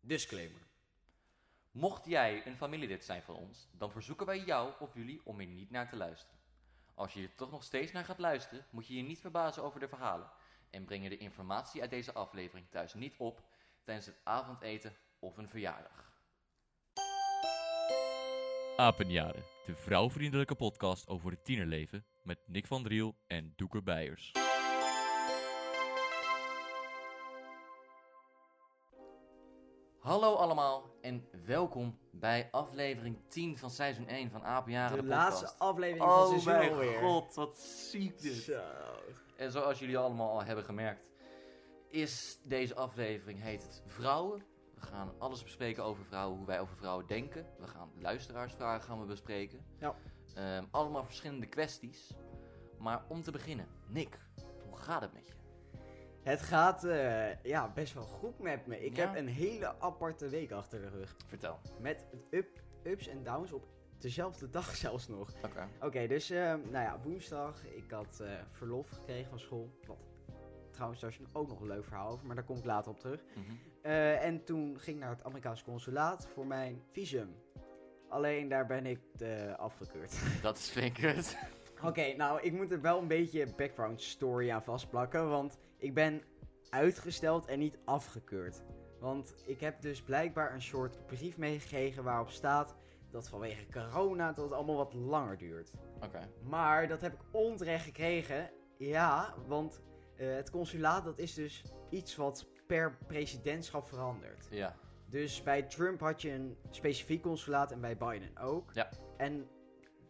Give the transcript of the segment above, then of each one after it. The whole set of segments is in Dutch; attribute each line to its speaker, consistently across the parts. Speaker 1: Disclaimer.
Speaker 2: Mocht jij een familielid zijn van ons, dan verzoeken wij jou of jullie om hier niet naar te luisteren. Als je hier toch nog steeds naar gaat luisteren, moet je je niet verbazen over de verhalen en breng je de informatie uit deze aflevering thuis niet op tijdens het avondeten of een verjaardag. Apenjaren, de vrouwvriendelijke podcast over het tienerleven met Nick van Driel en Doeke Beijers. Hallo allemaal en welkom bij aflevering 10 van seizoen 1 van Apenjaren
Speaker 1: De
Speaker 2: de,
Speaker 1: laatste
Speaker 2: podcast.
Speaker 1: aflevering van
Speaker 2: Oh
Speaker 1: seizoen
Speaker 2: mijn
Speaker 1: alweer.
Speaker 2: god, wat ziek dit.
Speaker 1: Zo.
Speaker 2: En zoals jullie allemaal al hebben gemerkt, is deze aflevering heet het Vrouwen. We gaan alles bespreken over vrouwen, hoe wij over vrouwen denken. We gaan luisteraarsvragen gaan we bespreken.
Speaker 1: Ja.
Speaker 2: Ehm, allemaal verschillende kwesties. Maar om te beginnen, Nick, hoe gaat het met je?
Speaker 1: Het gaat eh, ja, best wel goed met me. Ik
Speaker 2: Ja.
Speaker 1: heb een hele aparte week achter de rug.
Speaker 2: Vertel.
Speaker 1: Met up, ups en downs op dezelfde dag zelfs nog.
Speaker 2: Oké.
Speaker 1: Oké, dus eh, nou ja, woensdag. Ik had eh, verlof gekregen van school. Wat trouwens, daar is ook nog een leuk verhaal over, maar daar kom ik later op terug.
Speaker 2: Mhm.
Speaker 1: Eh, en toen ging ik naar het Amerikaans consulaat voor mijn visum. Alleen daar ben ik eh, afgekeurd.
Speaker 2: Dat is vinkerd.
Speaker 1: Oké, nou, ik moet er wel een beetje background story aan vastplakken, want ik ben uitgesteld en niet afgekeurd. Want ik heb dus blijkbaar een soort brief meegekregen waarop staat dat vanwege corona dat het allemaal wat langer duurt.
Speaker 2: Oké.
Speaker 1: Maar dat heb ik onterecht gekregen. Ja, want eh, het consulaat dat is dus iets wat per presidentschap verandert.
Speaker 2: Ja.
Speaker 1: Dus bij Trump had je een specifiek consulaat en bij Biden ook.
Speaker 2: Ja.
Speaker 1: En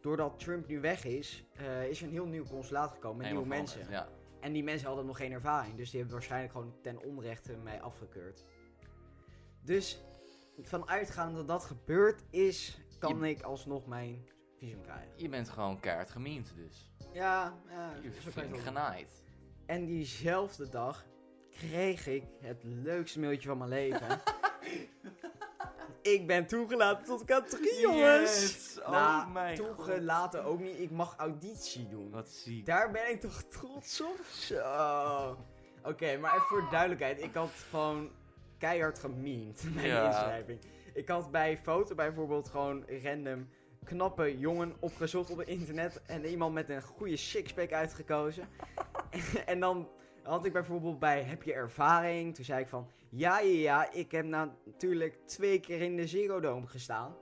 Speaker 1: doordat Trump nu weg is, eh, is er een heel nieuw consulaat gekomen met
Speaker 2: Helemaal
Speaker 1: nieuwe
Speaker 2: veranderd,
Speaker 1: mensen.
Speaker 2: Ja.
Speaker 1: En die mensen hadden nog geen ervaring, dus die hebben waarschijnlijk gewoon ten onrechte mij afgekeurd. Dus vanuitgaande dat dat gebeurd is, kan ik alsnog mijn visum krijgen.
Speaker 2: Je bent gewoon kaart gemiend dus.
Speaker 1: Ja, ja
Speaker 2: Je bent
Speaker 1: zo kan je
Speaker 2: flink
Speaker 1: het wel
Speaker 2: genaaid.
Speaker 1: En diezelfde dag kreeg ik het leukste mailtje van mijn leven. ik ben toegelaten tot Katrien, jongens.
Speaker 2: Yes! Oh
Speaker 1: Nou,
Speaker 2: mijn god.
Speaker 1: toegelaten ook niet. Ik mag auditie doen.
Speaker 2: Wat ziek.
Speaker 1: Daar ben ik toch trots op? Zo. Oké, maar even voor duidelijkheid. Ik had gewoon keihard gemiend bij de
Speaker 2: Ja.
Speaker 1: inschrijving. Ik had bij foto bijvoorbeeld gewoon random knappe jongen opgezocht op het internet. En iemand met een goede sixpack uitgekozen. en dan had ik bijvoorbeeld bij heb je ervaring? Toen zei ik van ja, ja, ja. Ik heb natuurlijk twee keer in de Ziggo Dome gestaan.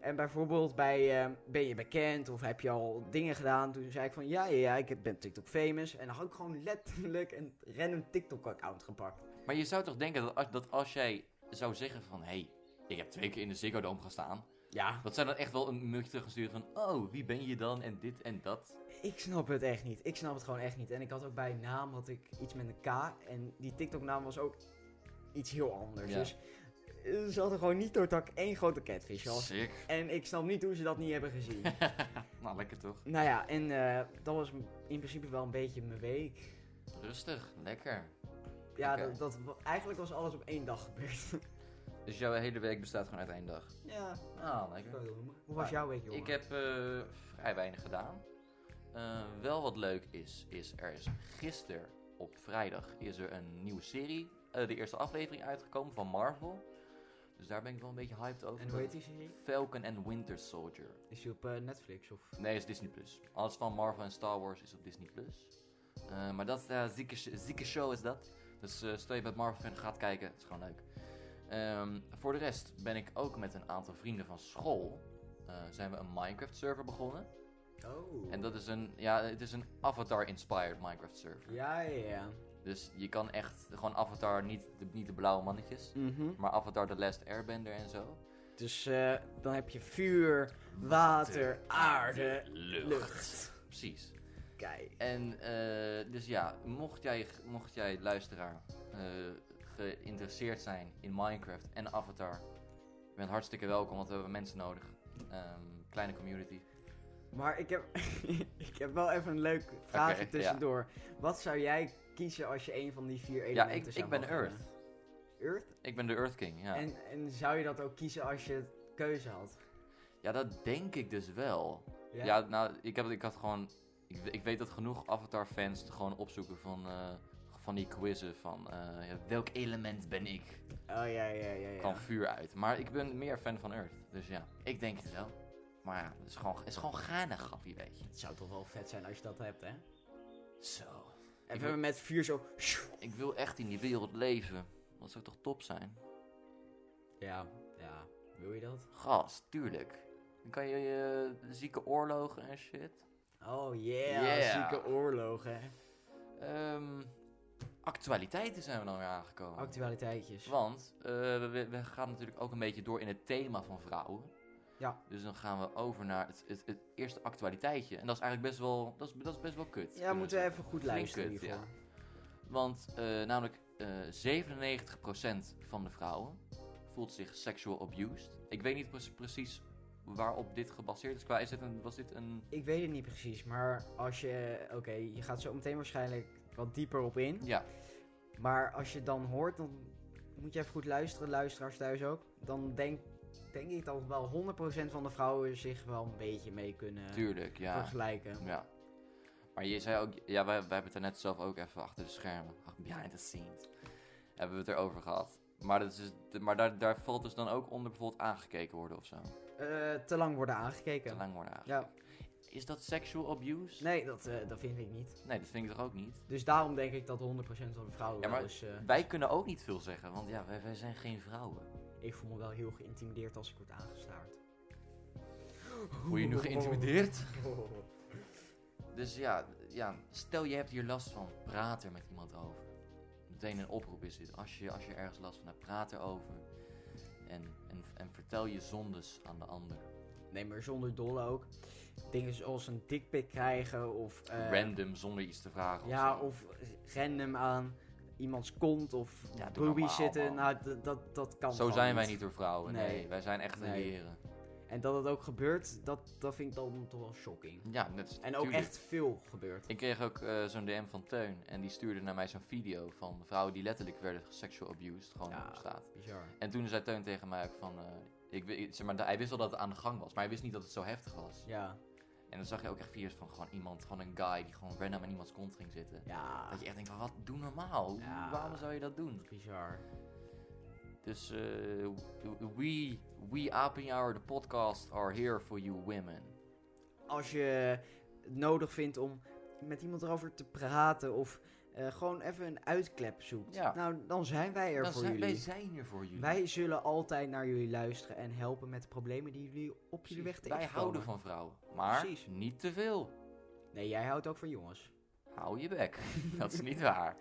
Speaker 1: En bijvoorbeeld bij eh, ben je bekend of heb je al dingen gedaan? Toen zei ik van ja, ja, ja, ik heb- ben TikTok famous. En dan had ik gewoon letterlijk een random TikTok-account gepakt.
Speaker 2: Maar je zou toch denken dat als, dat als jij zou zeggen van... Hé, hey, ik heb twee keer in de Ziggo Dome gestaan.
Speaker 1: Ja.
Speaker 2: Dat zij dan echt wel een mailtje terug gaan sturen van... Oh, wie ben je dan? En dit en dat.
Speaker 1: Ik snap het echt niet. Ik snap het gewoon echt niet. En ik had ook bij naam had ik iets met een K. En die TikTok-naam was ook iets heel anders.
Speaker 2: Ja.
Speaker 1: Dus eh, ze hadden gewoon niet door dat ik één grote catfish was.
Speaker 2: Sick.
Speaker 1: En ik snap niet hoe ze dat niet hebben gezien.
Speaker 2: Nou, lekker toch?
Speaker 1: nou ja, en eh, dat was in principe wel een beetje mijn week.
Speaker 2: Rustig, lekker.
Speaker 1: Ja,
Speaker 2: Oké.
Speaker 1: dat, dat, eigenlijk was alles op één dag gebeurd.
Speaker 2: Dus jouw hele week bestaat gewoon uit één dag.
Speaker 1: ja.
Speaker 2: Nou, lekker.
Speaker 1: Hoe was
Speaker 2: Ja,
Speaker 1: jouw week, jongen?
Speaker 2: Ik heb eh, vrij weinig gedaan. Eh, wel wat leuk is, is er is gisteren op vrijdag is er een nieuwe serie, eh, de eerste aflevering uitgekomen van Marvel. Dus daar ben ik wel een beetje hyped over.
Speaker 1: En hoe heet die serie?
Speaker 2: Falcon and Winter Soldier.
Speaker 1: Is die op eh, Netflix of...
Speaker 2: Nee, is Disney Plus. Alles van Marvel en Star Wars is op Disney Plus. Eh, maar dat is een zieke, sh- zieke show is dat. Dus eh, stel je bent Marvel fan, gaat kijken. Het is gewoon leuk. Ehm, voor de rest ben ik ook met een aantal vrienden van school. eh, zijn we een Minecraft server begonnen.
Speaker 1: Oh.
Speaker 2: En dat is een, ja, het is een Avatar-inspired Minecraft server.
Speaker 1: Ja, ja, ja.
Speaker 2: Dus je kan echt gewoon Avatar, niet de, niet de blauwe mannetjes. Maar Avatar The Last Airbender en zo.
Speaker 1: Dus eh, dan heb je vuur, water, aarde,
Speaker 2: lucht.
Speaker 1: lucht.
Speaker 2: Precies.
Speaker 1: Kijk.
Speaker 2: En eh, dus ja, mocht jij, mocht jij luisteraar eh, geïnteresseerd zijn in Minecraft en Avatar, je bent hartstikke welkom, want we hebben mensen nodig. Ehm, kleine community.
Speaker 1: Maar ik heb, ik heb wel even een leuk vraagje
Speaker 2: Oké,
Speaker 1: tussendoor. Wat zou jij kiezen als je een van die vier
Speaker 2: ja,
Speaker 1: elementen
Speaker 2: ik,
Speaker 1: zou
Speaker 2: ik ben
Speaker 1: mogen
Speaker 2: Earth.
Speaker 1: hebben? Earth?
Speaker 2: Ik ben de Earth King, ja.
Speaker 1: En, en zou je dat ook kiezen als je keuze had?
Speaker 2: Ja, dat denk ik dus wel. Ja, nou, ik, heb, ik had gewoon... Ik, we- ik weet dat genoeg Avatar-fans het gewoon opzoeken van... eh, van die quizzen van eh, ja, welk element ben ik?
Speaker 1: Oh ja, ja, ja. ja.
Speaker 2: kwam vuur uit. Maar ik ben meer fan van Earth. Dus ja, ik denk het wel. Maar ja, het is gewoon, het is gewoon Ghana, grappie, weet je.
Speaker 1: Het zou toch wel vet zijn als je dat hebt, hè?
Speaker 2: Zo.
Speaker 1: En
Speaker 2: Ik
Speaker 1: we hebben met vuur zo.
Speaker 2: Ik wil echt in die wereld leven. Dat zou toch top zijn?
Speaker 1: Ja, ja. Wil je dat?
Speaker 2: Gast, tuurlijk. Dan kan je je zieke oorlogen en shit.
Speaker 1: Oh yeah,
Speaker 2: Yeah.
Speaker 1: zieke oorlogen. hè?
Speaker 2: Ehm, actualiteiten zijn we dan weer aangekomen.
Speaker 1: Actualiteitjes.
Speaker 2: Want eh, we, we gaan natuurlijk ook een beetje door in het thema van vrouwen.
Speaker 1: Ja.
Speaker 2: Dus dan gaan we over naar het, het, het eerste actualiteitje. En dat is eigenlijk best wel, dat is, dat is best wel kut. kunnen
Speaker 1: Ja,
Speaker 2: we
Speaker 1: moeten we
Speaker 2: zeggen.
Speaker 1: even goed
Speaker 2: Flink
Speaker 1: luisteren in
Speaker 2: kut,
Speaker 1: ieder geval.
Speaker 2: Want eh, namelijk eh 97% van de vrouwen voelt zich sexual abused. Ik weet niet pre- precies waarop dit gebaseerd is. Qua, is dit een, was dit een...
Speaker 1: Ik weet het niet precies, maar als je. Oké, je gaat zo meteen waarschijnlijk wat dieper op in.
Speaker 2: Ja,
Speaker 1: Maar als je het dan hoort, dan moet je even goed luisteren, luisteraars thuis ook. Dan denk, denk ik dat wel 100% van de vrouwen zich wel een beetje mee kunnen
Speaker 2: tuurlijk, ja.
Speaker 1: vergelijken.
Speaker 2: ja. Maar je zei ook... Ja, wij, wij hebben het er net zelf ook even achter de schermen. ach, Behind the scenes. Hebben we het erover gehad. Maar, dat is, dus- maar daar, daar valt dus dan ook onder bijvoorbeeld aangekeken worden of zo.
Speaker 1: Eh, te lang worden aangekeken.
Speaker 2: Te lang worden aangekeken.
Speaker 1: Ja,
Speaker 2: Is dat sexual abuse?
Speaker 1: nee, dat, eh, dat vind ik niet.
Speaker 2: Nee, dat vind ik toch ook niet?
Speaker 1: Dus daarom denk ik dat 100% van de vrouwen
Speaker 2: Ja, maar
Speaker 1: wel eens... eh,
Speaker 2: Wij kunnen ook niet veel zeggen, want ja, wij, wij zijn geen vrouwen.
Speaker 1: ik voel me wel heel geïntimideerd als ik word aangestaard.
Speaker 2: Voel je nu geïntimideerd? Dus ja, ja, stel je hebt hier last van, praat er met iemand over. Meteen een oproep is dit. Als je, als je ergens last van hebt, praat erover. En, en, en vertel je zondes aan de ander.
Speaker 1: Nee, maar zonder dolle ook. Dingen zoals een dikpik krijgen of... eh,
Speaker 2: Random, zonder iets te vragen.
Speaker 1: Ja,
Speaker 2: zo.
Speaker 1: of random aan iemands kont of
Speaker 2: Ja, doe
Speaker 1: broebie
Speaker 2: normaal,
Speaker 1: zitten.
Speaker 2: man.
Speaker 1: Nou, d- dat, dat kan
Speaker 2: Zo
Speaker 1: gewoon
Speaker 2: zijn wij niet door vrouwen. Nee,
Speaker 1: Nee.
Speaker 2: wij zijn echt een
Speaker 1: Nee.
Speaker 2: heren.
Speaker 1: En dat het ook gebeurt, dat, dat vind ik dan toch wel shocking.
Speaker 2: Ja, net
Speaker 1: En ook echt veel gebeurt.
Speaker 2: Ik kreeg ook eh, zo'n DM van Teun. En die stuurde naar mij zo'n video van vrouwen die letterlijk werden sexual abused. Gewoon
Speaker 1: Ja.
Speaker 2: op straat.
Speaker 1: Bizar.
Speaker 2: En toen zei Teun tegen mij ook van... eh, ik, wi- zeg maar, hij wist wel dat het aan de gang was, maar hij wist niet dat het zo heftig was.
Speaker 1: Ja,
Speaker 2: En dan zag je ook echt video's van gewoon iemand, gewoon een guy die gewoon random aan iemands kont ging zitten.
Speaker 1: ja,
Speaker 2: Dat je echt denkt van, wat, doe normaal. Hoe-
Speaker 1: Ja.
Speaker 2: Waarom zou je dat doen?
Speaker 1: bizar.
Speaker 2: Dus eh, we, we Apen Hour, de podcast, are here for you women.
Speaker 1: Als je het nodig vindt om met iemand erover te praten of eh, gewoon even een uitklep zoekt.
Speaker 2: Ja.
Speaker 1: Nou, dan zijn wij er
Speaker 2: Dan
Speaker 1: voor
Speaker 2: zijn-
Speaker 1: jullie.
Speaker 2: Wij zijn hier voor jullie.
Speaker 1: Wij zullen altijd naar jullie luisteren en helpen met de problemen die jullie op jullie weg
Speaker 2: Wij
Speaker 1: tegenkomen.
Speaker 2: houden van vrouwen, maar
Speaker 1: Precies.
Speaker 2: niet te veel.
Speaker 1: Nee, jij houdt ook van jongens.
Speaker 2: Hou je bek. dat is niet waar.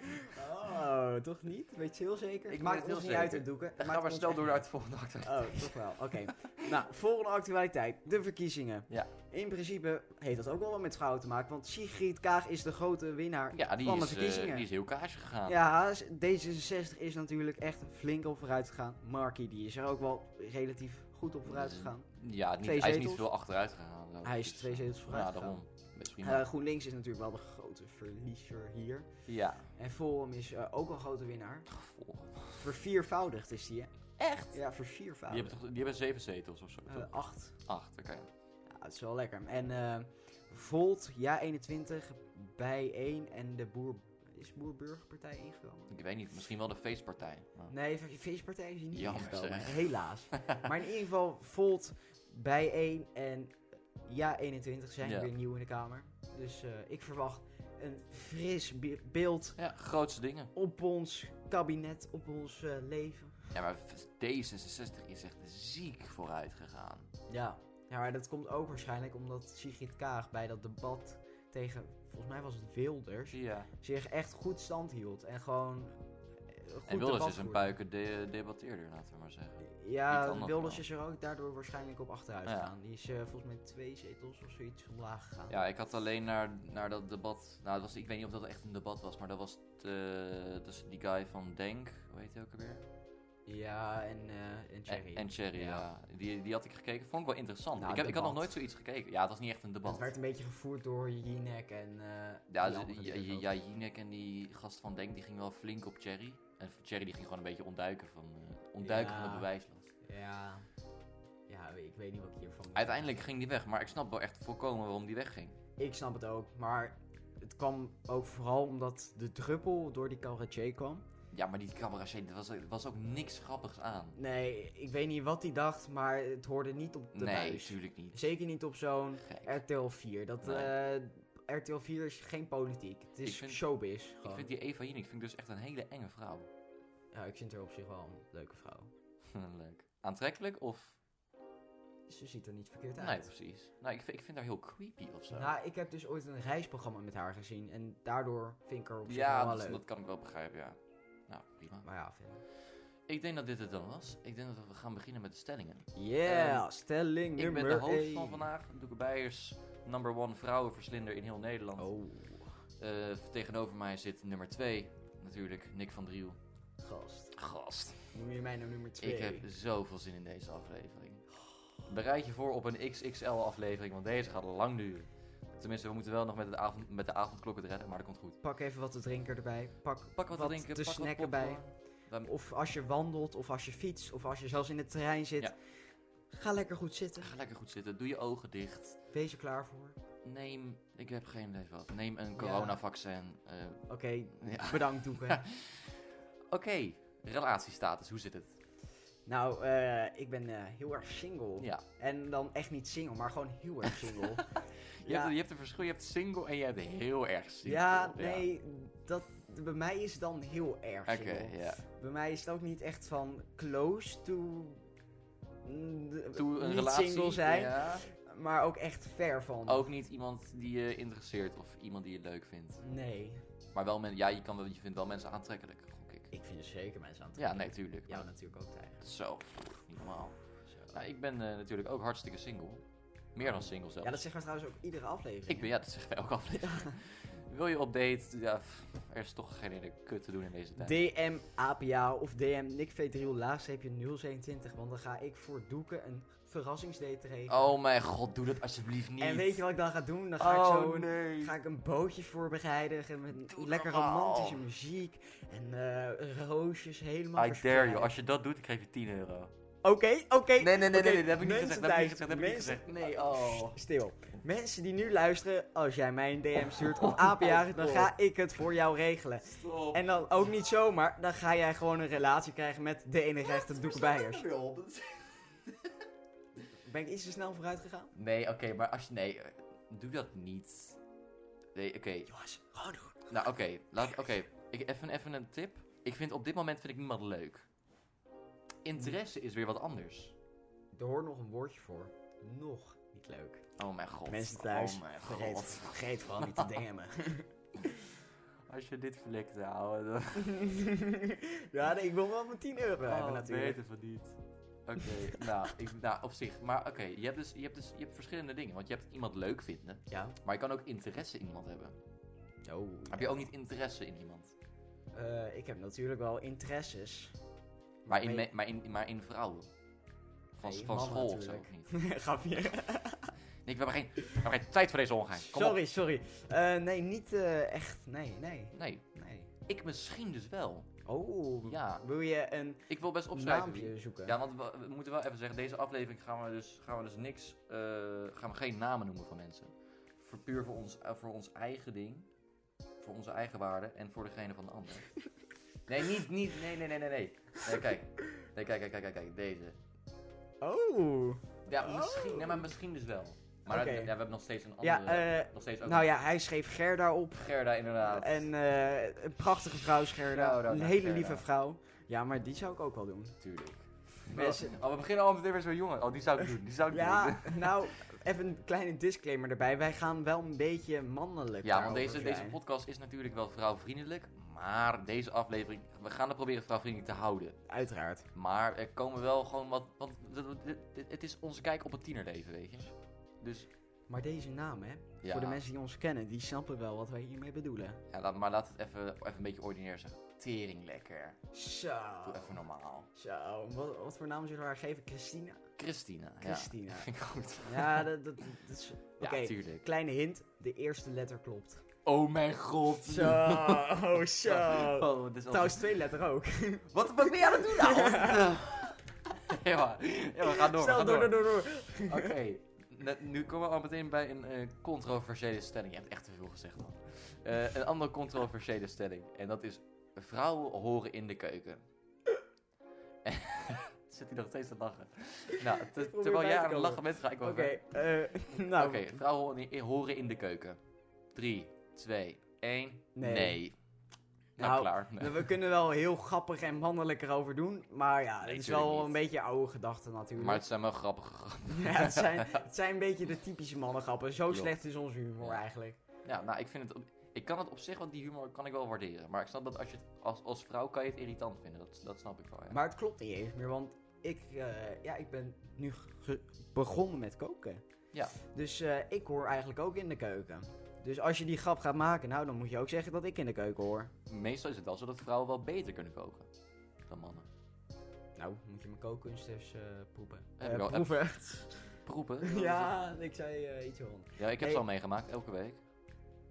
Speaker 1: Oh, toch niet? Weet je heel zeker?
Speaker 2: Ik
Speaker 1: maak
Speaker 2: weet het heel
Speaker 1: niet
Speaker 2: zeker.
Speaker 1: uit het doeken.
Speaker 2: Dan
Speaker 1: Maakt
Speaker 2: gaan we
Speaker 1: ons
Speaker 2: snel
Speaker 1: echt
Speaker 2: door naar
Speaker 1: niet
Speaker 2: het volgende acte.
Speaker 1: uit. Oh, toch wel. Oké. nou, volgende actualiteit. De verkiezingen.
Speaker 2: Ja.
Speaker 1: In principe heeft dat ook wel wat met vrouwen te maken. Want Sigrid Kaag is de grote winnaar
Speaker 2: Ja, die
Speaker 1: van
Speaker 2: is,
Speaker 1: de
Speaker 2: eh,
Speaker 1: verkiezingen.
Speaker 2: die is heel kaars gegaan.
Speaker 1: Ja, s- D66 is natuurlijk echt flink op vooruit gegaan. Marky die is er ook wel relatief goed op
Speaker 2: Mm.
Speaker 1: vooruit gegaan.
Speaker 2: Ja, niet,
Speaker 1: Twee
Speaker 2: hij is niet
Speaker 1: zetels.
Speaker 2: veel achteruit gegaan. ook.
Speaker 1: Hij is
Speaker 2: Dus,
Speaker 1: twee
Speaker 2: eh,
Speaker 1: zetels vooruit
Speaker 2: Ja,
Speaker 1: gegaan.
Speaker 2: daarom. Best prima.
Speaker 1: Eh, GroenLinks is natuurlijk wel de grote verliezer hier.
Speaker 2: ja.
Speaker 1: En Forum is eh, ook een grote winnaar.
Speaker 2: Gevolgen.
Speaker 1: Verviervoudigd is die, hè?
Speaker 2: Echt?
Speaker 1: Ja,
Speaker 2: Die
Speaker 1: verviervoudigd.
Speaker 2: hebben, toch, die hebben zeven zetels of zo.
Speaker 1: Eh,
Speaker 2: toch?
Speaker 1: acht.
Speaker 2: Acht, oké.
Speaker 1: Ja, het is wel lekker. En eh Volt, ja 21, bij 1 en de Boer... Is Boerburgerpartij ingekomen?
Speaker 2: Ik weet niet, misschien wel de feestpartij. Maar-
Speaker 1: Nee, de feestpartij is hier niet
Speaker 2: Jammer,
Speaker 1: ingekomen,
Speaker 2: zeg.
Speaker 1: helaas. maar in ieder geval, Volt, bij 1 en ja 21 zijn
Speaker 2: Ja.
Speaker 1: weer nieuw in de Kamer. Dus eh, ik verwacht een fris be- beeld
Speaker 2: Ja, grootste dingen.
Speaker 1: op ons kabinet, op ons eh, leven.
Speaker 2: Ja, maar D66 is echt ziek vooruit gegaan.
Speaker 1: Ja. ja, maar dat komt ook waarschijnlijk omdat Sigrid Kaag bij dat debat tegen, volgens mij was het Wilders...
Speaker 2: Ja.
Speaker 1: zich echt goed stand hield. En gewoon eh, goed
Speaker 2: En Wilders
Speaker 1: debat
Speaker 2: is een
Speaker 1: voerde.
Speaker 2: puiken de debatteerder, laten we maar zeggen. Niet
Speaker 1: Ja,
Speaker 2: anders
Speaker 1: Wilders
Speaker 2: wel.
Speaker 1: is er ook daardoor waarschijnlijk op achteruit
Speaker 2: Ja.
Speaker 1: gegaan. Die is eh, volgens mij twee zetels of zoiets omlaag gegaan.
Speaker 2: Ja, ik had alleen naar, naar dat debat. Nou, het was, ik weet niet of dat echt een debat was, maar dat was eh, tussen die guy van Denk, hoe heet hij ook alweer?
Speaker 1: Ja, en, eh en Thierry.
Speaker 2: En, en Cherry, ja.
Speaker 1: Ja.
Speaker 2: Die, die had ik gekeken. Vond ik wel interessant.
Speaker 1: Nou,
Speaker 2: ik, heb, ik had nog
Speaker 1: debat.
Speaker 2: nooit zoiets gekeken. Ja, het was niet echt een debat.
Speaker 1: Het werd een beetje gevoerd door Jinek en... eh
Speaker 2: Ja,
Speaker 1: die
Speaker 2: ze-
Speaker 1: andere
Speaker 2: ja,
Speaker 1: dude
Speaker 2: ja,
Speaker 1: ook.
Speaker 2: ja, Jinek en die gast van Denk, die ging wel flink op Cherry. En Cherry die ging gewoon een beetje ontduiken van, eh, ontduiken van de
Speaker 1: Ja.
Speaker 2: bewijslast.
Speaker 1: Ja. Ja, ik weet niet wat ik hiervan moet
Speaker 2: Uiteindelijk ging die weg, maar ik snap wel echt volkomen waarom die wegging.
Speaker 1: zeggen. Ik snap het ook, maar het kwam ook vooral omdat de druppel door die Calratje kwam.
Speaker 2: Ja, maar die cabaretier, er was, er was ook niks grappigs aan.
Speaker 1: Nee, ik weet niet wat hij dacht, maar het hoorde niet op de
Speaker 2: nee,
Speaker 1: buis.
Speaker 2: natuurlijk niet.
Speaker 1: Zeker niet op zo'n
Speaker 2: Gek.
Speaker 1: RTL 4. Dat,
Speaker 2: Nee.
Speaker 1: eh, RTL 4 is geen politiek. Het is
Speaker 2: Ik vind-
Speaker 1: showbiz.
Speaker 2: Ik
Speaker 1: Gewoon.
Speaker 2: vind die Eva Jinek vind ik dus echt een hele enge vrouw.
Speaker 1: Ja, ik vind haar op zich wel een leuke vrouw.
Speaker 2: Leuk. Aantrekkelijk of...
Speaker 1: Ze ziet er niet verkeerd
Speaker 2: Nee,
Speaker 1: uit.
Speaker 2: precies. Nou, ik, vind- ik vind haar heel creepy of zo.
Speaker 1: Nou, ik heb dus ooit een reisprogramma met haar gezien. En daardoor vind ik haar op zich
Speaker 2: ja,
Speaker 1: wel
Speaker 2: dat,
Speaker 1: leuk.
Speaker 2: dat kan ik wel begrijpen, ja. Nou, prima.
Speaker 1: Maar ja, verder.
Speaker 2: Ik denk dat dit het dan was. Ik denk dat we gaan beginnen met de stellingen.
Speaker 1: Yeah,
Speaker 2: Ehm,
Speaker 1: stelling
Speaker 2: Ik
Speaker 1: nummer
Speaker 2: ben de host
Speaker 1: één.
Speaker 2: van vandaag. Doeke Beijers, number one vrouwenverslinder in heel Nederland.
Speaker 1: Oh,
Speaker 2: Eh, tegenover mij zit nummer 2, natuurlijk, Nick van Driel.
Speaker 1: gast.
Speaker 2: Gast.
Speaker 1: Noem je mij nou nummer 2?
Speaker 2: Ik heb dus- zoveel zin in deze aflevering. Bereid je voor op een XXL-aflevering, want deze gaat lang duren. Tenminste, we moeten wel nog met, het avond, met de avondklok het redden, maar dat komt goed.
Speaker 1: Pak even wat te drinken erbij. Pak,
Speaker 2: Pak wat, te drinken,
Speaker 1: te
Speaker 2: pak wat eh.
Speaker 1: snacken bij.
Speaker 2: popcorn. Wij-
Speaker 1: Of als je wandelt, of als je fietst, of als je zelfs in het terrein zit.
Speaker 2: Ja.
Speaker 1: Ga lekker goed zitten.
Speaker 2: Ga lekker goed zitten, doe je ogen dicht.
Speaker 1: Wees er klaar voor.
Speaker 2: Neem, ik heb geen idee wat, neem een coronavaccin. eh,
Speaker 1: Oké,
Speaker 2: ja.
Speaker 1: bedankt Doeke.
Speaker 2: Oké, relatiestatus, hoe zit het?
Speaker 1: nou, eh, ik ben eh, heel erg single.
Speaker 2: Ja,
Speaker 1: En dan echt niet single, maar gewoon heel erg single.
Speaker 2: je,
Speaker 1: Ja.
Speaker 2: Hebt, je hebt een verschil, je hebt single en je hebt heel erg single.
Speaker 1: ja, nee, dat, bij mij is het dan heel erg
Speaker 2: Oké,
Speaker 1: single.
Speaker 2: ja.
Speaker 1: Bij mij is het ook niet echt van close to... mm, de-
Speaker 2: Toe een
Speaker 1: niet
Speaker 2: relatie.
Speaker 1: single zijn,
Speaker 2: ja.
Speaker 1: maar ook echt ver van.
Speaker 2: Ook niet iemand die je interesseert of iemand die je leuk vindt.
Speaker 1: Nee,
Speaker 2: Maar wel men, ja, je, kan wel, je vindt wel mensen aantrekkelijk, gok ik.
Speaker 1: ik vind zeker mensen aan het
Speaker 2: Ja, nee, tuurlijk.
Speaker 1: Jou natuurlijk ook, Tijger.
Speaker 2: Zo, pff, niet normaal. Nou, ik ben eh, natuurlijk ook hartstikke single. Meer dan single zelf.
Speaker 1: Ja, dat zeggen we trouwens ook iedere aflevering.
Speaker 2: Ik ben, ja, dat zeggen wij ook altijd. Wil je op date? Ja, pff, er is toch geen hele kut te doen in deze tijd.
Speaker 1: DM APA of DM Nick V3 laagste heb je 027, want dan ga ik voor Doeken een verrassingsdate regelen.
Speaker 2: Oh mijn god, doe dat alsjeblieft niet.
Speaker 1: En weet je wat ik dan ga doen? Dan ga
Speaker 2: oh,
Speaker 1: ik zo een,
Speaker 2: nee.
Speaker 1: ga ik een bootje voorbereiden en met
Speaker 2: Doe
Speaker 1: lekker
Speaker 2: normaal.
Speaker 1: romantische muziek en eh, roosjes helemaal
Speaker 2: I dare
Speaker 1: verspreid.
Speaker 2: you. Als je dat doet, ik geef je 10 euro.
Speaker 1: Oké, oké.
Speaker 2: Nee, nee, nee,
Speaker 1: oké,
Speaker 2: nee, nee, dat heb ik niet gezegd.
Speaker 1: mensen
Speaker 2: Dat heb ik niet
Speaker 1: thuis,
Speaker 2: gezegd. Dat heb ik niet gezegd.
Speaker 1: mensen-
Speaker 2: Nee, oh.
Speaker 1: Stil. Mensen die nu luisteren, als jij mij een DM stuurt
Speaker 2: Oh
Speaker 1: of APA, dan ga ik het voor jou regelen.
Speaker 2: Stop.
Speaker 1: En dan ook niet zomaar, dan ga jij gewoon een relatie krijgen met de enige echte Doeken Beijers. Ben ik iets te snel vooruit gegaan?
Speaker 2: Nee, oké, maar als je. Nee, eh, doe dat niet. Nee, oké.
Speaker 1: Jongens, gewoon doen.
Speaker 2: Nou, oké. laat- Oké, ik even, even een tip. Ik vind op dit moment vind ik niemand leuk. Interesse is weer wat anders.
Speaker 1: Er hoort nog een woordje voor. Nog niet leuk.
Speaker 2: Oh mijn god.
Speaker 1: Mensen thuis,
Speaker 2: Oh mijn
Speaker 1: vergeet,
Speaker 2: god.
Speaker 1: vergeet vooral niet te DM'en.
Speaker 2: Als je dit verlikt zou houden, dan
Speaker 1: ja, nee, ik wil wel mijn 10 euro hebben
Speaker 2: Oh,
Speaker 1: natuurlijk.
Speaker 2: beter van niet. Oké, nou, ik- nou, op zich. Maar oké, je, hebt dus, je, hebt dus, je hebt verschillende dingen. Want je hebt iemand leuk vinden,
Speaker 1: Ja.
Speaker 2: maar je kan ook interesse in iemand hebben.
Speaker 1: Oh.
Speaker 2: Heb je ook niet interesse in iemand?
Speaker 1: Eh, ik heb natuurlijk wel interesses.
Speaker 2: Maar in,
Speaker 1: Nee.
Speaker 2: me- maar in, maar in vrouwen? Van,
Speaker 1: Nee,
Speaker 2: van
Speaker 1: mannen
Speaker 2: school of zo?
Speaker 1: natuurlijk.
Speaker 2: of niet?
Speaker 1: Grapje.
Speaker 2: Nick, we hebben geen, we hebben geen tijd voor deze ongein. Kom
Speaker 1: Sorry, sorry. Eh, nee, niet eh, echt. Nee, nee,
Speaker 2: op. Nee,
Speaker 1: nee.
Speaker 2: ik misschien dus wel.
Speaker 1: Oh.
Speaker 2: Ja,
Speaker 1: Wil je een
Speaker 2: ik wil best opschrijven. wie-
Speaker 1: naampje zoeken?
Speaker 2: Ja, want we, we moeten wel even zeggen, deze aflevering gaan we dus, gaan we dus niks, eh, gaan we geen namen noemen van mensen. Voor, puur voor ons, eh, voor ons eigen ding, voor onze eigen waarde en voor degene van de ander. Nee, niet, niet, nee, nee, nee, nee, nee. Nee, kijk, nee, kijk, kijk, kijk, kijk, kijk, deze.
Speaker 1: Oh.
Speaker 2: Ja,
Speaker 1: Oh.
Speaker 2: misschien, nee, maar misschien dus wel. Maar
Speaker 1: Oké.
Speaker 2: ja, we hebben nog steeds een
Speaker 1: Ja,
Speaker 2: andere,
Speaker 1: eh,
Speaker 2: nog steeds ook
Speaker 1: nou ja, hij schreef Gerda op.
Speaker 2: Gerda inderdaad.
Speaker 1: En eh, een prachtige vrouw, Scherda.
Speaker 2: Shout-out
Speaker 1: een
Speaker 2: naar
Speaker 1: hele
Speaker 2: Gerda.
Speaker 1: lieve vrouw. Ja, maar die zou ik ook wel doen.
Speaker 2: Tuurlijk.
Speaker 1: Mensen-
Speaker 2: Oh, we beginnen al meteen weer zo jongen. Oh, die zou ik doen, die zou ik doen.
Speaker 1: Ja, nou, even een kleine disclaimer erbij. Wij gaan wel een beetje mannelijk
Speaker 2: Ja, want
Speaker 1: daarover
Speaker 2: deze, deze
Speaker 1: zijn.
Speaker 2: podcast is natuurlijk wel vrouwvriendelijk. Maar deze aflevering, we gaan er proberen vrouwvriendelijk te houden.
Speaker 1: Uiteraard.
Speaker 2: Maar er komen wel gewoon wat. Want d- d- d- het is onze kijk op het tienerleven, weet je. Dus
Speaker 1: Maar deze naam, hè.
Speaker 2: ja,
Speaker 1: Voor de mensen die ons kennen, die snappen wel wat wij hiermee bedoelen.
Speaker 2: ja, laat- maar laat het even, even een beetje ordinair zeggen. Tering lekker.
Speaker 1: Zo.
Speaker 2: Doe even normaal.
Speaker 1: Zo. Wat, wat voor naam zullen we haar geven? Christina?
Speaker 2: Christina.
Speaker 1: Christina.
Speaker 2: Ja, vind ik goed.
Speaker 1: Ja, dat, dat, dat is... Oké,
Speaker 2: Ja, tuurlijk.
Speaker 1: kleine hint. De eerste letter klopt.
Speaker 2: Oh mijn god.
Speaker 1: Zo. Nou, Zo.
Speaker 2: Oh, dit is al-
Speaker 1: Trouwens, twee letter ook.
Speaker 2: Wat, wat ben jij aan het doen nou? ja, maar, ja, maar ga door.
Speaker 1: Stel,
Speaker 2: ga
Speaker 1: door, door, door, door.
Speaker 2: Oké, net- nu komen we al meteen bij een eh, controversiële stelling. Je hebt echt te veel gezegd, man. Eh, een andere controversiële stelling. En dat is: vrouwen horen in de keuken. Zit hij nog steeds te lachen? Nou, te-
Speaker 1: probeer bij
Speaker 2: terwijl
Speaker 1: te
Speaker 2: jij aan het
Speaker 1: komen.
Speaker 2: lachen bent, ga ik wel
Speaker 1: Oké,
Speaker 2: verder.
Speaker 1: eh, nou.
Speaker 2: Oké, vrouwen horen in- horen in de keuken. 3, 2, 1.
Speaker 1: Nee.
Speaker 2: Nee.
Speaker 1: Nou,
Speaker 2: Nou, klaar. Nee.
Speaker 1: We kunnen wel heel grappig en mannelijk erover doen. Maar ja,
Speaker 2: Nee,
Speaker 1: het is
Speaker 2: tuurlijk
Speaker 1: wel
Speaker 2: niet.
Speaker 1: een beetje oude gedachten natuurlijk.
Speaker 2: Maar het zijn wel grappige grappen.
Speaker 1: Ja, het, zijn, het zijn een beetje de typische mannengrappen. Zo
Speaker 2: Klopt.
Speaker 1: slecht is ons humor
Speaker 2: Ja.
Speaker 1: eigenlijk.
Speaker 2: Ja, nou, ik vind het. op- Ik kan het op zich, want die humor kan ik wel waarderen. Maar ik snap dat als, je het, als, als vrouw kan je het irritant vinden. Dat, dat snap ik wel. Ja.
Speaker 1: Maar het klopt niet eens meer, want ik, eh, ja, ik ben nu ge- begonnen met koken.
Speaker 2: Ja.
Speaker 1: Dus eh, ik hoor eigenlijk ook in de keuken. Dus als je die grap gaat maken, nou, dan moet je ook zeggen dat ik in de keuken hoor.
Speaker 2: Meestal is het wel zo dat vrouwen wel beter kunnen koken dan mannen.
Speaker 1: Nou, moet je mijn kookkunst eens eh, proeven.
Speaker 2: Heb
Speaker 1: Eh,
Speaker 2: ik wel-
Speaker 1: proeven.
Speaker 2: Proepen?
Speaker 1: ja, ik zei eh, iets rond.
Speaker 2: Ja, ik heb
Speaker 1: Nee.
Speaker 2: ze al meegemaakt, elke week.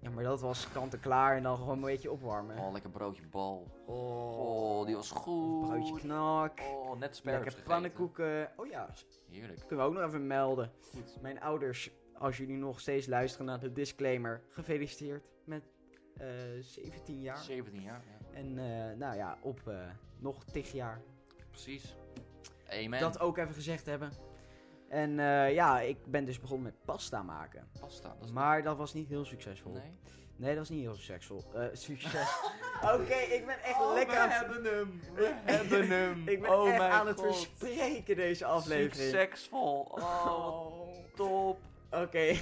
Speaker 1: Ja, maar dat was kant-en-klaar en dan gewoon een beetje opwarmen.
Speaker 2: Oh, lekker broodje bal.
Speaker 1: Oh,
Speaker 2: Oh, die was goed.
Speaker 1: broodje knak.
Speaker 2: Oh, net sperms
Speaker 1: Lekker
Speaker 2: gegeten.
Speaker 1: pannenkoeken. Oh ja,
Speaker 2: Heerlijk.
Speaker 1: kunnen we ook nog even melden.
Speaker 2: Goed.
Speaker 1: Mijn ouders, als jullie nog steeds luisteren naar de disclaimer, gefeliciteerd met eh, 17 jaar.
Speaker 2: 17 jaar, ja.
Speaker 1: En eh, nou ja, op eh, nog tig jaar.
Speaker 2: Precies. Amen.
Speaker 1: Dat ook even gezegd hebben. En eh, ja, ik ben dus begonnen met pasta maken.
Speaker 2: pasta. Dat is
Speaker 1: Maar dat was niet heel succesvol.
Speaker 2: Nee.
Speaker 1: Nee, dat was niet heel succesvol. Eh, succes. Oké, ik ben echt lekker aan het...
Speaker 2: Oh, hebben hem. We hebben hem.
Speaker 1: Ik ben
Speaker 2: oh
Speaker 1: echt
Speaker 2: mijn
Speaker 1: aan het
Speaker 2: God.
Speaker 1: verspreken deze aflevering.
Speaker 2: Succesvol. Oh,
Speaker 1: Oh.
Speaker 2: wat top.
Speaker 1: Oké,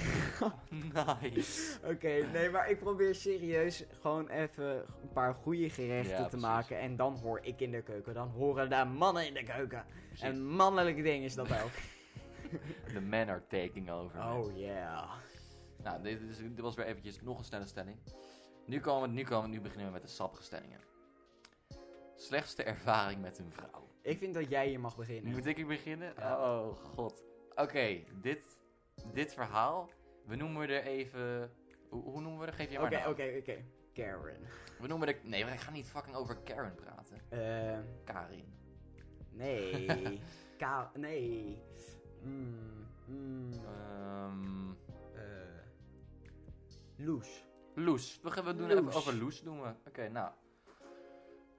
Speaker 2: Nice.
Speaker 1: oké. Nee, maar ik probeer serieus gewoon even een paar goede gerechten
Speaker 2: Ja,
Speaker 1: te
Speaker 2: precies.
Speaker 1: maken. En dan hoor ik in de keuken. Dan horen daar mannen in de keuken. Een mannelijk ding is dat ook.
Speaker 2: The men are taking over.
Speaker 1: Oh yeah.
Speaker 2: Nou, dit, is- dit was weer eventjes nog een snelle stelling. Nu komen we, nu komen we, nu beginnen we met de sappige stellingen. Slechtste ervaring met een vrouw.
Speaker 1: Ik vind dat jij hier mag beginnen.
Speaker 2: Moet ik beginnen?
Speaker 1: Ja.
Speaker 2: Oh, god. Oké, dit, dit verhaal, we noemen er even... Hoe, hoe noemen we er? Geef je maar nou.
Speaker 1: Oké,
Speaker 2: naam.
Speaker 1: oké, oké. Karen.
Speaker 2: We noemen er... Nee, we gaan niet fucking over Karen praten.
Speaker 1: Eh,
Speaker 2: Karin.
Speaker 1: nee. Ka nee. Mm,
Speaker 2: Oh,
Speaker 1: mm,
Speaker 2: Ehm
Speaker 1: eh. Loes.
Speaker 2: Loes. We, gaan, we doen
Speaker 1: Loes.
Speaker 2: even over Loes doen we. Oké, nou.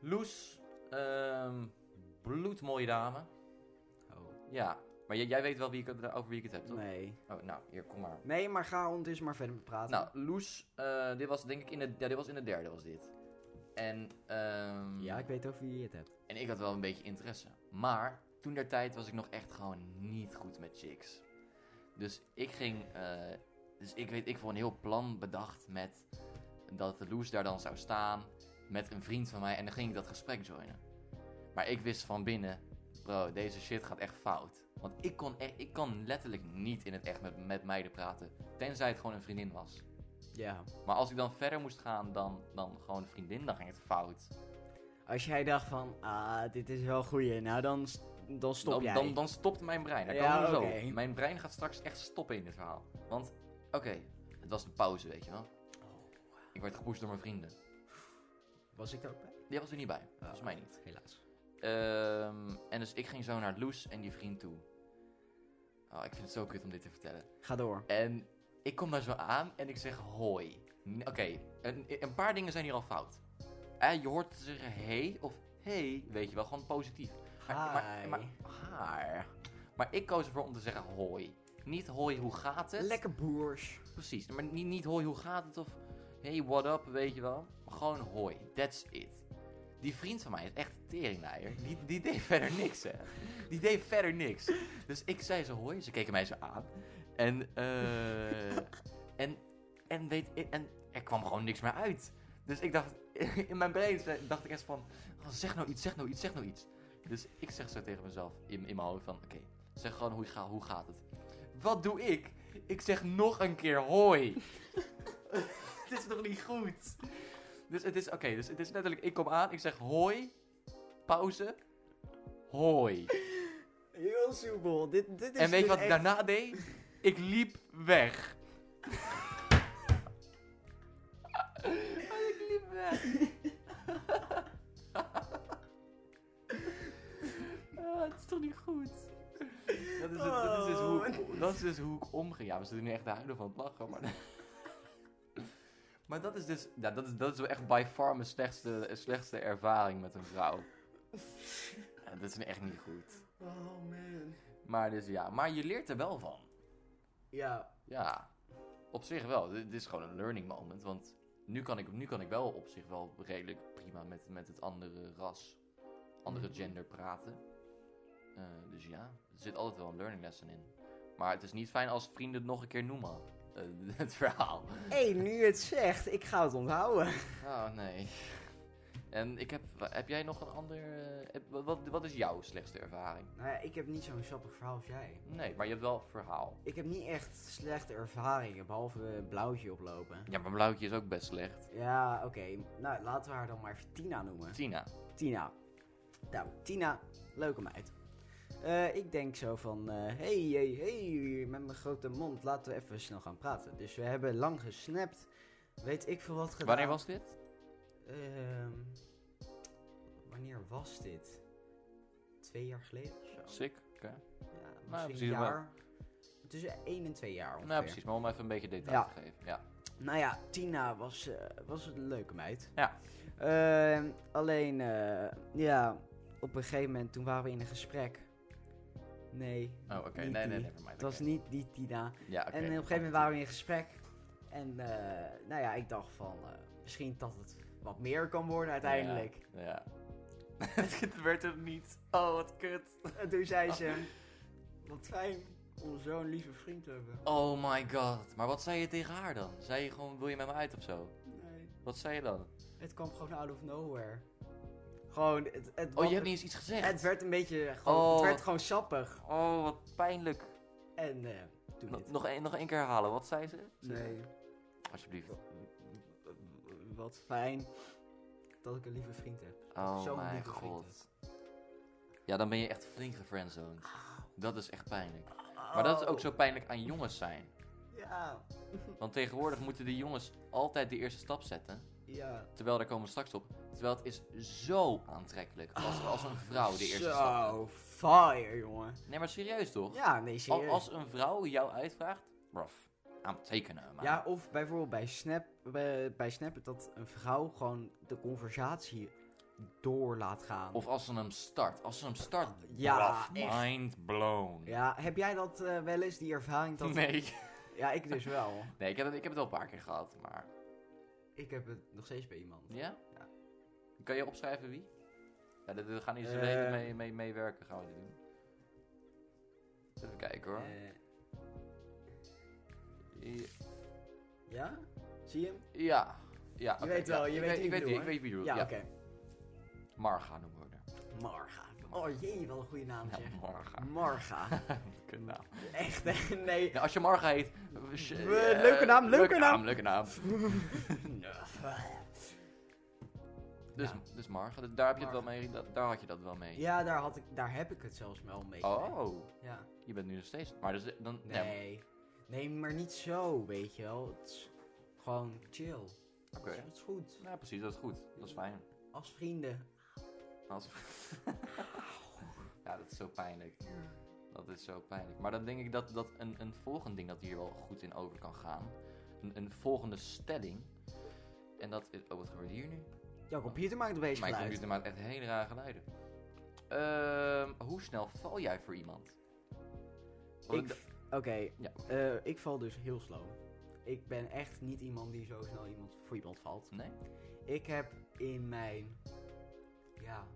Speaker 2: Loes. ehm bloedmooie dame.
Speaker 1: Oh.
Speaker 2: Ja, maar jij, jij weet wel wie ik, het- over wie ik het heb, toch?
Speaker 1: Nee.
Speaker 2: Oh, nou, hier, kom maar.
Speaker 1: Nee, maar ga ondertussen maar verder praten.
Speaker 2: Nou, Loes, eh, dit was denk ik in de, ja, dit was in de derde, was dit. En, ehm,
Speaker 1: Ja, ik weet ook wie je het hebt.
Speaker 2: en ik had wel een beetje interesse. Maar toen der tijd was ik nog echt gewoon niet goed met chicks. Dus ik ging, eh, dus ik weet, ik voor een heel plan bedacht met dat Loes daar dan zou staan met een vriend van mij. En dan ging ik dat gesprek joinen. Maar ik wist van binnen, bro, deze shit gaat echt fout. Want ik, kon echt, ik kan letterlijk niet in het echt met, met meiden praten. Tenzij het gewoon een vriendin was.
Speaker 1: Ja.
Speaker 2: Maar als ik dan verder moest gaan dan, dan gewoon een vriendin, dan ging het fout.
Speaker 1: Als jij dacht van, ah, dit is wel goeie, nou dan, s- dan stop
Speaker 2: dan,
Speaker 1: jij.
Speaker 2: Dan, dan stopt mijn brein. Dat
Speaker 1: Ja,
Speaker 2: kan wel zo.
Speaker 1: oké.
Speaker 2: Mijn brein gaat straks echt stoppen in dit verhaal. Want, oké, het was een pauze, weet je wel. Ik werd gepusht door mijn vrienden.
Speaker 1: Was ik er ook bij?
Speaker 2: Die was er niet bij. Volgens mij niet.
Speaker 1: Helaas.
Speaker 2: Ehm, en dus ik ging zo naar Loes en die vriend toe. Oh, ik vind het zo kut om dit te vertellen.
Speaker 1: Ga door.
Speaker 2: En ik kom daar zo aan en ik zeg hoi. N- Oké, een, een paar dingen zijn hier al fout. Eh, je hoort te zeggen hey of hey, weet je wel, gewoon positief. Maar, maar,
Speaker 1: Hi.
Speaker 2: maar, haar. maar ik koos ervoor om te zeggen hoi. Niet hoi, hoe gaat het?
Speaker 1: Lekker boers.
Speaker 2: Precies, maar niet, niet hoi, hoe gaat het? Of hey, what up, weet je wel. Maar gewoon hoi, that's it. Die vriend van mij is echt een teringleier. Die, die deed verder niks, hè. Die deed verder niks. Dus ik zei zo hoi, ze keken mij zo aan. En, eh, en, en, weet, en er kwam gewoon niks meer uit. Dus ik dacht, in mijn brein zei- dacht ik echt van, oh, zeg nou iets, zeg nou iets, zeg nou iets. Dus ik zeg zo tegen mezelf in, in mijn hoofd van, oké, zeg gewoon hoe, ga, hoe gaat het. Wat doe ik? Ik zeg nog een keer hoi. Dit is nog niet goed. Dus het is, oké, dus het is letterlijk, ik kom aan, ik zeg hoi, pauze, hoi.
Speaker 1: Heel soepel. Dit, dit is
Speaker 2: En weet je
Speaker 1: dus
Speaker 2: wat ik
Speaker 1: echt...
Speaker 2: daarna deed? Ik liep weg. Oh, ik liep weg. ah, het is toch niet goed? Dat is, het- dat, is dus hoe, ik- dat is dus hoe ik omging. Ja, we zitten nu echt de huilen van het lachen, maar... Maar dat is dus, ja, dat is, dat is wel echt by far mijn slechtste, slechtste ervaring met een vrouw. Ja, dat is echt niet goed.
Speaker 1: Oh man.
Speaker 2: Maar dus ja, maar je leert er wel van.
Speaker 1: Ja,
Speaker 2: Ja, op zich wel. Dit dit is gewoon een learning moment, want nu kan ik, nu kan ik wel op zich wel redelijk prima met, met het andere ras, andere
Speaker 1: Mhm.
Speaker 2: gender praten. Eh, dus ja, er zit altijd wel een learning lesson in. Maar het is niet fijn als vrienden het nog een keer noemen, eh, het verhaal.
Speaker 1: Hé, nu je het zegt, ik ga het onthouden.
Speaker 2: Oh nee. En ik heb, wa- heb jij nog een ander. eh, heb- wa- wat, wat is jouw slechtste ervaring?
Speaker 1: Nou ja, ik heb niet zo'n sappig verhaal als jij.
Speaker 2: Nee, maar je hebt wel een verhaal.
Speaker 1: Ik heb niet echt slechte ervaringen, behalve eh, blauwtje oplopen.
Speaker 2: Ja, maar Blauwtje is ook best slecht.
Speaker 1: Ja, oké. Nou, laten we haar dan maar even Tina noemen.
Speaker 2: Tina.
Speaker 1: Tina. Nou, Tina, leuke meid. Eh, ik denk zo van, eh, hey, hey, hey, met mijn grote mond, laten we even snel gaan praten. Dus we hebben lang gesnapt, weet ik veel wat gedaan.
Speaker 2: Wanneer was dit?
Speaker 1: Ehm, wanneer was dit? Twee jaar geleden of zo?
Speaker 2: Sick. oké.
Speaker 1: Ja, misschien
Speaker 2: Nou, precies
Speaker 1: een
Speaker 2: wel.
Speaker 1: jaar. Tussen één en twee jaar ongeveer.
Speaker 2: Nou, precies, maar om even een beetje detail
Speaker 1: Ja.
Speaker 2: te geven. Ja.
Speaker 1: Nou ja, Tina was, eh, was een leuke meid.
Speaker 2: Ja.
Speaker 1: Ehm, alleen, eh, ja, op een gegeven moment toen waren we in een gesprek. Nee.
Speaker 2: Oh, oké.
Speaker 1: niet
Speaker 2: Nee,
Speaker 1: die.
Speaker 2: nee, never mind.
Speaker 1: Het was
Speaker 2: oké.
Speaker 1: niet die Tina.
Speaker 2: Ja, oké.
Speaker 1: En op een gegeven moment waren we in een gesprek. En eh, nou ja, ik dacht van, eh, misschien dat het wat meer kan worden uiteindelijk.
Speaker 2: Ja. het werd hem niet. Oh, wat kut.
Speaker 1: En toen zei ze, wat fijn om zo'n lieve vriend te hebben.
Speaker 2: Oh my god. Maar wat zei je tegen haar dan? Zei je gewoon, wil je met me uit of zo?
Speaker 1: Nee,
Speaker 2: Wat zei je dan? Oh,
Speaker 1: het kwam gewoon out of nowhere. Gewoon, het, het
Speaker 2: Oh,
Speaker 1: was-
Speaker 2: je hebt niet eens iets gezegd.
Speaker 1: Het werd een beetje, gewoon,
Speaker 2: Oh.
Speaker 1: het werd gewoon sappig.
Speaker 2: Oh, wat pijnlijk.
Speaker 1: En eh toen
Speaker 2: Nog-
Speaker 1: dit.
Speaker 2: Nog één nog één keer herhalen. Wat zei ze?
Speaker 1: Nee.
Speaker 2: Alsjeblieft.
Speaker 1: Wat fijn dat ik een lieve vriend heb.
Speaker 2: Oh
Speaker 1: Zo'n
Speaker 2: mijn
Speaker 1: lieve vriend
Speaker 2: god. Ja, dan ben je echt flink gefriendzoned. Dat is echt pijnlijk. Maar dat is ook zo pijnlijk aan jongens zijn.
Speaker 1: Oh, Ja,
Speaker 2: Want tegenwoordig moeten de jongens altijd de eerste stap zetten.
Speaker 1: ja.
Speaker 2: Terwijl, daar komen we straks op. Terwijl het is zo aantrekkelijk als, als een vrouw de eerste stap
Speaker 1: Oh, Zo fire, jongen.
Speaker 2: zet. Nee, maar serieus toch?
Speaker 1: Ja, nee,
Speaker 2: Al-
Speaker 1: serieus.
Speaker 2: Als een vrouw jou uitvraagt, bruv, aan het tekenen. man.
Speaker 1: Ja, of bijvoorbeeld bij Snap, bij, bij Snap dat een vrouw gewoon de conversatie door laat gaan.
Speaker 2: Of als ze hem start. Als ze hem start,
Speaker 1: Ja,
Speaker 2: bruv,
Speaker 1: echt.
Speaker 2: mind blown.
Speaker 1: Ja, heb jij dat eh, wel eens, die ervaring? Dat...
Speaker 2: Nee.
Speaker 1: Ja, ik dus wel.
Speaker 2: Nee, ik heb, het- ik heb het wel een paar keer gehad, maar...
Speaker 1: Ik heb het nog steeds bij iemand.
Speaker 2: Ja?
Speaker 1: Ja.
Speaker 2: Kan je opschrijven wie? Ja, daar daar gaan niet zo
Speaker 1: Eh.
Speaker 2: redelijk mee, mee, mee werken, gaan we dit doen. Even kijken hoor.
Speaker 1: Eh,
Speaker 2: I-
Speaker 1: ja? Zie je hem?
Speaker 2: Ja. Ja, oké,
Speaker 1: weet
Speaker 2: ja.
Speaker 1: wel, je
Speaker 2: Ik
Speaker 1: weet wie
Speaker 2: ik
Speaker 1: ik
Speaker 2: weet
Speaker 1: bedoel,
Speaker 2: wie, ik
Speaker 1: hè?
Speaker 2: weet wie je bedoelt,
Speaker 1: Ja,
Speaker 2: ja.
Speaker 1: oké.
Speaker 2: Marga noemen we haar.
Speaker 1: Marga. Oh jee, wel een goede naam
Speaker 2: Ja,
Speaker 1: zeg.
Speaker 2: Marga.
Speaker 1: Marga.
Speaker 2: Kutnaam.
Speaker 1: Echt, hè? nee.
Speaker 2: Ja, als je Marga heet... eh, sh-
Speaker 1: Eh,
Speaker 2: eh,
Speaker 1: leuke naam, leuke naam.
Speaker 2: Leuke naam. Dus,
Speaker 1: Ja.
Speaker 2: dus Marga, dus daar, heb je het wel
Speaker 1: Marga.
Speaker 2: mee, dat- daar had je dat wel mee.
Speaker 1: Ja, daar, had ik, daar heb ik het zelfs wel mee.
Speaker 2: Oh,
Speaker 1: Ja.
Speaker 2: je bent nu nog steeds... Maar dus, dan, nee.
Speaker 1: Nee. Nee, maar niet zo, weet je wel. Het is gewoon chill.
Speaker 2: Oké.
Speaker 1: Het is goed.
Speaker 2: Nou, precies, dat is goed. Dat is fijn.
Speaker 1: Als vrienden.
Speaker 2: Als- ja, dat is zo pijnlijk. Dat is zo pijnlijk. Maar dan denk ik dat, dat een, een volgend ding dat hier wel goed in over kan gaan. Een, een volgende stelling. En dat is... Oh, wat gebeurt hier nu?
Speaker 1: Jouw computer maakt een beetje
Speaker 2: Mijn
Speaker 1: geluid.
Speaker 2: computer maakt echt hele rare geluiden. Ehm, hoe snel val jij voor iemand? Want
Speaker 1: Ik,
Speaker 2: ik-
Speaker 1: Oké,
Speaker 2: Ja.
Speaker 1: eh, ik val dus heel slow. Ik ben echt niet iemand die zo snel iemand, voor iemand valt.
Speaker 2: Nee?
Speaker 1: Ik heb in mijn. Ja.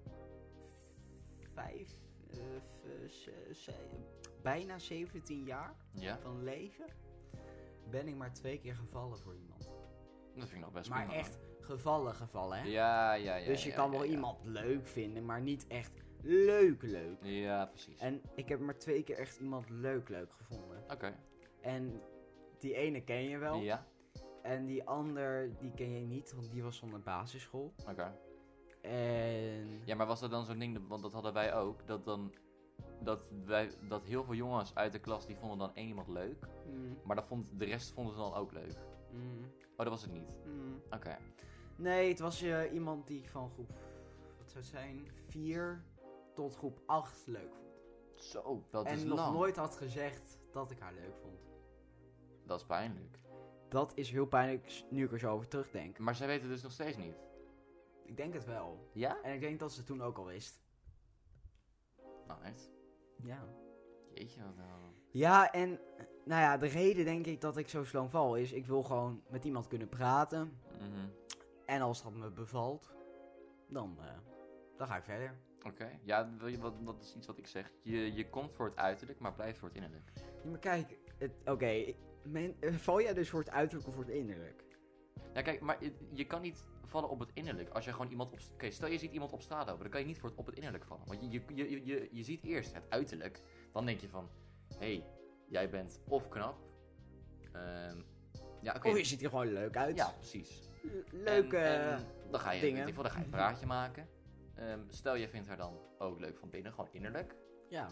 Speaker 1: Vijf. eh, v- ze- ze- bijna 17 jaar
Speaker 2: Ja?
Speaker 1: van leven. Ben ik maar twee keer gevallen voor iemand.
Speaker 2: Dat vind ik nog best
Speaker 1: maar
Speaker 2: prima.
Speaker 1: echt gevallen, gevallen, hè?
Speaker 2: Ja, ja, ja.
Speaker 1: dus je
Speaker 2: ja,
Speaker 1: kan
Speaker 2: ja,
Speaker 1: wel
Speaker 2: ja.
Speaker 1: iemand leuk vinden, maar niet echt leuk, leuk.
Speaker 2: Ja, precies.
Speaker 1: En ik heb maar twee keer echt iemand leuk, leuk gevonden.
Speaker 2: Oké.
Speaker 1: En die ene ken je wel.
Speaker 2: Ja?
Speaker 1: En die ander, die ken je niet, want die was van de basisschool.
Speaker 2: Oké.
Speaker 1: En.
Speaker 2: Ja, maar was dat dan zo'n ding, want dat hadden wij ook, dat dan... Dat, wij, dat heel veel jongens uit de klas, die vonden dan één iemand leuk.
Speaker 1: Mm,
Speaker 2: Maar dat vond, de rest vonden ze dan ook leuk.
Speaker 1: mm.
Speaker 2: Oh, dat was het niet.
Speaker 1: Mm.
Speaker 2: Oké.
Speaker 1: Nee, het was eh, iemand die ik van groep, wat zou het zijn, 4 tot groep 8 leuk vond.
Speaker 2: Zo, dat
Speaker 1: en
Speaker 2: is
Speaker 1: nog
Speaker 2: lang.
Speaker 1: nooit had gezegd dat ik haar leuk vond.
Speaker 2: Dat is pijnlijk.
Speaker 1: dat is heel pijnlijk s- nu ik er zo over terugdenk.
Speaker 2: Maar zij weten het dus nog steeds niet.
Speaker 1: Ik denk het wel.
Speaker 2: Ja?
Speaker 1: En ik denk dat ze het toen ook al wist.
Speaker 2: Nice.
Speaker 1: Ja.
Speaker 2: Jeetje, wat een-
Speaker 1: Ja, en nou ja, de reden denk ik dat ik zo sloom val is, ik wil gewoon met iemand kunnen praten.
Speaker 2: Mhm.
Speaker 1: En als dat me bevalt, dan, eh, dan ga ik verder.
Speaker 2: Oké, ja, wil je- wat, dat is iets wat ik zeg. Je, je komt voor het uiterlijk, maar blijft voor het innerlijk.
Speaker 1: Ja, maar kijk, het- oké, ik- men- eh, val jij dus voor het uiterlijk of voor het innerlijk?
Speaker 2: Ja, kijk, maar je, je kan niet vallen op het innerlijk. Als je gewoon iemand op... Oké, stel je ziet iemand op straat lopen, dan kan je niet voor het op het innerlijk vallen. Want je, je, je, je, je, je ziet eerst het uiterlijk, dan denk je van... Hé, hey, jij bent of knap... ehm, ja, oké.
Speaker 1: Of je ziet er gewoon leuk uit.
Speaker 2: Ja, precies.
Speaker 1: L- Leuke.
Speaker 2: En- en dan ga je,
Speaker 1: dingen. Mhm.
Speaker 2: weet ik veel, dan ga je een praatje maken. Ehm, stel, je vindt haar dan ook leuk van binnen, gewoon innerlijk.
Speaker 1: ja.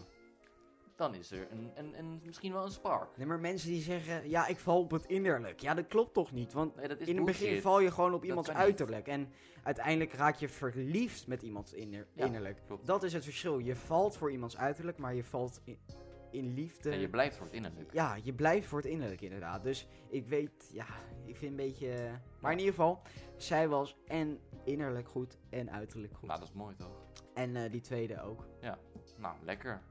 Speaker 2: Dan is er een, een, een, misschien wel een spark.
Speaker 1: Nee, maar mensen die zeggen, ja, ik val op het innerlijk. Ja, dat klopt toch niet? Want
Speaker 2: Nee, dat is
Speaker 1: in het begin
Speaker 2: bullshit.
Speaker 1: val je gewoon op iemands
Speaker 2: kan niet.
Speaker 1: uiterlijk. En uiteindelijk raak je verliefd met iemands inner-
Speaker 2: Ja,
Speaker 1: innerlijk.
Speaker 2: klopt.
Speaker 1: Dat is het verschil. Je valt voor iemands uiterlijk, maar je valt in, in liefde.
Speaker 2: En je blijft voor het innerlijk.
Speaker 1: eh, Ja, je blijft voor het innerlijk inderdaad. Dus ik weet, ja, ik vind een beetje... eh, Maar in ieder geval, zij was en innerlijk goed en uiterlijk goed.
Speaker 2: Nou, dat is mooi toch?
Speaker 1: En eh, die tweede ook.
Speaker 2: Nou, lekker.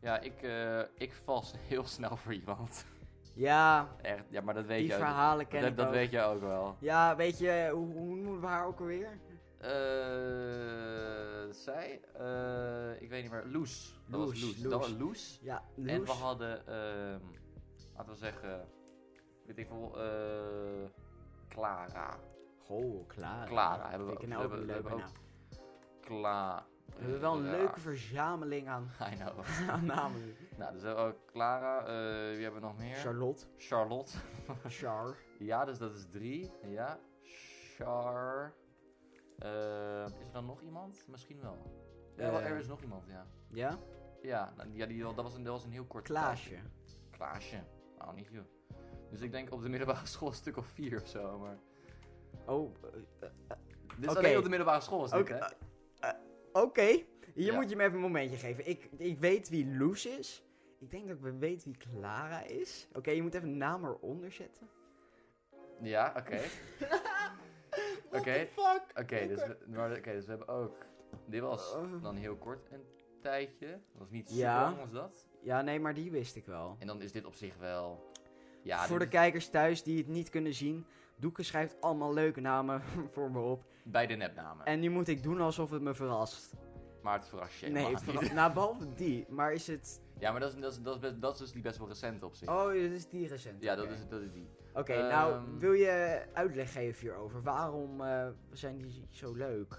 Speaker 2: Ja, ik, eh, ik val s- heel snel voor iemand.
Speaker 1: Ja,
Speaker 2: Echt, ja, maar dat weet
Speaker 1: die
Speaker 2: je ook.
Speaker 1: verhalen ken
Speaker 2: Dat,
Speaker 1: ik
Speaker 2: dat
Speaker 1: ook.
Speaker 2: weet je ook wel.
Speaker 1: Ja, weet je, hoe, hoe noemen we haar ook alweer?
Speaker 2: Eh, zij? Eh, ik weet niet meer. Loes. Dat was
Speaker 1: Loes,
Speaker 2: Loes.
Speaker 1: Loes.
Speaker 2: Dat was Loes.
Speaker 1: Ja,
Speaker 2: En we
Speaker 1: Loes.
Speaker 2: hadden, ehm, laten we zeggen, weet ik veel, eh, Clara.
Speaker 1: Goh, Clara.
Speaker 2: Clara hebben we
Speaker 1: Ik
Speaker 2: ook.
Speaker 1: ken
Speaker 2: We
Speaker 1: ook
Speaker 2: hebben-
Speaker 1: een
Speaker 2: we
Speaker 1: leuke
Speaker 2: hebben
Speaker 1: naam.
Speaker 2: Clara.
Speaker 1: nou, We hebben wel een leuke verzameling aan,
Speaker 2: I know.
Speaker 1: aan namen nu.
Speaker 2: nou, dus ook Clara. eh, wie hebben we nog meer?
Speaker 1: Charlotte,
Speaker 2: Charlotte.
Speaker 1: Char,
Speaker 2: Ja, dus dat is drie. Ja. Char. Eh, is er dan nog iemand? Misschien wel. Ja, wel,
Speaker 1: Eh.
Speaker 2: er is nog iemand, ja.
Speaker 1: ja?
Speaker 2: Ja, nou, ja die, dat, was een, dat was een heel kort
Speaker 1: Klaasje.
Speaker 2: taaltje. Klaasje. Nou, niet joh. Dus ik denk op de middelbare school een stuk of vier of zo, maar...
Speaker 1: Oh, eh,
Speaker 2: Dit is
Speaker 1: Oké.
Speaker 2: alleen op de middelbare school, is dit,
Speaker 1: Oké,
Speaker 2: hè?
Speaker 1: eh, eh, Oké, hier
Speaker 2: Ja.
Speaker 1: moet je me even een momentje geven. Ik, ik weet wie Loes is. Ik denk dat ik weet wie Clara is. Oké, je moet even een naam eronder zetten.
Speaker 2: Ja, oké. Oké,
Speaker 1: fuck?
Speaker 2: oké, dus, we- maar oké, dus we hebben ook... Dit was dan heel kort een tijdje. Dat was niet zo
Speaker 1: Oh. Ja.
Speaker 2: lang als dat.
Speaker 1: Ja, nee, maar die wist ik wel.
Speaker 2: En dan is dit op zich wel... Ja,
Speaker 1: voor de
Speaker 2: dit is-
Speaker 1: kijkers thuis die het niet kunnen zien, Doeke schrijft allemaal leuke namen voor me op.
Speaker 2: bij de nepnamen.
Speaker 1: En nu moet ik doen alsof het me verrast.
Speaker 2: Maar het verrast je
Speaker 1: nee,
Speaker 2: helemaal
Speaker 1: het
Speaker 2: niet.
Speaker 1: verrast. Nou, behalve die, maar is het.
Speaker 2: Ja, maar dat is, dat is, dat is, best- dat is dus die best wel recent op zich.
Speaker 1: Oh, dit is die recent.
Speaker 2: Ja, dat
Speaker 1: oké.
Speaker 2: is, dat is die.
Speaker 1: Oké, nou,
Speaker 2: Ehm.
Speaker 1: wil je uitleg geven hierover? Waarom eh, zijn die zo leuk?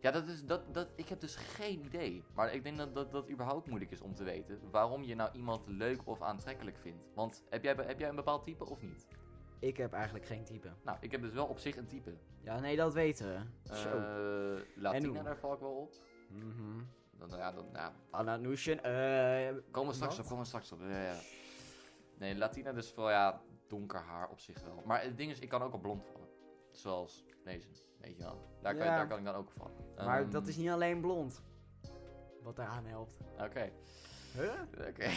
Speaker 2: Ja, dat is, dat, dat, ik heb dus geen idee. Maar ik denk dat, dat dat überhaupt moeilijk is om te weten waarom je nou iemand leuk of aantrekkelijk vindt. Want heb jij, heb jij een bepaald type of niet?
Speaker 1: Ik heb eigenlijk geen type.
Speaker 2: Nou, ik heb dus wel op zich een type.
Speaker 1: Ja, nee, dat weten we. Zo.
Speaker 2: Eh,
Speaker 1: En
Speaker 2: Latina,
Speaker 1: hoe?
Speaker 2: daar val ik wel op.
Speaker 1: Mhm.
Speaker 2: Dan, ja, dan, ja,
Speaker 1: Ananushin, eh,
Speaker 2: komen we straks
Speaker 1: Wat?
Speaker 2: op, komen we straks op. Ja, ja, ja. Nee, Latina dus vooral, ja, donker haar op zich wel. Maar het ding is, ik kan ook op blond vallen. Zoals deze, weet je wel. Daar kan,
Speaker 1: Ja.
Speaker 2: daar kan ik dan ook op vallen.
Speaker 1: maar
Speaker 2: Ehm,
Speaker 1: dat is niet alleen blond. Wat daaraan helpt.
Speaker 2: Oké,
Speaker 1: Huh?
Speaker 2: oké.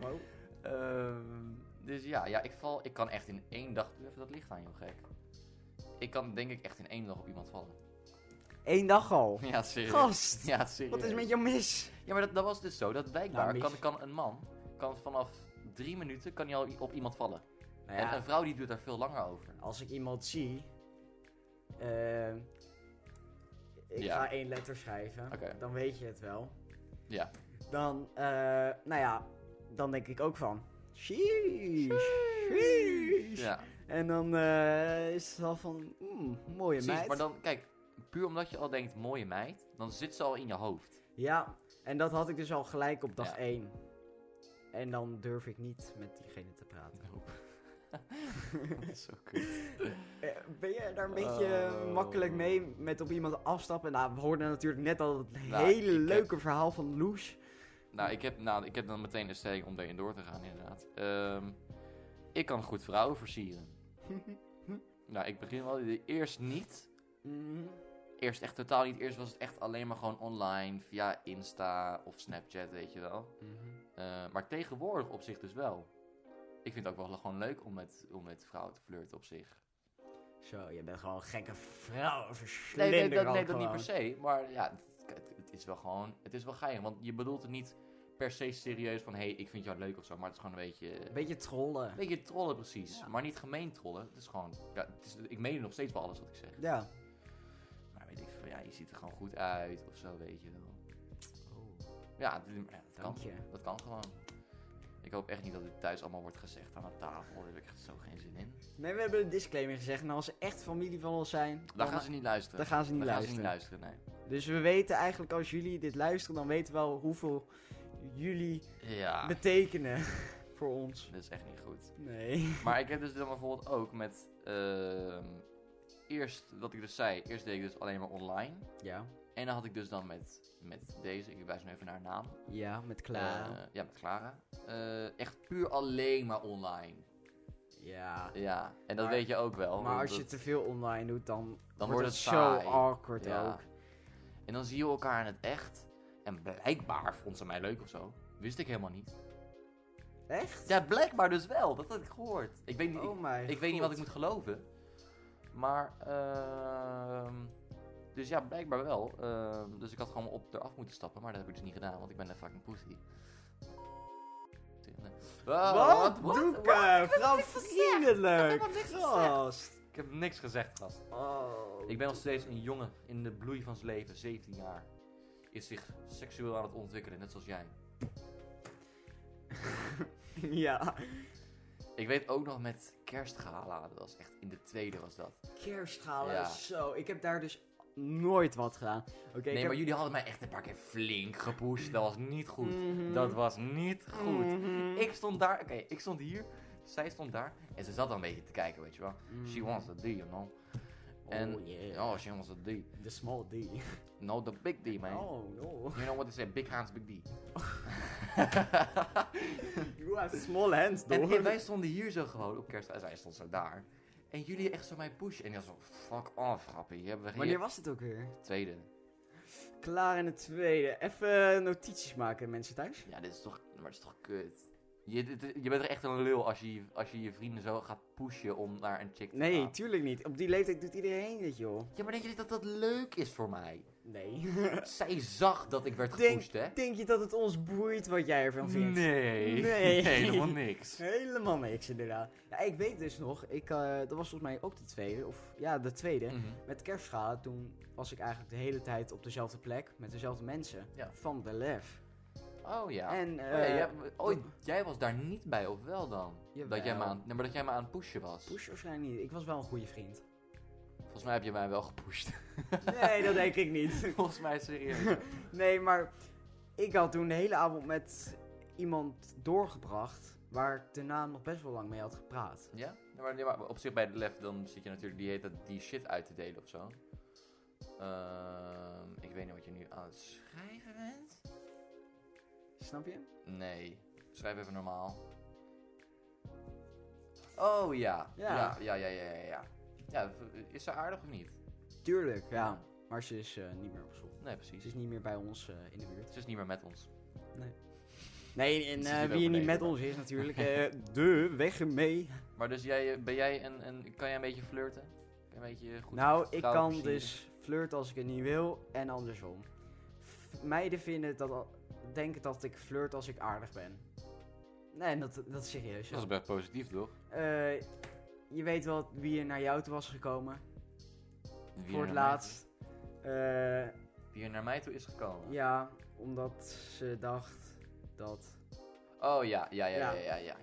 Speaker 1: Wow.
Speaker 2: Ehm, dus ja, ja ik, val, ik kan echt in één dag. Doe even dat licht aan, joh, gek. Ik kan denk ik echt in één dag op iemand vallen.
Speaker 1: Eén dag al.
Speaker 2: Ja, serieus.
Speaker 1: Gast,
Speaker 2: Ja, serieus.
Speaker 1: wat is met jou mis?
Speaker 2: Ja, maar dat, dat was dus zo. Dat blijkbaar
Speaker 1: Nou, mis.
Speaker 2: kan, kan een man kan vanaf drie minuten kan hij al i- op iemand vallen.
Speaker 1: Nou
Speaker 2: En
Speaker 1: ja,
Speaker 2: een vrouw die doet daar veel langer over.
Speaker 1: als ik iemand zie... eh, ik
Speaker 2: Ja.
Speaker 1: ga één letter schrijven.
Speaker 2: Oké.
Speaker 1: Dan weet je het wel.
Speaker 2: Ja.
Speaker 1: Dan, eh, nou ja, dan denk ik ook van... Sheesh. sheesh.
Speaker 2: Ja,
Speaker 1: En dan eh, is het al van... mm, mooie
Speaker 2: precies.
Speaker 1: meid.
Speaker 2: Maar dan, kijk, puur omdat je al denkt mooie meid, dan zit ze al in je hoofd.
Speaker 1: Ja, en dat had ik dus al gelijk op dag
Speaker 2: Ja.
Speaker 1: 1. En dan durf ik niet met diegene te praten.
Speaker 2: dat is zo kut.
Speaker 1: Eh, Ben jij daar een beetje eh,
Speaker 2: Oh.
Speaker 1: makkelijk mee met op iemand afstappen? Nou, we hoorden natuurlijk net al het
Speaker 2: Nou,
Speaker 1: hele
Speaker 2: ik heb-
Speaker 1: leuke verhaal van Loes.
Speaker 2: Nou, ik heb, nou, ik heb dan meteen de stelling om daarin door te gaan, inderdaad. Ehm, ik kan goed vrouwen versieren. nou, ik begin wel. Eerst niet.
Speaker 1: Mhm.
Speaker 2: Eerst echt totaal niet. Eerst was het echt alleen maar gewoon online, via Mhm. Ehm, Insta of Snapchat, weet je wel. Eh, maar tegenwoordig op zich dus wel. Ik vind het ook wel gewoon leuk om met, om met vrouwen te flirten op zich.
Speaker 1: Zo, je bent gewoon een gekke vrouw.
Speaker 2: Nee, nee, dat, nee, dat niet per se. Maar ja, het, het- het is wel gewoon... Het is wel geil. Want je bedoelt het niet per se serieus van... Hé, hey, ik vind jou leuk of zo. Maar het is gewoon een beetje...
Speaker 1: Een beetje trollen.
Speaker 2: Een beetje trollen precies.
Speaker 1: Ja.
Speaker 2: Maar niet gemeen trollen. Het is gewoon... Ja, het is, ik meen nog steeds wel alles wat ik zeg.
Speaker 1: Ja.
Speaker 2: Maar weet ik van... Ja, je ziet er gewoon goed uit of zo, weet je wel. Oh. Ja, dit- ja, dat kan.
Speaker 1: dank je.
Speaker 2: Dat kan gewoon. Ik hoop echt niet dat dit thuis allemaal wordt gezegd aan de tafel. Daar heb ik echt zo geen zin in.
Speaker 1: Nee, we hebben een disclaimer gezegd. Nou, als ze echt familie van ons zijn,
Speaker 2: Daar
Speaker 1: dan
Speaker 2: gaan ze niet luisteren.
Speaker 1: dan gaan ze niet
Speaker 2: Daar
Speaker 1: luisteren.
Speaker 2: gaan ze niet luisteren,
Speaker 1: Dus we weten eigenlijk, als jullie dit luisteren, dan weten we al hoeveel jullie
Speaker 2: nee. Ja,
Speaker 1: betekenen voor ons.
Speaker 2: dat is echt niet goed.
Speaker 1: Nee.
Speaker 2: Maar ik heb dus dan bijvoorbeeld ook met... ehm, eerst, wat ik dus zei, eerst deed ik dus alleen maar online.
Speaker 1: Ja.
Speaker 2: En dan had ik dus dan met, met deze, ik wijs nu even naar haar naam.
Speaker 1: Ja, met Clara.
Speaker 2: Eh, ja, met Clara. Eh, echt puur alleen maar online.
Speaker 1: ja.
Speaker 2: Ja, en dat
Speaker 1: Maar-
Speaker 2: weet je ook wel.
Speaker 1: Maar
Speaker 2: want
Speaker 1: als je
Speaker 2: dat-
Speaker 1: te veel online doet, dan,
Speaker 2: dan
Speaker 1: wordt
Speaker 2: wordt
Speaker 1: het
Speaker 2: het
Speaker 1: zo
Speaker 2: saai.
Speaker 1: awkward
Speaker 2: Ja.
Speaker 1: ook.
Speaker 2: En dan zie je elkaar in het echt. En blijkbaar vond ze mij leuk of zo. Wist ik helemaal niet.
Speaker 1: Echt?
Speaker 2: Ja, blijkbaar dus wel. Dat had ik gehoord. Ik weet niet, ik,
Speaker 1: oh my
Speaker 2: ik weet niet
Speaker 1: god.
Speaker 2: wat ik moet geloven. Maar, ehm, dus ja, blijkbaar wel. Ehm, dus ik had gewoon op eraf moeten stappen. Maar dat heb ik dus niet gedaan, want ik ben een fucking pussy. Wow,
Speaker 1: Wat?
Speaker 2: Oh, wat? eh,
Speaker 1: Doe
Speaker 2: Wat?
Speaker 1: ik? Vrouw
Speaker 2: niks gezegd.
Speaker 1: vriendelijk.
Speaker 2: helemaal niks gezegd.
Speaker 1: Gast.
Speaker 2: Ik heb niks gezegd, gast.
Speaker 1: Oh.
Speaker 2: Ik ben nog steeds een jongen in de bloei van zijn leven, 17 jaar. Is zich seksueel aan het ontwikkelen, net zoals jij.
Speaker 1: Ja.
Speaker 2: Ik weet ook nog met kerstgala, dat was echt in de tweede was dat.
Speaker 1: Kerstgala,
Speaker 2: Ja.
Speaker 1: zo. Ik heb daar dus nooit wat gedaan. Oké, ik
Speaker 2: nee,
Speaker 1: heb...
Speaker 2: maar jullie hadden mij echt een paar keer flink gepusht. Dat was niet goed.
Speaker 1: Mhm.
Speaker 2: Dat was niet goed.
Speaker 1: Mhm.
Speaker 2: Ik stond daar, oké, ik stond hier, zij stond daar en ze zat al een beetje te kijken, weet je wel. She wants the D, you know. En,
Speaker 1: Mm. oh yeah.
Speaker 2: Oh, she wants the D.
Speaker 1: The small D.
Speaker 2: No, the big D, man.
Speaker 1: Oh no.
Speaker 2: You know what they say, big hands, big D.
Speaker 1: You have small hands,
Speaker 2: en,
Speaker 1: door.
Speaker 2: en wij stonden hier zo gewoon op kerst, en zij stond zo daar. En jullie echt zo mij pushen. En ik was zo, fuck off, grappie. Je hebt we
Speaker 1: Wanneer was het ook weer?
Speaker 2: Tweede.
Speaker 1: Klaar in het tweede. Even notities maken, mensen thuis.
Speaker 2: Ja, dit is toch, maar het is toch kut. Je, dit- dit- je bent er echt een lul als je, als je je vrienden zo gaat pushen om naar een chick te
Speaker 1: Nee,
Speaker 2: gaan.
Speaker 1: tuurlijk niet. Op die leeftijd doet iedereen dit, joh.
Speaker 2: Ja, maar denk je niet dat dat leuk is voor mij?
Speaker 1: Nee.
Speaker 2: Zij zag dat ik werd
Speaker 1: Denk-
Speaker 2: gepusht, hè?
Speaker 1: Denk je dat het ons boeit wat jij ervan vindt?
Speaker 2: Nee.
Speaker 1: Nee.
Speaker 2: Helemaal niks.
Speaker 1: Helemaal niks, inderdaad. Ja, ik weet dus nog, ik, eh, dat was volgens mij ook de tweede, of ja, de tweede.
Speaker 2: Mhm.
Speaker 1: Met kerstschalen, toen was ik eigenlijk de hele tijd op dezelfde plek, met dezelfde mensen.
Speaker 2: Ja.
Speaker 1: Van de lef.
Speaker 2: Oh ja.
Speaker 1: En,
Speaker 2: Oh,
Speaker 1: eh,
Speaker 2: ja, jij, oh, jij was daar niet bij, of wel dan? Dat jij, me
Speaker 1: Jawel.
Speaker 2: aan, nee, maar dat jij me aan het pushen was.
Speaker 1: Push waarschijnlijk niet. Ik was wel een goede vriend.
Speaker 2: Volgens mij heb je mij wel gepusht.
Speaker 1: Nee, dat denk ik niet.
Speaker 2: Volgens mij serieus.
Speaker 1: Nee, maar ik had toen de hele avond met iemand doorgebracht waar ik daarna nog best wel lang mee had gepraat.
Speaker 2: ja? Ja, maar, ja, maar op zich bij de left dan zit je natuurlijk die, heet dat, die shit uit te delen of zo. Ehm, ik weet niet wat je nu aan het schrijven bent.
Speaker 1: Snap je?
Speaker 2: Nee. Schrijf even normaal. Oh ja.
Speaker 1: Ja.
Speaker 2: Ja, ja, ja, ja, ja. ja. Ja, v- is ze aardig of niet?
Speaker 1: Tuurlijk, ja. Maar ze is eh, niet meer op school.
Speaker 2: Nee,
Speaker 1: Ze is
Speaker 2: precies.
Speaker 1: niet meer bij ons eh, in de buurt.
Speaker 2: Ze is niet meer met ons.
Speaker 1: Nee, en
Speaker 2: Ze
Speaker 1: eh,
Speaker 2: zit
Speaker 1: wie hier
Speaker 2: overleden,
Speaker 1: niet met
Speaker 2: maar.
Speaker 1: ons is natuurlijk. eh, de weg mee.
Speaker 2: Maar dus jij, eh, ben jij een, een, kan jij een beetje flirten? Kan je een beetje goed
Speaker 1: nou, ik
Speaker 2: vrouwen
Speaker 1: kan
Speaker 2: versieren?
Speaker 1: dus flirten als ik het niet wil en andersom. F- meiden vinden dat, al- denken dat ik flirt als ik aardig ben. Nee, dat, dat is serieus.
Speaker 2: Dat is
Speaker 1: zo.
Speaker 2: best positief, toch?
Speaker 1: Eh, je weet wel wie er naar jou toe was gekomen
Speaker 2: Wie er
Speaker 1: voor het
Speaker 2: naar
Speaker 1: laatst. Eh,
Speaker 2: mij- Wie er naar mij toe is gekomen?
Speaker 1: ja, omdat ze dacht dat.
Speaker 2: Oh ja, ja, ja,
Speaker 1: Ja.
Speaker 2: ja, ja, ja.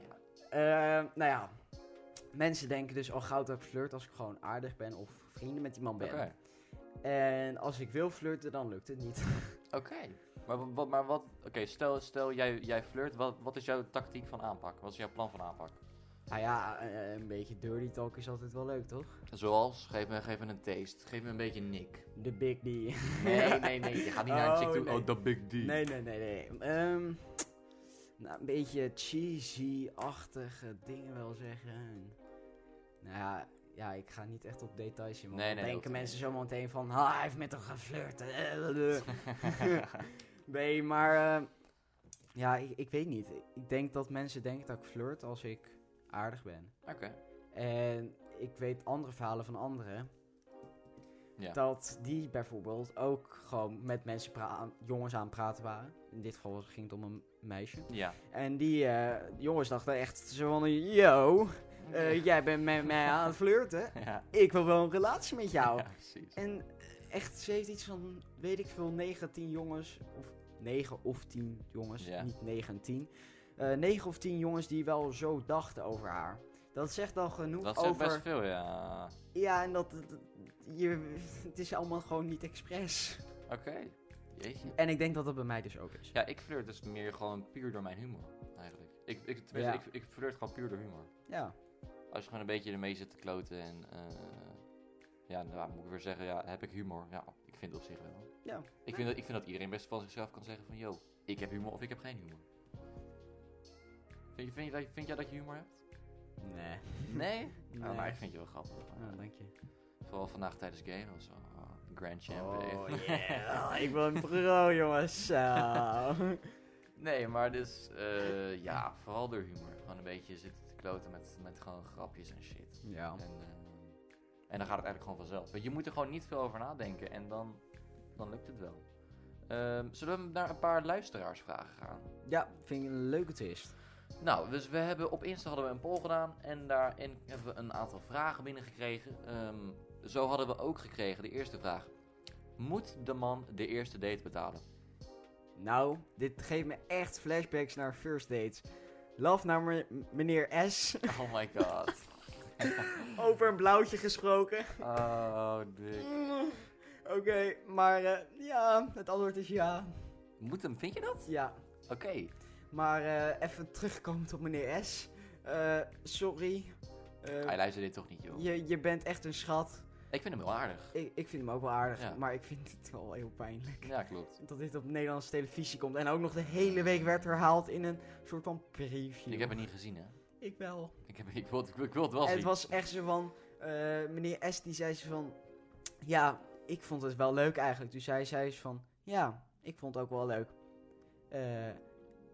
Speaker 2: ja.
Speaker 1: Eh, nou ja, mensen denken dus al gauw dat ik flirt als ik gewoon aardig ben of vrienden met iemand
Speaker 2: Oké.
Speaker 1: ben. En als ik wil flirten, dan lukt het niet.
Speaker 2: Oké. Maar wa- wat, maar wat oké, stel, stel jij, jij flirt, wat, wat is jouw tactiek van aanpak? Wat is jouw plan van aanpak?
Speaker 1: nou ja, eh, een beetje dirty talk is altijd wel leuk, toch?
Speaker 2: Zoals, geef me, geef me een taste, geef me een beetje nik.
Speaker 1: De big D. nee,
Speaker 2: Nee, nee, nee, je gaat niet naar een chick
Speaker 1: Oh,
Speaker 2: toe,
Speaker 1: nee.
Speaker 2: oh, dat big D.
Speaker 1: nee, nee, nee. Ehm, nou, een beetje cheesy-achtige dingen wel zeggen. Nou ja, ja, ik ga niet echt op details in. want
Speaker 2: Nee, nee, dat
Speaker 1: dan denken
Speaker 2: hoeft
Speaker 1: mensen zomaar meteen van, ah, hij heeft met hem geflirt. nee, maar ehm, ja, ik, ik weet niet. Ik denk dat mensen denken dat ik flirt als ik aardig ben.
Speaker 2: Oké.
Speaker 1: En ik weet andere verhalen van anderen.
Speaker 2: Ja.
Speaker 1: Dat die bijvoorbeeld ook gewoon met mensen, pra- jongens aan het praten waren. In dit geval ging het om een meisje.
Speaker 2: Ja.
Speaker 1: En die eh, jongens dachten echt zo van, yo, eh, jij bent met mij aan het flirten.
Speaker 2: ja.
Speaker 1: Ik wil wel een relatie met jou.
Speaker 2: Ja, precies.
Speaker 1: En eh, echt, ze heeft iets van, weet ik veel, 19 jongens. Of 9 of 10 jongens,
Speaker 2: Ja.
Speaker 1: niet 9 en 10. Eh 9 of 10 jongens die wel zo dachten over haar. Dat zegt al genoeg
Speaker 2: Dat zegt
Speaker 1: over...
Speaker 2: best veel, ja.
Speaker 1: Ja, en dat... dat- je, het is allemaal gewoon niet expres.
Speaker 2: Oké. Jeetje.
Speaker 1: En ik denk dat dat bij mij dus ook is.
Speaker 2: Ja, ik flirt dus meer gewoon puur door mijn humor, eigenlijk. Ik, ik, tenminste,
Speaker 1: Ja.
Speaker 2: ik, ik flirt gewoon puur door humor.
Speaker 1: Ja.
Speaker 2: Als je gewoon een beetje ermee zit te kloten en... eh, ja, nou, moet ik weer zeggen, ja, heb ik humor? Ja, ik vind het op zich wel.
Speaker 1: Ja.
Speaker 2: Ik vind, dat, ik vind dat iedereen best van zichzelf kan zeggen van... Yo, ik heb humor of ik heb geen humor. Vind, je, vind, je, dat- vind jij dat je humor hebt?
Speaker 1: Nee.
Speaker 2: Nee?
Speaker 1: nee.
Speaker 2: Oh, maar ik vind je wel grappig.
Speaker 1: Ja, Ah, dank je.
Speaker 2: Vooral vandaag tijdens game was wel, oh, Grand Champ.
Speaker 1: Oh,
Speaker 2: even.
Speaker 1: yeah. ik ben een pro, jongens. Zo.
Speaker 2: Nee, maar dus eh, ja, vooral door humor. Gewoon een beetje zitten te kloten met, met gewoon grapjes en shit.
Speaker 1: ja.
Speaker 2: En, eh, en dan gaat het eigenlijk gewoon vanzelf. Want je moet er gewoon niet veel over nadenken en dan, dan lukt het wel. Ehm, zullen we naar een paar luisteraarsvragen gaan?
Speaker 1: Ja, vind ik een leuke twist.
Speaker 2: Nou, dus we hebben op Insta hadden we een poll gedaan en daarin hebben we een aantal vragen binnengekregen. Ehm, zo hadden we ook gekregen de eerste vraag. Moet de man de eerste date betalen?
Speaker 1: Nou, dit geeft me echt flashbacks naar first dates. Love naar me- meneer S.
Speaker 2: Oh my god.
Speaker 1: Over een blauwtje gesproken.
Speaker 2: Oh, dik.
Speaker 1: Mm, Oké, maar eh, ja, het antwoord is ja.
Speaker 2: Moet hem, vind je dat?
Speaker 1: Ja.
Speaker 2: Oké.
Speaker 1: Maar eh, even terugkomend op meneer S. Eh, sorry. Eh,
Speaker 2: Hij luistert dit toch niet, joh.
Speaker 1: je, je bent echt een schat.
Speaker 2: Ik vind hem heel aardig.
Speaker 1: Ik, ik vind hem ook wel aardig,
Speaker 2: Ja.
Speaker 1: maar ik vind het wel heel pijnlijk.
Speaker 2: Ja, klopt.
Speaker 1: Dat dit op Nederlandse televisie komt en ook nog de hele week werd herhaald in een soort van preview.
Speaker 2: Ik heb het niet gezien, hè.
Speaker 1: Ik wel.
Speaker 2: Ik, heb, ik, wil, het- ik, wil, ik wil het wel
Speaker 1: En
Speaker 2: zien.
Speaker 1: het was echt zo van, eh, meneer S die zei zo van, ja, ik vond het wel leuk eigenlijk. Dus hij zei zo van, ja, ik vond het ook wel leuk. Eh,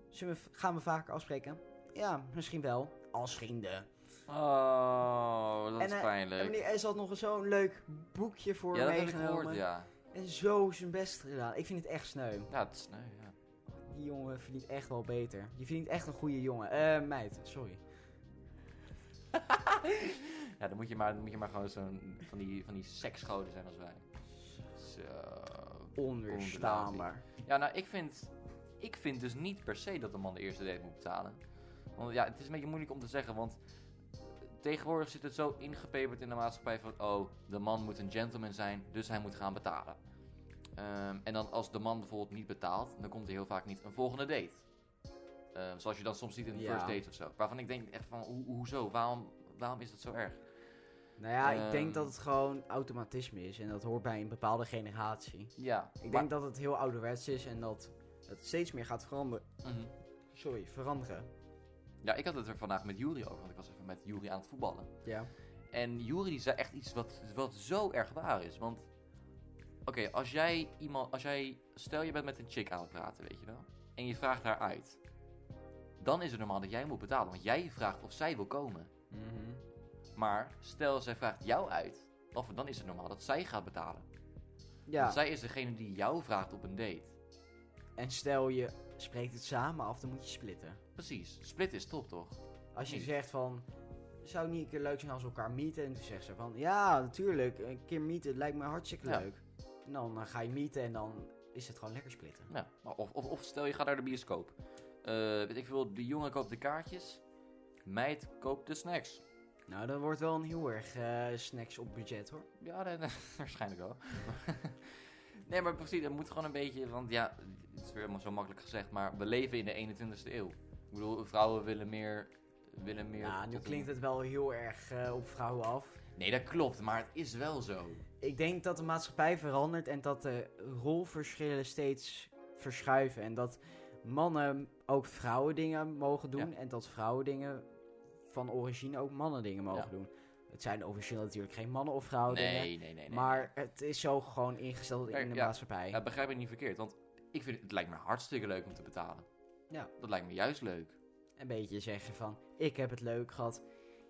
Speaker 1: zullen we, gaan we vaker afspreken? Ja, misschien wel. Als vrienden.
Speaker 2: Oh, dat
Speaker 1: En
Speaker 2: is
Speaker 1: hij-
Speaker 2: pijnlijk.
Speaker 1: En meneer S had nog zo'n leuk boekje voor
Speaker 2: ja,
Speaker 1: hem
Speaker 2: dat heb ik
Speaker 1: meegenomen.
Speaker 2: gehoord, ja.
Speaker 1: En zo zijn best gedaan. Ik vind het echt sneu.
Speaker 2: Ja, het is sneu, ja.
Speaker 1: Die jongen verdient echt wel beter. Die verdient echt een goede jongen. Eh, meid, sorry.
Speaker 2: Ja, dan moet je maar, dan moet je maar gewoon zo'n... Van die, van die seksgoden zijn als wij. Zo.
Speaker 1: Onweerstaanbaar.
Speaker 2: Ja, nou, ik vind... Ik vind dus niet per se dat een man de eerste date moet betalen. Want ja, het is een beetje moeilijk om te zeggen, want... Tegenwoordig zit het zo ingepeperd in de maatschappij van... Oh, de man moet een gentleman zijn, dus hij moet gaan betalen. Ehm, en dan als de man bijvoorbeeld niet betaalt, dan komt er heel vaak niet een volgende date. Ehm, zoals je dan soms ziet in de
Speaker 1: Ja.
Speaker 2: first date of zo. Waarvan ik denk echt van, ho- hoezo? Waarom, waarom is dat zo erg?
Speaker 1: Nou ja, ik denk
Speaker 2: Ehm.
Speaker 1: dat het gewoon automatisme is. En dat hoort bij een bepaalde generatie.
Speaker 2: Ja,
Speaker 1: Ik denk dat het heel ouderwets is en dat het steeds meer gaat veranderen.
Speaker 2: Mhm.
Speaker 1: Sorry, veranderen.
Speaker 2: Ja, ik had het er vandaag met Juri over, want ik was even met Juri aan het voetballen.
Speaker 1: Ja.
Speaker 2: En Jury die zei echt iets wat, wat zo erg waar is. Want, oké, als jij iemand, als jij, stel je bent met een chick aan het praten, weet je wel. En je vraagt haar uit. Dan is het normaal dat jij moet betalen, want jij vraagt of zij wil komen. Mhm. Maar stel zij vraagt jou uit, of dan is het normaal dat zij gaat betalen.
Speaker 1: Ja,
Speaker 2: Want zij is degene die jou vraagt op een date.
Speaker 1: en stel je spreekt het samen af, dan moet je splitten.
Speaker 2: Precies, split is top toch?
Speaker 1: Als je
Speaker 2: Nee.
Speaker 1: zegt van, zou het niet een keer leuk zijn als we elkaar meeten? En toen zegt ze van, ja, natuurlijk, een keer meeten lijkt me hartstikke
Speaker 2: Ja.
Speaker 1: leuk. En dan eh, ga je meeten en dan is het gewoon lekker splitten.
Speaker 2: Ja, Nou, maar of, of, of stel je gaat naar de bioscoop. Eh, weet ik veel, de jongen koopt de kaartjes, meid koopt de snacks.
Speaker 1: Nou, dat wordt wel een heel erg eh, snacks op budget hoor.
Speaker 2: Ja, nee, nee, waarschijnlijk wel. nee, maar precies, het moet gewoon een beetje, want ja, het is weer allemaal zo makkelijk gezegd, maar we leven in de 21ste eeuw. Ik bedoel, vrouwen willen meer, willen meer...
Speaker 1: Ja, Nou, nu
Speaker 2: tot
Speaker 1: klinkt
Speaker 2: een-
Speaker 1: het wel heel erg eh, op vrouwen af.
Speaker 2: Nee, dat klopt, maar het is wel zo.
Speaker 1: Ik denk dat de maatschappij verandert en dat de rolverschillen steeds verschuiven. En dat mannen ook vrouwen dingen mogen doen. En dat vrouwen dingen van origine ook mannen dingen mogen
Speaker 2: Ja.
Speaker 1: doen. Het zijn officieel natuurlijk geen mannen of vrouwen
Speaker 2: nee,
Speaker 1: dingen.
Speaker 2: nee, nee, nee.
Speaker 1: Maar het is zo gewoon ingesteld
Speaker 2: Nee,
Speaker 1: in de
Speaker 2: ja.
Speaker 1: maatschappij.
Speaker 2: Ja, begrijp me niet verkeerd, want ik vind het, het lijkt me hartstikke leuk om te betalen.
Speaker 1: Ja.
Speaker 2: Dat lijkt me juist leuk.
Speaker 1: een beetje zeggen van, ik heb het leuk gehad,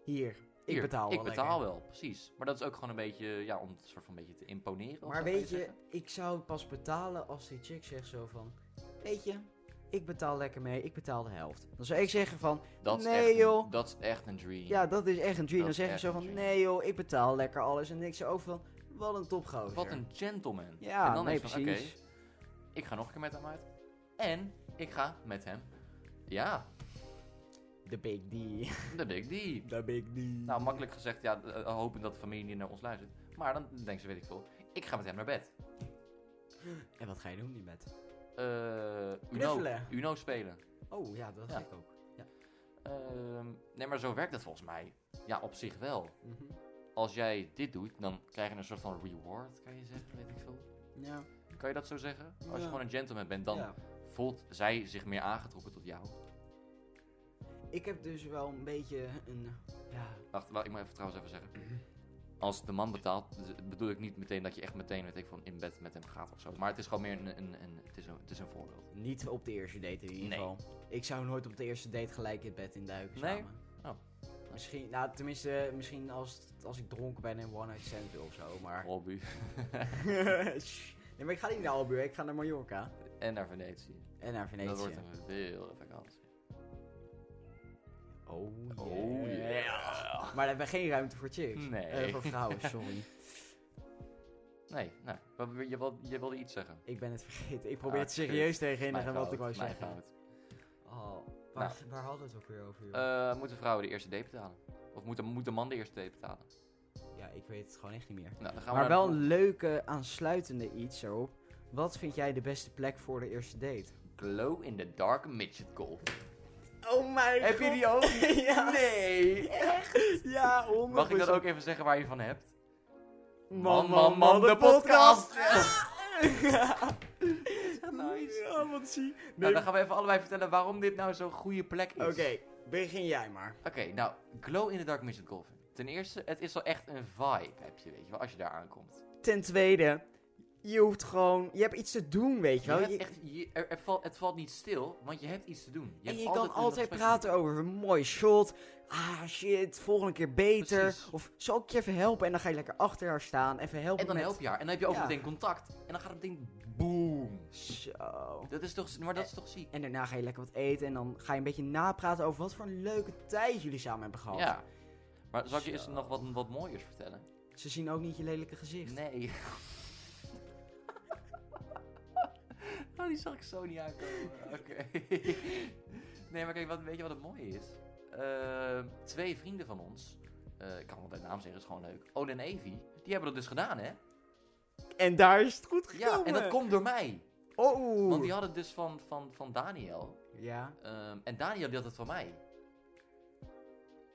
Speaker 1: hier, ik
Speaker 2: Hier,
Speaker 1: betaal
Speaker 2: Ik
Speaker 1: wel
Speaker 2: betaal
Speaker 1: lekker.
Speaker 2: wel, precies. Maar dat is ook gewoon een beetje, ja, om het soort van een beetje te imponeren. of
Speaker 1: Maar
Speaker 2: zo, kan
Speaker 1: weet je,
Speaker 2: zeggen.
Speaker 1: ik zou pas betalen als die chick zegt zo van, weet je, ik betaal lekker mee, ik betaal de helft. Dan zou ik zeggen van,
Speaker 2: Dat is
Speaker 1: nee
Speaker 2: echt een-
Speaker 1: joh.
Speaker 2: dat is echt een dream.
Speaker 1: ja, dat is echt een dream.
Speaker 2: Dat
Speaker 1: Dan
Speaker 2: is
Speaker 1: zeg je
Speaker 2: echt
Speaker 1: zo
Speaker 2: een
Speaker 1: van,
Speaker 2: dream.
Speaker 1: nee joh, ik betaal lekker alles. En ik zou ook van, wat een topgozer.
Speaker 2: Wat een gentleman.
Speaker 1: Ja,
Speaker 2: en dan
Speaker 1: nee,
Speaker 2: is het van, oké,
Speaker 1: precies.
Speaker 2: ik ga nog een keer met hem uit. En ik ga met hem. Ja,
Speaker 1: The big D.
Speaker 2: dat denk ik die.
Speaker 1: The big D.
Speaker 2: Nou, makkelijk gezegd, ja, eh, hopen dat de familie niet naar ons luistert. Maar dan denken ze, weet ik veel, ik ga met hem naar bed.
Speaker 1: En wat ga je doen in bed?
Speaker 2: Eh, Uno,
Speaker 1: Knuffelen.
Speaker 2: Uno spelen.
Speaker 1: Oh ja, dat
Speaker 2: Ja.
Speaker 1: zeg ik ook.
Speaker 2: Ehm, nee, maar zo werkt dat volgens mij. Ja, op zich wel.
Speaker 1: Mhm.
Speaker 2: Als jij dit doet, dan krijg je een soort van reward, kan je zeggen, weet ik veel.
Speaker 1: Ja.
Speaker 2: Kan je dat zo zeggen? Als
Speaker 1: Ja.
Speaker 2: je gewoon een gentleman bent, dan
Speaker 1: Ja.
Speaker 2: voelt zij zich meer aangetrokken tot jou.
Speaker 1: Ik heb dus wel een beetje een... Ja,
Speaker 2: Wacht, wa- ik moet even trouwens even
Speaker 1: Mhm.
Speaker 2: zeggen. Als de man betaalt, z- bedoel ik niet meteen dat je echt meteen weet ik, van in bed met hem gaat of zo. Maar het is gewoon meer een, een, een, het is een, het is een voorbeeld.
Speaker 1: niet op de eerste date in ieder
Speaker 2: Nee.
Speaker 1: geval. Ik zou nooit op de eerste date gelijk in bed induiken
Speaker 2: Nee?
Speaker 1: samen.
Speaker 2: Oh.
Speaker 1: Misschien, nou tenminste, misschien als, het- als ik dronken ben en one night stand wil of zo, maar...
Speaker 2: Hobby.
Speaker 1: Shh. nee, maar ik ga niet naar Albuquerque, ik ga naar Mallorca.
Speaker 2: En naar Venetië.
Speaker 1: En naar Venetië.
Speaker 2: Dat wordt een wilde vakantie.
Speaker 1: Oh,
Speaker 2: Oh
Speaker 1: yeah.
Speaker 2: yeah.
Speaker 1: Maar daar hebben we geen ruimte voor chicks.
Speaker 2: Nee.
Speaker 1: Eh, voor vrouwen, sorry.
Speaker 2: Nee, nou, wat- je, wil- je wilde iets zeggen.
Speaker 1: ik ben het vergeten. Ik probeer
Speaker 2: Ah,
Speaker 1: het serieus te herinneren
Speaker 2: Mijn
Speaker 1: wat
Speaker 2: fout,
Speaker 1: ik wou
Speaker 2: mijn
Speaker 1: zeggen.
Speaker 2: fout.
Speaker 1: Oh, waar,
Speaker 2: waar-
Speaker 1: waar hadden we het ook weer over?
Speaker 2: Eh, moeten vrouwen de eerste date betalen? Of moet, de- moet de man de eerste date betalen?
Speaker 1: ja, ik weet het gewoon echt niet meer.
Speaker 2: Nou, dan gaan we
Speaker 1: Maar
Speaker 2: naar
Speaker 1: wel
Speaker 2: de
Speaker 1: een leuke aansluitende iets erop. Wat vind jij de beste plek voor de eerste date?
Speaker 2: volgende. Glow in the dark midget golf.
Speaker 1: Oh mijn
Speaker 2: Heb je die ook?
Speaker 1: ja.
Speaker 2: Nee!
Speaker 1: Ja, honderd
Speaker 2: Mag ik dat ook even zeggen waar je van hebt?
Speaker 1: Man, man, man, de podcast!
Speaker 2: Nice.
Speaker 1: Oh, wat zie.
Speaker 2: Nou, dan gaan we even allebei vertellen waarom dit nou zo'n goede plek is.
Speaker 1: Oké, begin jij maar.
Speaker 2: Oké, nou, Glow in the Dark Midget Golf. Ten eerste, het is wel echt een vibe, heb je, weet je wel, als je daar aankomt.
Speaker 1: Ten tweede, je hoeft gewoon... Je hebt iets te doen, weet je
Speaker 2: Je
Speaker 1: wel.
Speaker 2: hebt
Speaker 1: Je-
Speaker 2: echt, je, er, er valt, het valt niet stil, want je hebt iets te doen.
Speaker 1: en
Speaker 2: hebt
Speaker 1: je kan
Speaker 2: een
Speaker 1: altijd
Speaker 2: gesprek
Speaker 1: praten
Speaker 2: met
Speaker 1: over een mooi shot. Ah, shit, volgende keer beter.
Speaker 2: Precies.
Speaker 1: Of zal ik je even helpen? En dan ga je lekker achter haar staan. Even
Speaker 2: iemand.
Speaker 1: helpen
Speaker 2: En dan
Speaker 1: met...
Speaker 2: help je haar. En dan heb je ook
Speaker 1: Ja.
Speaker 2: meteen contact. En dan gaat het ding boom.
Speaker 1: Zo.
Speaker 2: Dat is toch, maar dat is toch ziek?
Speaker 1: En daarna ga je lekker wat eten en dan ga je een beetje napraten over wat voor een leuke tijd jullie samen hebben gehad.
Speaker 2: Ja. Maar zal ik je eens
Speaker 1: Zo.
Speaker 2: nog wat, wat mooiers vertellen?
Speaker 1: Ze zien ook niet je lelijke gezicht.
Speaker 2: Nee. oh, die zag ik zo niet aankomen. Oké. nee, maar kijk, wat, weet je wat het mooie is? Ehm, twee vrienden van ons, eh, ik kan wel bij naam zeggen, is gewoon leuk. Oden en Evie, die hebben dat dus gedaan, hè?
Speaker 1: En daar is het goed gekomen.
Speaker 2: Ja, en dat komt door mij.
Speaker 1: Oh.
Speaker 2: Want die hadden het dus van, van, van Daniel.
Speaker 1: Ja.
Speaker 2: Ehm, en Daniel die had het van mij.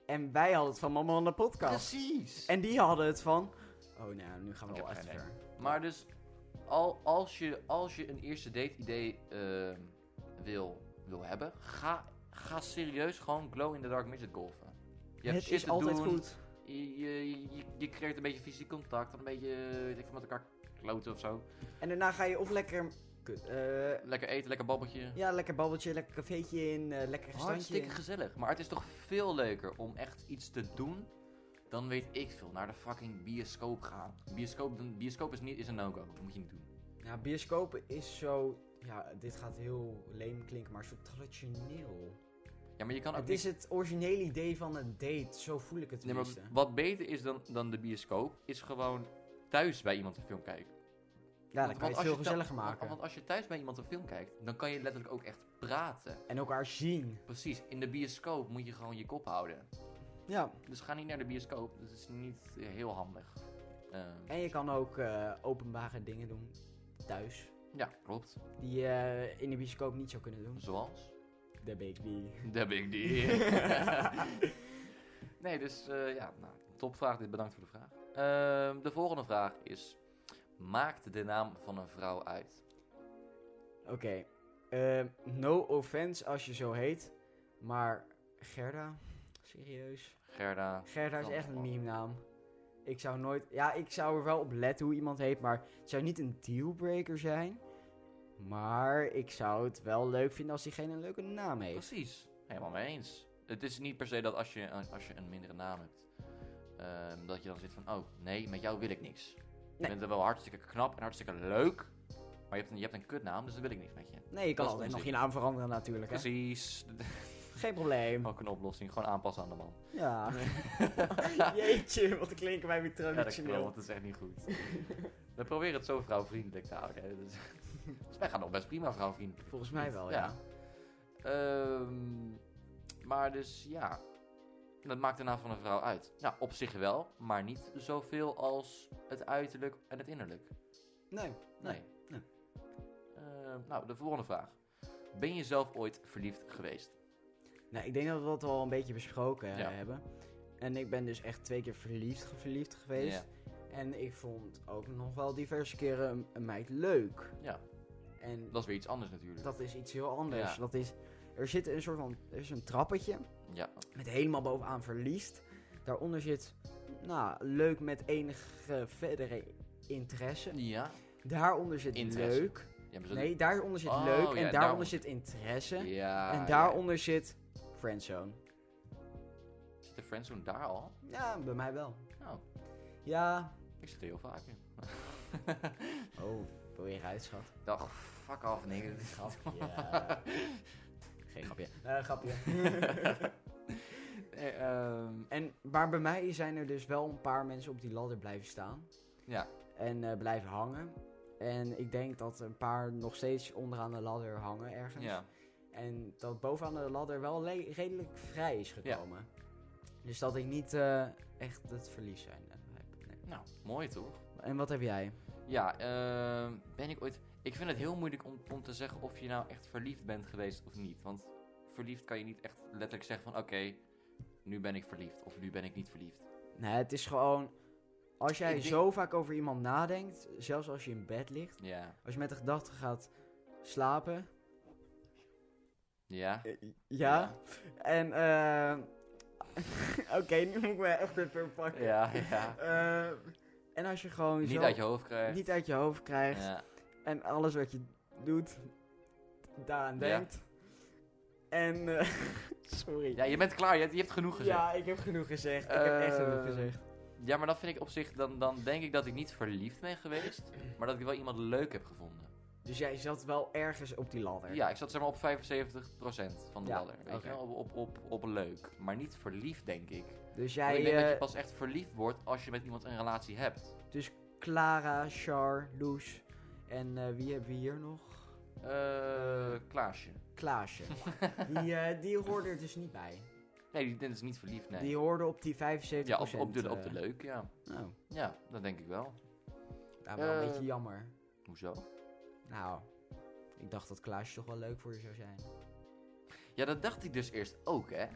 Speaker 1: En wij hadden het van Mama aan de podcast.
Speaker 2: Precies.
Speaker 1: En die hadden het van... Oh, nou, nu gaan we
Speaker 2: Ik
Speaker 1: wel
Speaker 2: heb
Speaker 1: echt
Speaker 2: geen
Speaker 1: ver.
Speaker 2: Maar dus, al, als, je, als je een eerste date idee ehm, wil, wil hebben, ga, ga serieus gewoon glow in the dark midget golfen. Je hebt
Speaker 1: Het
Speaker 2: shit
Speaker 1: is
Speaker 2: te
Speaker 1: altijd
Speaker 2: doen,
Speaker 1: goed.
Speaker 2: Je, je, je, je creëert een beetje fysiek contact, een beetje weet ik, veel, met elkaar kloten of zo.
Speaker 1: En daarna ga je of lekker... Kut. eh,
Speaker 2: Lekker eten, lekker babbeltje.
Speaker 1: ja, lekker babbeltje, lekker cafeetje in, eh, lekker restaurantje
Speaker 2: Hartstikke
Speaker 1: in.
Speaker 2: gezellig. Maar het is toch veel leuker om echt iets te doen dan weet ik veel. Naar de fucking bioscoop gaan. Bioscoop, bioscoop is, niet, is een no-go. Dat moet je niet doen.
Speaker 1: Nou, bioscoop is zo... Ja, dit gaat heel leem klinken, maar zo traditioneel.
Speaker 2: Ja, maar je kan ook
Speaker 1: Het
Speaker 2: niet
Speaker 1: is het originele idee van een date, zo voel ik het
Speaker 2: Nee, maar
Speaker 1: tenminste.
Speaker 2: wat beter is dan, dan de bioscoop, is gewoon thuis bij iemand een film kijken.
Speaker 1: ja, dan kan je het
Speaker 2: als
Speaker 1: veel
Speaker 2: thu-
Speaker 1: gezelliger
Speaker 2: want-
Speaker 1: maken.
Speaker 2: Want, als je thuis bij iemand een film kijkt, dan kan je letterlijk ook echt praten.
Speaker 1: en elkaar zien.
Speaker 2: Precies, in de bioscoop moet je gewoon je kop houden.
Speaker 1: Ja.
Speaker 2: Dus ga niet naar de bioscoop, dat is niet eh, heel handig. Ehm,
Speaker 1: En je kan ook eh, openbare dingen doen thuis.
Speaker 2: ja, klopt.
Speaker 1: Die je eh, in de bioscoop niet zou kunnen doen.
Speaker 2: Zoals?
Speaker 1: De baby.
Speaker 2: Daar ben ik die. nee, dus eh, ja, nou, topvraag. Dit bedankt voor de vraag. Ehm, de volgende vraag is: Maakt de naam van een vrouw uit?
Speaker 1: Oké. ehm, no offense als je zo heet. Maar Gerda? Serieus?
Speaker 2: Gerda.
Speaker 1: Gerda is
Speaker 2: Kan
Speaker 1: echt een
Speaker 2: wel.
Speaker 1: meme naam. Ik zou nooit... Ja, ik zou er wel op letten hoe iemand heet. Maar het zou niet een dealbreaker zijn. Maar ik zou het wel leuk vinden als diegene een leuke naam heeft.
Speaker 2: Precies. Helemaal mee eens. Het is niet per se dat als je, als je een mindere naam hebt, ehm, dat je dan zit van, oh nee, met jou wil ik niks. Je
Speaker 1: Nee.
Speaker 2: bent wel hartstikke knap en hartstikke leuk, maar je hebt een, je hebt een kutnaam, dus dan wil ik niks met je.
Speaker 1: Nee, je
Speaker 2: Dat
Speaker 1: kan
Speaker 2: is
Speaker 1: altijd nog
Speaker 2: onzin.
Speaker 1: je naam veranderen natuurlijk. Hè?
Speaker 2: Precies. Oh.
Speaker 1: Geen probleem.
Speaker 2: Ook een oplossing, gewoon aanpassen aan de man.
Speaker 1: Ja. Jeetje, wat klinken wij weer
Speaker 2: Ja, dat klopt,
Speaker 1: Ah. traditioneel.
Speaker 2: want dat is echt niet goed. We proberen het zo vrouwvriendelijk te houden. Hè. Dus, dus wij gaan nog best prima vrouwvriendelijk.
Speaker 1: Volgens mij wel, Oh, ja.
Speaker 2: Ehm, maar dus ja, dat maakt de naam van een vrouw uit. Nou, op zich wel, maar niet zoveel als het uiterlijk en het innerlijk.
Speaker 1: Nee.
Speaker 2: Nee.
Speaker 1: Nee.
Speaker 2: Ehm, nou, de volgende vraag. Ben je zelf ooit verliefd geweest?
Speaker 1: Nou, ik denk dat we dat al een beetje besproken eh,
Speaker 2: Ja.
Speaker 1: hebben. En ik ben dus echt twee keer verliefd, verliefd geweest.
Speaker 2: Ja.
Speaker 1: En ik vond ook nog wel diverse keren een, een meid leuk.
Speaker 2: Ja.
Speaker 1: En
Speaker 2: Dat is weer iets anders natuurlijk.
Speaker 1: dat is iets heel anders.
Speaker 2: Ja.
Speaker 1: Dat is, er zit een soort van, er is een trappetje
Speaker 2: Ja,
Speaker 1: met helemaal bovenaan verliefd. Daaronder zit, nou, leuk met enige verdere interesse.
Speaker 2: ja.
Speaker 1: Daaronder zit
Speaker 2: Interesse.
Speaker 1: leuk.
Speaker 2: ja maar zo-
Speaker 1: Nee, daaronder zit
Speaker 2: Oh, ja,
Speaker 1: leuk en daaronder,
Speaker 2: daaronder.
Speaker 1: zit interesse.
Speaker 2: Ja,
Speaker 1: en
Speaker 2: ja.
Speaker 1: daaronder zit friendzone.
Speaker 2: Zit de friendzone daar al?
Speaker 1: Ja, bij mij wel.
Speaker 2: Nou,
Speaker 1: Ja.
Speaker 2: ik zit er heel vaak in.
Speaker 1: Oh, wil je eruit, schat?
Speaker 2: Dag, fuck af, nee. dit is-
Speaker 1: Ja. Geen grapje. Eh, grapje.
Speaker 2: Nee, ehm,
Speaker 1: en, maar bij mij zijn er dus wel een paar mensen op die ladder blijven staan.
Speaker 2: ja,
Speaker 1: En eh, blijven hangen. En ik denk dat een paar nog steeds onderaan de ladder hangen ergens.
Speaker 2: ja.
Speaker 1: En dat bovenaan de ladder wel le- redelijk vrij is gekomen. Dus dat ik niet eh, echt het verlies zijn eh, heb. Nee.
Speaker 2: Nou, mooi toch?
Speaker 1: En wat heb jij?
Speaker 2: Ja, ehm, ben ik ooit. Ik vind het heel moeilijk om, om te zeggen of je nou echt verliefd bent geweest of niet. Want verliefd kan je niet echt letterlijk zeggen van oké, nu ben ik verliefd of nu ben ik niet verliefd.
Speaker 1: Nee, het is gewoon... Als jij
Speaker 2: Ik denk-
Speaker 1: zo vaak over iemand nadenkt, zelfs als je in bed ligt...
Speaker 2: Ja.
Speaker 1: Als je met de gedachte gaat slapen.
Speaker 2: Eh, Ja.
Speaker 1: Ja. En eh. Oké, nu moet ik me echt even pakken.
Speaker 2: Ja, ja.
Speaker 1: Eh, en als je gewoon
Speaker 2: Niet
Speaker 1: zo
Speaker 2: uit je hoofd krijgen.
Speaker 1: niet uit je hoofd krijgt.
Speaker 2: Ja.
Speaker 1: En alles wat je doet, daaraan
Speaker 2: Ja.
Speaker 1: denkt. En. eh, sorry.
Speaker 2: ja, je bent klaar. Je hebt, je hebt genoeg gezegd. Ja.
Speaker 1: Ja, ik heb genoeg gezegd. Ik heb echt genoeg
Speaker 2: Eh,
Speaker 1: gezegd.
Speaker 2: maar dat vind ik op zich. Dan, dan denk ik dat ik niet verliefd ben geweest. Maar dat ik wel iemand leuk heb gevonden.
Speaker 1: Dus jij zat wel ergens op die ladder.
Speaker 2: Ja, ik zat zeg maar op 75% van de
Speaker 1: Ja,
Speaker 2: ladder. Weet
Speaker 1: oké.
Speaker 2: je wel? Op, op, op, op leuk. Maar niet verliefd, denk ik. Want
Speaker 1: Dus jij.
Speaker 2: ik denk dat je
Speaker 1: eh,
Speaker 2: pas echt verliefd wordt als je met iemand een relatie hebt.
Speaker 1: Clara, Char, Loes. En eh, wie hebben we hier nog?
Speaker 2: Eh, Klaasje.
Speaker 1: Klaasje. die, eh, die hoorde er dus niet bij.
Speaker 2: Nee, die, dit is niet verliefd, nee.
Speaker 1: Die hoorde op die 75%.
Speaker 2: ja, op, op, de, op de
Speaker 1: eh,
Speaker 2: leuk, ja.
Speaker 1: Nou,
Speaker 2: Ja, dat denk ik wel.
Speaker 1: nou, wel een
Speaker 2: Eh.
Speaker 1: beetje jammer.
Speaker 2: Hoezo?
Speaker 1: Nou, ik dacht dat Klaasje toch wel leuk voor je zou zijn.
Speaker 2: Ja, dat dacht ik dus eerst ook, hè.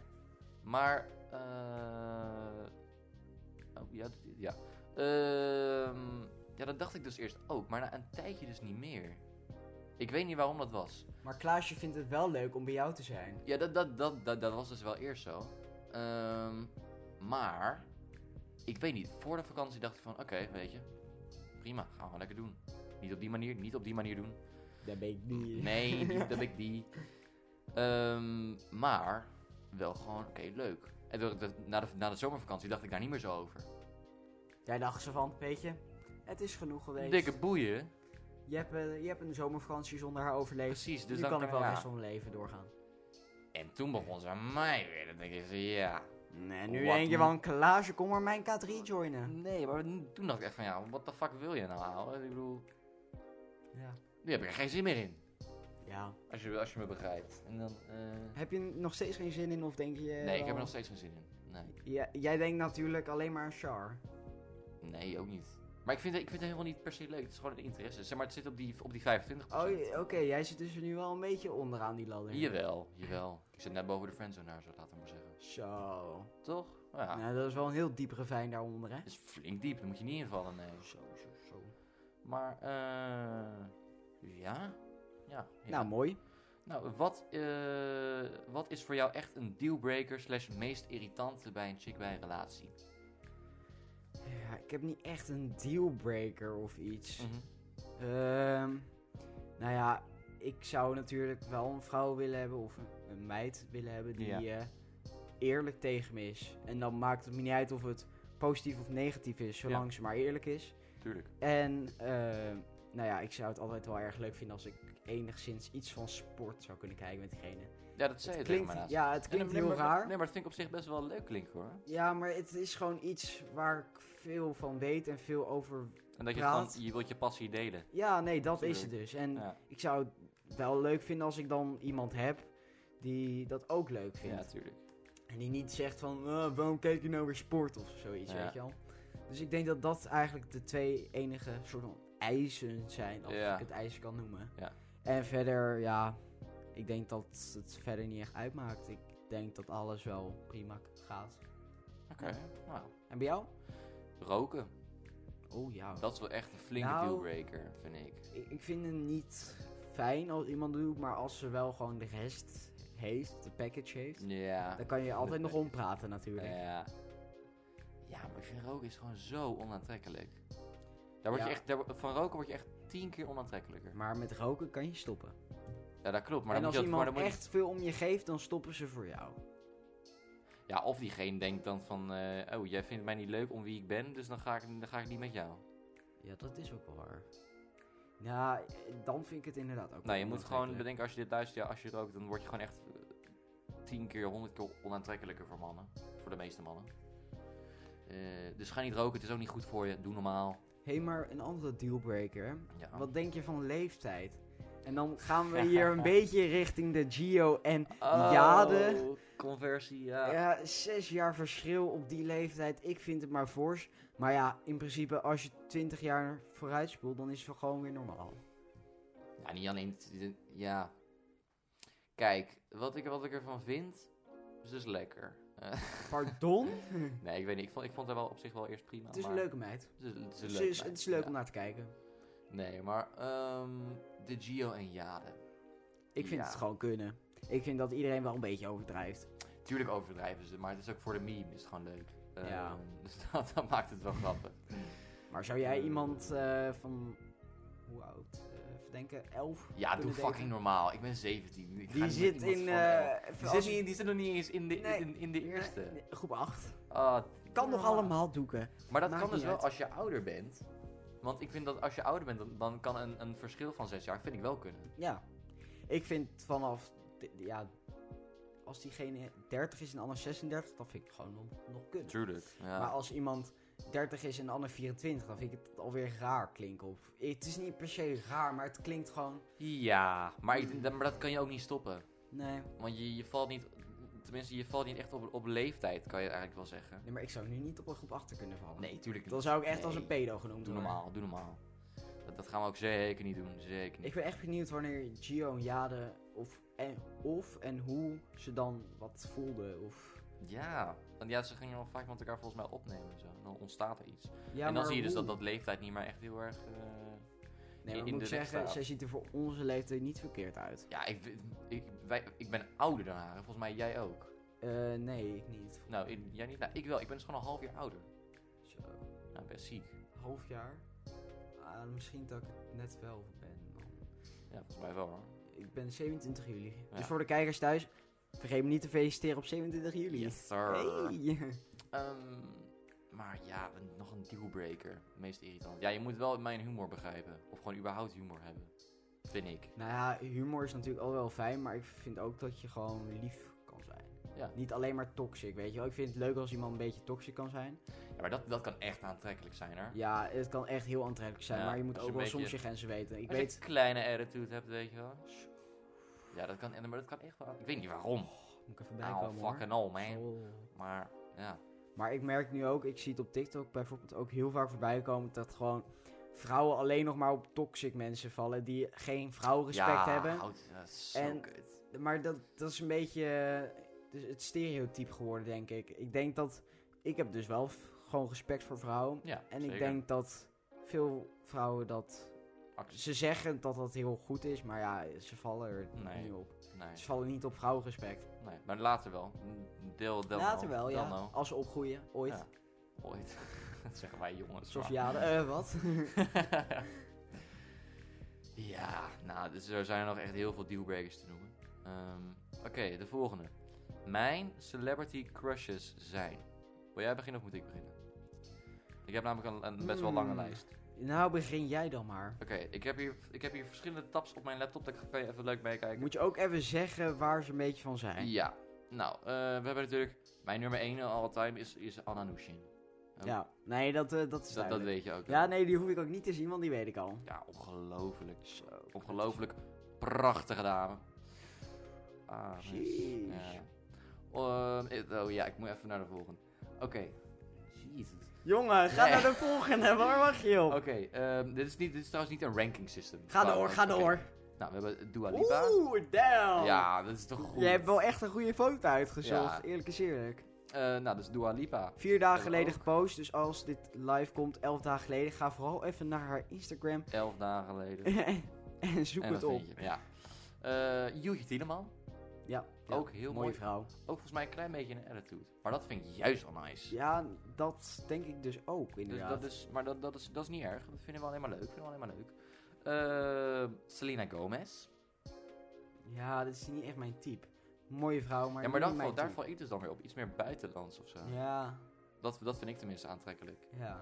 Speaker 2: Maar, eh... Oh, ja, d- ja. Ehm, ja, dat dacht ik dus eerst ook, maar na een tijdje dus niet meer. Ik weet niet waarom dat was.
Speaker 1: Maar Klaasje vindt het wel leuk om bij jou te zijn.
Speaker 2: Ja, dat, dat, dat, dat, dat was dus wel eerst zo. Ehm, maar, ik weet niet. Voor de vakantie dacht ik van, oké, weet je. Prima, gaan we lekker doen. Niet op die manier, niet op die manier doen.
Speaker 1: Daar ben ik niet.
Speaker 2: Nee, niet dat ik die. Ehm, maar, wel gewoon, oké, leuk. En door de- na, de, na de zomervakantie dacht ik daar niet meer zo over.
Speaker 1: Jij dacht ze van, weet je, het is genoeg geweest.
Speaker 2: Dikke boeien.
Speaker 1: Je, hebt, eh, je hebt een zomervakantie zonder haar overleefd.
Speaker 2: Precies, dus
Speaker 1: nu
Speaker 2: dan
Speaker 1: kan ik wel
Speaker 2: ja.
Speaker 1: rest van mijn leven doorgaan.
Speaker 2: En toen begon ze aan mij weer. Dan denk ik van, ja.
Speaker 1: Nee, nu
Speaker 2: Wat
Speaker 1: denk je
Speaker 2: moet-
Speaker 1: van, Klaasje, kom maar mijn K3 joinen.
Speaker 2: Nee, maar toen dacht ik echt van, ja, wat de fuck wil je nou, ouwe? Ik bedoel,
Speaker 1: Ja.
Speaker 2: nu heb ik er geen zin meer in.
Speaker 1: ja.
Speaker 2: Als je, als je me begrijpt. En dan, eh,
Speaker 1: Heb je nog steeds geen zin in of denk je...
Speaker 2: nee, ik heb
Speaker 1: wel-
Speaker 2: er nog steeds geen zin in. Nee,
Speaker 1: Ja, jij denkt natuurlijk alleen maar aan Char.
Speaker 2: nee ook niet. Maar ik vind, het- ik vind het helemaal niet per se leuk. Het is gewoon een interesse. Zeg maar, het zit op die, op die 25%.
Speaker 1: Oh, j- oké, jij zit dus nu wel een beetje onderaan die ladder.
Speaker 2: Jawel, jawel. Ik zit net boven de friendzone daar, zo laten we maar zeggen.
Speaker 1: Zo.
Speaker 2: Toch? Nou Ja.
Speaker 1: Nou, dat is wel een heel diep ravijn daaronder, hè?
Speaker 2: Het is flink diep, daar moet je niet invallen, nee.
Speaker 1: Zo, zo, zo.
Speaker 2: Maar, eh... Ja? Ja. ja.
Speaker 1: Nou, mooi.
Speaker 2: Nou, wat, eh, wat is voor jou echt een dealbreaker slash meest irritante bij een chick bij een relatie?
Speaker 1: Ja, ik heb niet
Speaker 2: Mm.
Speaker 1: Mhm. echt een dealbreaker of iets.
Speaker 2: Mhm.
Speaker 1: Ehm, nou ja, ik zou natuurlijk wel een vrouw willen hebben of een- een meid willen hebben die
Speaker 2: Ja.
Speaker 1: eh, eerlijk tegen me is. En dan maakt het me niet uit of het positief of negatief is, zolang ze maar eerlijk is.
Speaker 2: Tuurlijk.
Speaker 1: En eh, nou ja, ik zou het altijd wel erg leuk vinden als ik enigszins iets van sport zou kunnen kijken met diegene.
Speaker 2: Ja, dat zei
Speaker 1: Het
Speaker 2: je tegen
Speaker 1: klinkt,
Speaker 2: mij laatst.
Speaker 1: ja, het
Speaker 2: Nee,
Speaker 1: klinkt
Speaker 2: nee,
Speaker 1: heel
Speaker 2: maar-
Speaker 1: raar.
Speaker 2: Nee, maar dat vind ik op zich best wel leuk klinken hoor.
Speaker 1: Ja, maar het is gewoon iets waar ik veel van weet en veel over.
Speaker 2: En dat je
Speaker 1: Praat.
Speaker 2: gewoon, je wilt je passie delen.
Speaker 1: Ja, nee, dat is het
Speaker 2: Tuurlijk.
Speaker 1: dus. En
Speaker 2: Ja.
Speaker 1: ik zou het wel leuk vinden als ik dan iemand heb die dat ook leuk
Speaker 2: Ja,
Speaker 1: vindt.
Speaker 2: natuurlijk.
Speaker 1: En die niet zegt van, "Ah, waarom kijk je nou weer sport of zoiets,
Speaker 2: Ja.
Speaker 1: weet je wel. Dus ik denk dat dat eigenlijk de twee enige soort van eisen zijn, als
Speaker 2: Ja.
Speaker 1: ik het eisen kan noemen.
Speaker 2: Ja.
Speaker 1: En verder, ja, ik denk dat het verder niet echt uitmaakt. Ik denk dat alles wel prima gaat.
Speaker 2: Oké. Nou,
Speaker 1: En bij jou?
Speaker 2: roken.
Speaker 1: Oh ja.
Speaker 2: Dat is wel echt een flinke
Speaker 1: Nou.
Speaker 2: dealbreaker, vind ik.
Speaker 1: Ik, ik vind het niet fijn als iemand doet, maar als ze wel gewoon de rest heeft, de package heeft,
Speaker 2: Ja.
Speaker 1: dan kan je altijd nog
Speaker 2: package.
Speaker 1: ompraten natuurlijk.
Speaker 2: Ja. Ja, maar ik vind roken is gewoon zo onaantrekkelijk. Daar word
Speaker 1: Ja.
Speaker 2: je echt, daar wo- van roken word je echt tien keer onaantrekkelijker.
Speaker 1: Maar met roken kan je stoppen.
Speaker 2: Ja, dat klopt. Maar
Speaker 1: en
Speaker 2: dan
Speaker 1: als
Speaker 2: moet je dat- maar
Speaker 1: iemand
Speaker 2: dan moet je-
Speaker 1: echt veel om je geeft, dan stoppen ze voor jou.
Speaker 2: Ja, of diegene denkt dan van, eh, oh, jij vindt mij niet leuk om wie ik ben, dus dan ga ik, dan ga ik niet met jou.
Speaker 1: Ja, dat is ook wel waar. Nou, dan vind ik het inderdaad ook
Speaker 2: Nou, je
Speaker 1: wel
Speaker 2: moet gewoon
Speaker 1: onaantrekkelijk.
Speaker 2: bedenken, als je dit luistert, ja, als je rookt, dan word je gewoon echt eh, tien keer, honderd keer onaantrekkelijker voor mannen. Voor de meeste mannen. Eh, dus ga niet roken, het is ook niet goed voor je. Doe normaal.
Speaker 1: Hé, maar een andere dealbreaker. hè?
Speaker 2: Ja.
Speaker 1: Wat denk je van leeftijd? En dan gaan we hier een beetje richting de Gio en
Speaker 2: Oh,
Speaker 1: Jade.
Speaker 2: Conversie, ja.
Speaker 1: Ja, zes jaar verschil op die leeftijd. Ik vind het maar fors. Maar ja, in principe, als je 20 jaar vooruit spoelt, dan is het wel gewoon weer normaal.
Speaker 2: Ja, niet alleen. t- t- Ja. Kijk, wat ik, wat ik ervan vind, is dus lekker. Eh,
Speaker 1: Pardon?
Speaker 2: nee, ik weet niet. Ik vond, ik vond het wel op zich wel eerst prima.
Speaker 1: het is een
Speaker 2: maar-
Speaker 1: leuke meid.
Speaker 2: Het is, het is een
Speaker 1: Het
Speaker 2: leuke
Speaker 1: is,
Speaker 2: meid,
Speaker 1: het is leuk
Speaker 2: ja.
Speaker 1: om naar te kijken.
Speaker 2: Nee, maar ehm, de Gio en Jade.
Speaker 1: Ik vind
Speaker 2: Ja.
Speaker 1: het gewoon kunnen. Ik vind dat iedereen wel een beetje overdrijft.
Speaker 2: Tuurlijk overdrijven ze, maar het is ook voor de meme is het gewoon leuk. Ehm,
Speaker 1: Ja.
Speaker 2: Dus dat, dat maakt het wel grappig.
Speaker 1: Maar zou jij iemand eh, van. hoe oud? Eh, even denken, 11?
Speaker 2: Ja, doe
Speaker 1: kunnen daten?
Speaker 2: fucking normaal. Ik ben 17. Ik ga
Speaker 1: Die
Speaker 2: niet
Speaker 1: zit
Speaker 2: met iemand
Speaker 1: in.
Speaker 2: van elf.
Speaker 1: eh,
Speaker 2: die,
Speaker 1: als
Speaker 2: zit
Speaker 1: je-
Speaker 2: niet, die zit nog niet eens in de,
Speaker 1: Nee.
Speaker 2: in, in de
Speaker 1: Ja,
Speaker 2: eerste.
Speaker 1: nee, Groep 8.
Speaker 2: Ah,
Speaker 1: Kan nog
Speaker 2: ja.
Speaker 1: allemaal doeken.
Speaker 2: Maar dat
Speaker 1: Maakt
Speaker 2: kan dus
Speaker 1: niet
Speaker 2: wel
Speaker 1: uit.
Speaker 2: als je ouder bent. Want ik vind dat als je ouder bent, dan, dan kan een, een verschil van zes jaar, vind ik wel kunnen.
Speaker 1: Ja. Ik vind vanaf. d- Ja. Als diegene 30 is en de ander 36, dan vind ik het gewoon nog, nog kunnen.
Speaker 2: Tuurlijk. Ja.
Speaker 1: Maar als iemand 30 is en de ander 24, dan vind ik het alweer raar klinken. Of, het is niet per se raar, maar het klinkt gewoon.
Speaker 2: ja, maar, ik, d- maar dat kan je ook niet stoppen.
Speaker 1: Nee.
Speaker 2: Want je, je valt niet, tenminste, je valt niet echt op, op leeftijd, kan je eigenlijk wel zeggen.
Speaker 1: nee, maar ik zou nu niet op een groep 8 kunnen vallen.
Speaker 2: Nee, tuurlijk niet.
Speaker 1: Dan zou ik echt als
Speaker 2: Nee,
Speaker 1: een pedo genoemd
Speaker 2: Doe
Speaker 1: worden.
Speaker 2: normaal, doe normaal. Dat, dat gaan we ook zeker niet doen, zeker niet.
Speaker 1: Ik ben echt benieuwd wanneer Gio en Jade of en, of en hoe ze dan wat voelden. Of...
Speaker 2: Ja, want ja, ze gingen wel vaak met elkaar volgens mij opnemen en zo. En dan ontstaat er iets.
Speaker 1: Ja,
Speaker 2: en dan
Speaker 1: maar
Speaker 2: zie je dus
Speaker 1: hoe?
Speaker 2: dat dat leeftijd niet meer echt heel erg... eh,
Speaker 1: Nee,
Speaker 2: in
Speaker 1: maar ik
Speaker 2: de
Speaker 1: moet
Speaker 2: weg
Speaker 1: zeggen,
Speaker 2: staat.
Speaker 1: zij ziet er voor onze leeftijd niet verkeerd uit.
Speaker 2: Ja, ik, ik, wij, ik ben ouder dan haar. en Volgens mij jij ook.
Speaker 1: Eh, nee, ik niet.
Speaker 2: Nou, ik- jij niet. Nou, ik wel. Ik ben dus gewoon een half jaar ouder.
Speaker 1: Zo,
Speaker 2: Nou, best ziek.
Speaker 1: half jaar. Ah, misschien dat ik het net wel ben. dan.
Speaker 2: Ja, volgens mij wel hoor.
Speaker 1: Ik ben 27 juli.
Speaker 2: Ja.
Speaker 1: Dus voor de kijkers thuis, vergeet me niet te feliciteren op 27 juli.
Speaker 2: Yes, sir.
Speaker 1: Hey.
Speaker 2: Ehm, maar ja, een- nog een dealbreaker. Meest irritant. Ja, je moet wel mijn humor begrijpen. Of gewoon überhaupt humor hebben. Vind ik.
Speaker 1: Nou ja, humor is natuurlijk al wel fijn, maar ik vind ook dat je gewoon lief kan zijn.
Speaker 2: Ja.
Speaker 1: Niet alleen maar toxic, weet je wel. Ik vind het leuk als iemand een beetje toxic kan zijn.
Speaker 2: Ja, maar dat, dat kan echt aantrekkelijk zijn hoor.
Speaker 1: Ja, het kan echt heel aantrekkelijk zijn,
Speaker 2: Ja,
Speaker 1: maar je moet
Speaker 2: als
Speaker 1: ook
Speaker 2: je
Speaker 1: wel
Speaker 2: een
Speaker 1: soms
Speaker 2: beetje-
Speaker 1: je grenzen weten. Ik
Speaker 2: Als je
Speaker 1: weet,
Speaker 2: een kleine attitude hebt, weet je wel. Ja, dat kan, en- maar dat kan echt wel. Ik weet niet waarom.
Speaker 1: moet ik even
Speaker 2: Nou,
Speaker 1: bijkomen hoor.
Speaker 2: fucking all, man.
Speaker 1: Zo.
Speaker 2: Maar, ja.
Speaker 1: Maar ik merk nu ook, ik zie het op TikTok bijvoorbeeld ook heel vaak voorbij komen, dat gewoon vrouwen alleen nog maar op toxic mensen vallen die geen vrouwenrespect
Speaker 2: ja,
Speaker 1: hebben.
Speaker 2: Houd, dat is zo
Speaker 1: En-
Speaker 2: kut.
Speaker 1: Maar dat, dat is een beetje eh, dus het stereotype geworden, denk ik. Ik denk dat. Ik heb dus wel f- gewoon respect voor vrouwen.
Speaker 2: Ja,
Speaker 1: En
Speaker 2: zeker.
Speaker 1: ik denk dat veel vrouwen dat.
Speaker 2: Actie-
Speaker 1: Ze zeggen dat dat heel goed is, maar ja, ze vallen er
Speaker 2: Nee.
Speaker 1: niet op.
Speaker 2: Nee.
Speaker 1: Ze vallen niet op vrouwenrespect.
Speaker 2: Nee, maar later wel. Deel, deel
Speaker 1: Later wel, ja.
Speaker 2: Delno.
Speaker 1: Als ze opgroeien, ooit.
Speaker 2: Ja, Ooit.
Speaker 1: Eh,
Speaker 2: dat zeggen wij jongens.
Speaker 1: Zoals
Speaker 2: maar-
Speaker 1: jaren, eh, wat?
Speaker 2: ja. Ja, nou, dus er zijn nog echt heel veel dealbreakers te noemen. Ehm, Oké, de volgende. Mijn celebrity crushes zijn. Wil jij beginnen of moet ik beginnen? Ik heb namelijk een, een best wel lange
Speaker 1: Hmm.
Speaker 2: lijst.
Speaker 1: Nou, begin jij dan maar.
Speaker 2: Oké, ik, heb hier- ik heb hier verschillende tabs op mijn laptop. Daar kan je even leuk mee kijken.
Speaker 1: Moet je ook even zeggen waar ze een beetje van zijn.
Speaker 2: Ja. Nou, eh, we hebben natuurlijk... Mijn nummer 1 all time is, is Anna Nushin.
Speaker 1: Ja, nee, dat, eh, dat is
Speaker 2: Dat, dat
Speaker 1: duidelijk.
Speaker 2: weet je ook.
Speaker 1: Ja, nee, die hoef ik ook niet te zien, want die weet ik al.
Speaker 2: Ja, ongelooflijk.
Speaker 1: Zo.
Speaker 2: Ongelooflijk prachtige dame. Ah,
Speaker 1: Jeez.
Speaker 2: mensen, ja. Ehm, ik- oh ja, ik moet even naar de volgende. Oké. Jezus.
Speaker 1: Jongen, ga
Speaker 2: Nee.
Speaker 1: naar de volgende, waar wacht je op?
Speaker 2: Oké, ehm, dit, is niet- dit is trouwens niet een ranking system.
Speaker 1: Ga
Speaker 2: Oké.
Speaker 1: door, ga door.
Speaker 2: Nou, we hebben Dua Lipa.
Speaker 1: Oeh, damn.
Speaker 2: Ja, dat is toch goed.
Speaker 1: Je hebt wel echt een goede foto uitgezocht,
Speaker 2: Ja.
Speaker 1: eerlijk is eerlijk.
Speaker 2: Eh, nou, dus Dua Lipa.
Speaker 1: Vier dagen
Speaker 2: Hebben we
Speaker 1: geleden
Speaker 2: ook.
Speaker 1: gepost, dus als dit live komt, elf dagen geleden, ga vooral even naar haar Instagram
Speaker 2: Elf dagen geleden.
Speaker 1: en zoek
Speaker 2: En
Speaker 1: het
Speaker 2: dan
Speaker 1: op.
Speaker 2: vind je hem, Ja. Eh Joetje Tieneman.
Speaker 1: Ja, ja,
Speaker 2: Ook heel
Speaker 1: mooie
Speaker 2: mooi.
Speaker 1: vrouw.
Speaker 2: Ook volgens mij een klein beetje een attitude. Maar dat vind ik juist wel nice.
Speaker 1: Ja, dat denk ik dus ook,
Speaker 2: Dus
Speaker 1: inderdaad.
Speaker 2: dat is, maar dat, dat, is, dat is niet erg. Dat vinden we alleen maar leuk. Vinden we alleen maar leuk. Eh, Selena Gomez.
Speaker 1: Ja, dit is niet echt mijn type. Mooie vrouw, maar
Speaker 2: ja, maar
Speaker 1: niet
Speaker 2: dan
Speaker 1: mijn
Speaker 2: valt, daar
Speaker 1: type.
Speaker 2: val ik dus dan weer op. Iets meer buitenlands of zo.
Speaker 1: Ja,
Speaker 2: Dat, dat vind ik tenminste aantrekkelijk.
Speaker 1: ja.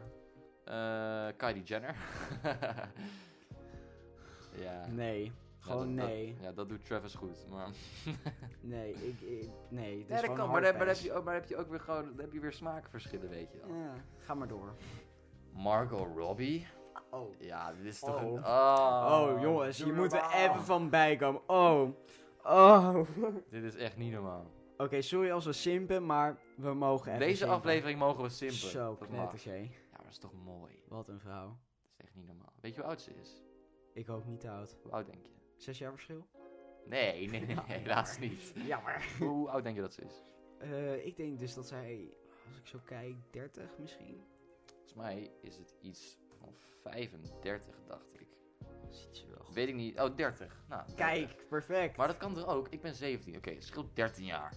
Speaker 2: Eh Kylie Jenner. ja. Ja,
Speaker 1: Nee, gewoon
Speaker 2: dat- dat-
Speaker 1: nee.
Speaker 2: ja, dat doet Travis goed. Maar,
Speaker 1: Nee, ik, ik- nee, het is
Speaker 2: nee, dat
Speaker 1: gewoon
Speaker 2: kan.
Speaker 1: een
Speaker 2: Maar, dan, maar dan
Speaker 1: hard
Speaker 2: heb
Speaker 1: pass.
Speaker 2: je ook, maar dan heb je ook weer gewoon dan heb je weer smaakverschillen, weet je wel.
Speaker 1: Ja, ga maar door.
Speaker 2: Margot Robbie.
Speaker 1: Oh.
Speaker 2: Ja, dit is toch
Speaker 1: Oh.
Speaker 2: een... Oh,
Speaker 1: Oh, jongens,
Speaker 2: doe
Speaker 1: hier moeten we
Speaker 2: normaal.
Speaker 1: even van bijkomen. Oh. Oh. Oké,
Speaker 2: Dit is echt niet normaal.
Speaker 1: sorry als we simpen, maar we mogen even
Speaker 2: Deze
Speaker 1: simpen.
Speaker 2: aflevering mogen we simpen.
Speaker 1: Zo,
Speaker 2: Dat mag.
Speaker 1: knetters, hé.
Speaker 2: Ja, maar dat is toch mooi.
Speaker 1: Wat een vrouw.
Speaker 2: Dat is echt niet normaal. Weet je hoe oud ze is?
Speaker 1: Ik hoop niet te oud.
Speaker 2: Hoe oud denk je?
Speaker 1: Zes jaar verschil?
Speaker 2: Nee, nee, nee,
Speaker 1: Ja,
Speaker 2: helaas niet.
Speaker 1: Jammer.
Speaker 2: Hoe oud denk je dat ze is?
Speaker 1: Eh ik denk dus dat zij, als ik zo kijk, 30 misschien?
Speaker 2: Volgens mij is het iets van 35, dacht ik.
Speaker 1: Ziet ze wel.
Speaker 2: Weet ik niet. Oh, 30. Nou, 30.
Speaker 1: Kijk, perfect.
Speaker 2: Maar dat kan er ook. Ik ben 17. Oké, het scheelt 13 jaar.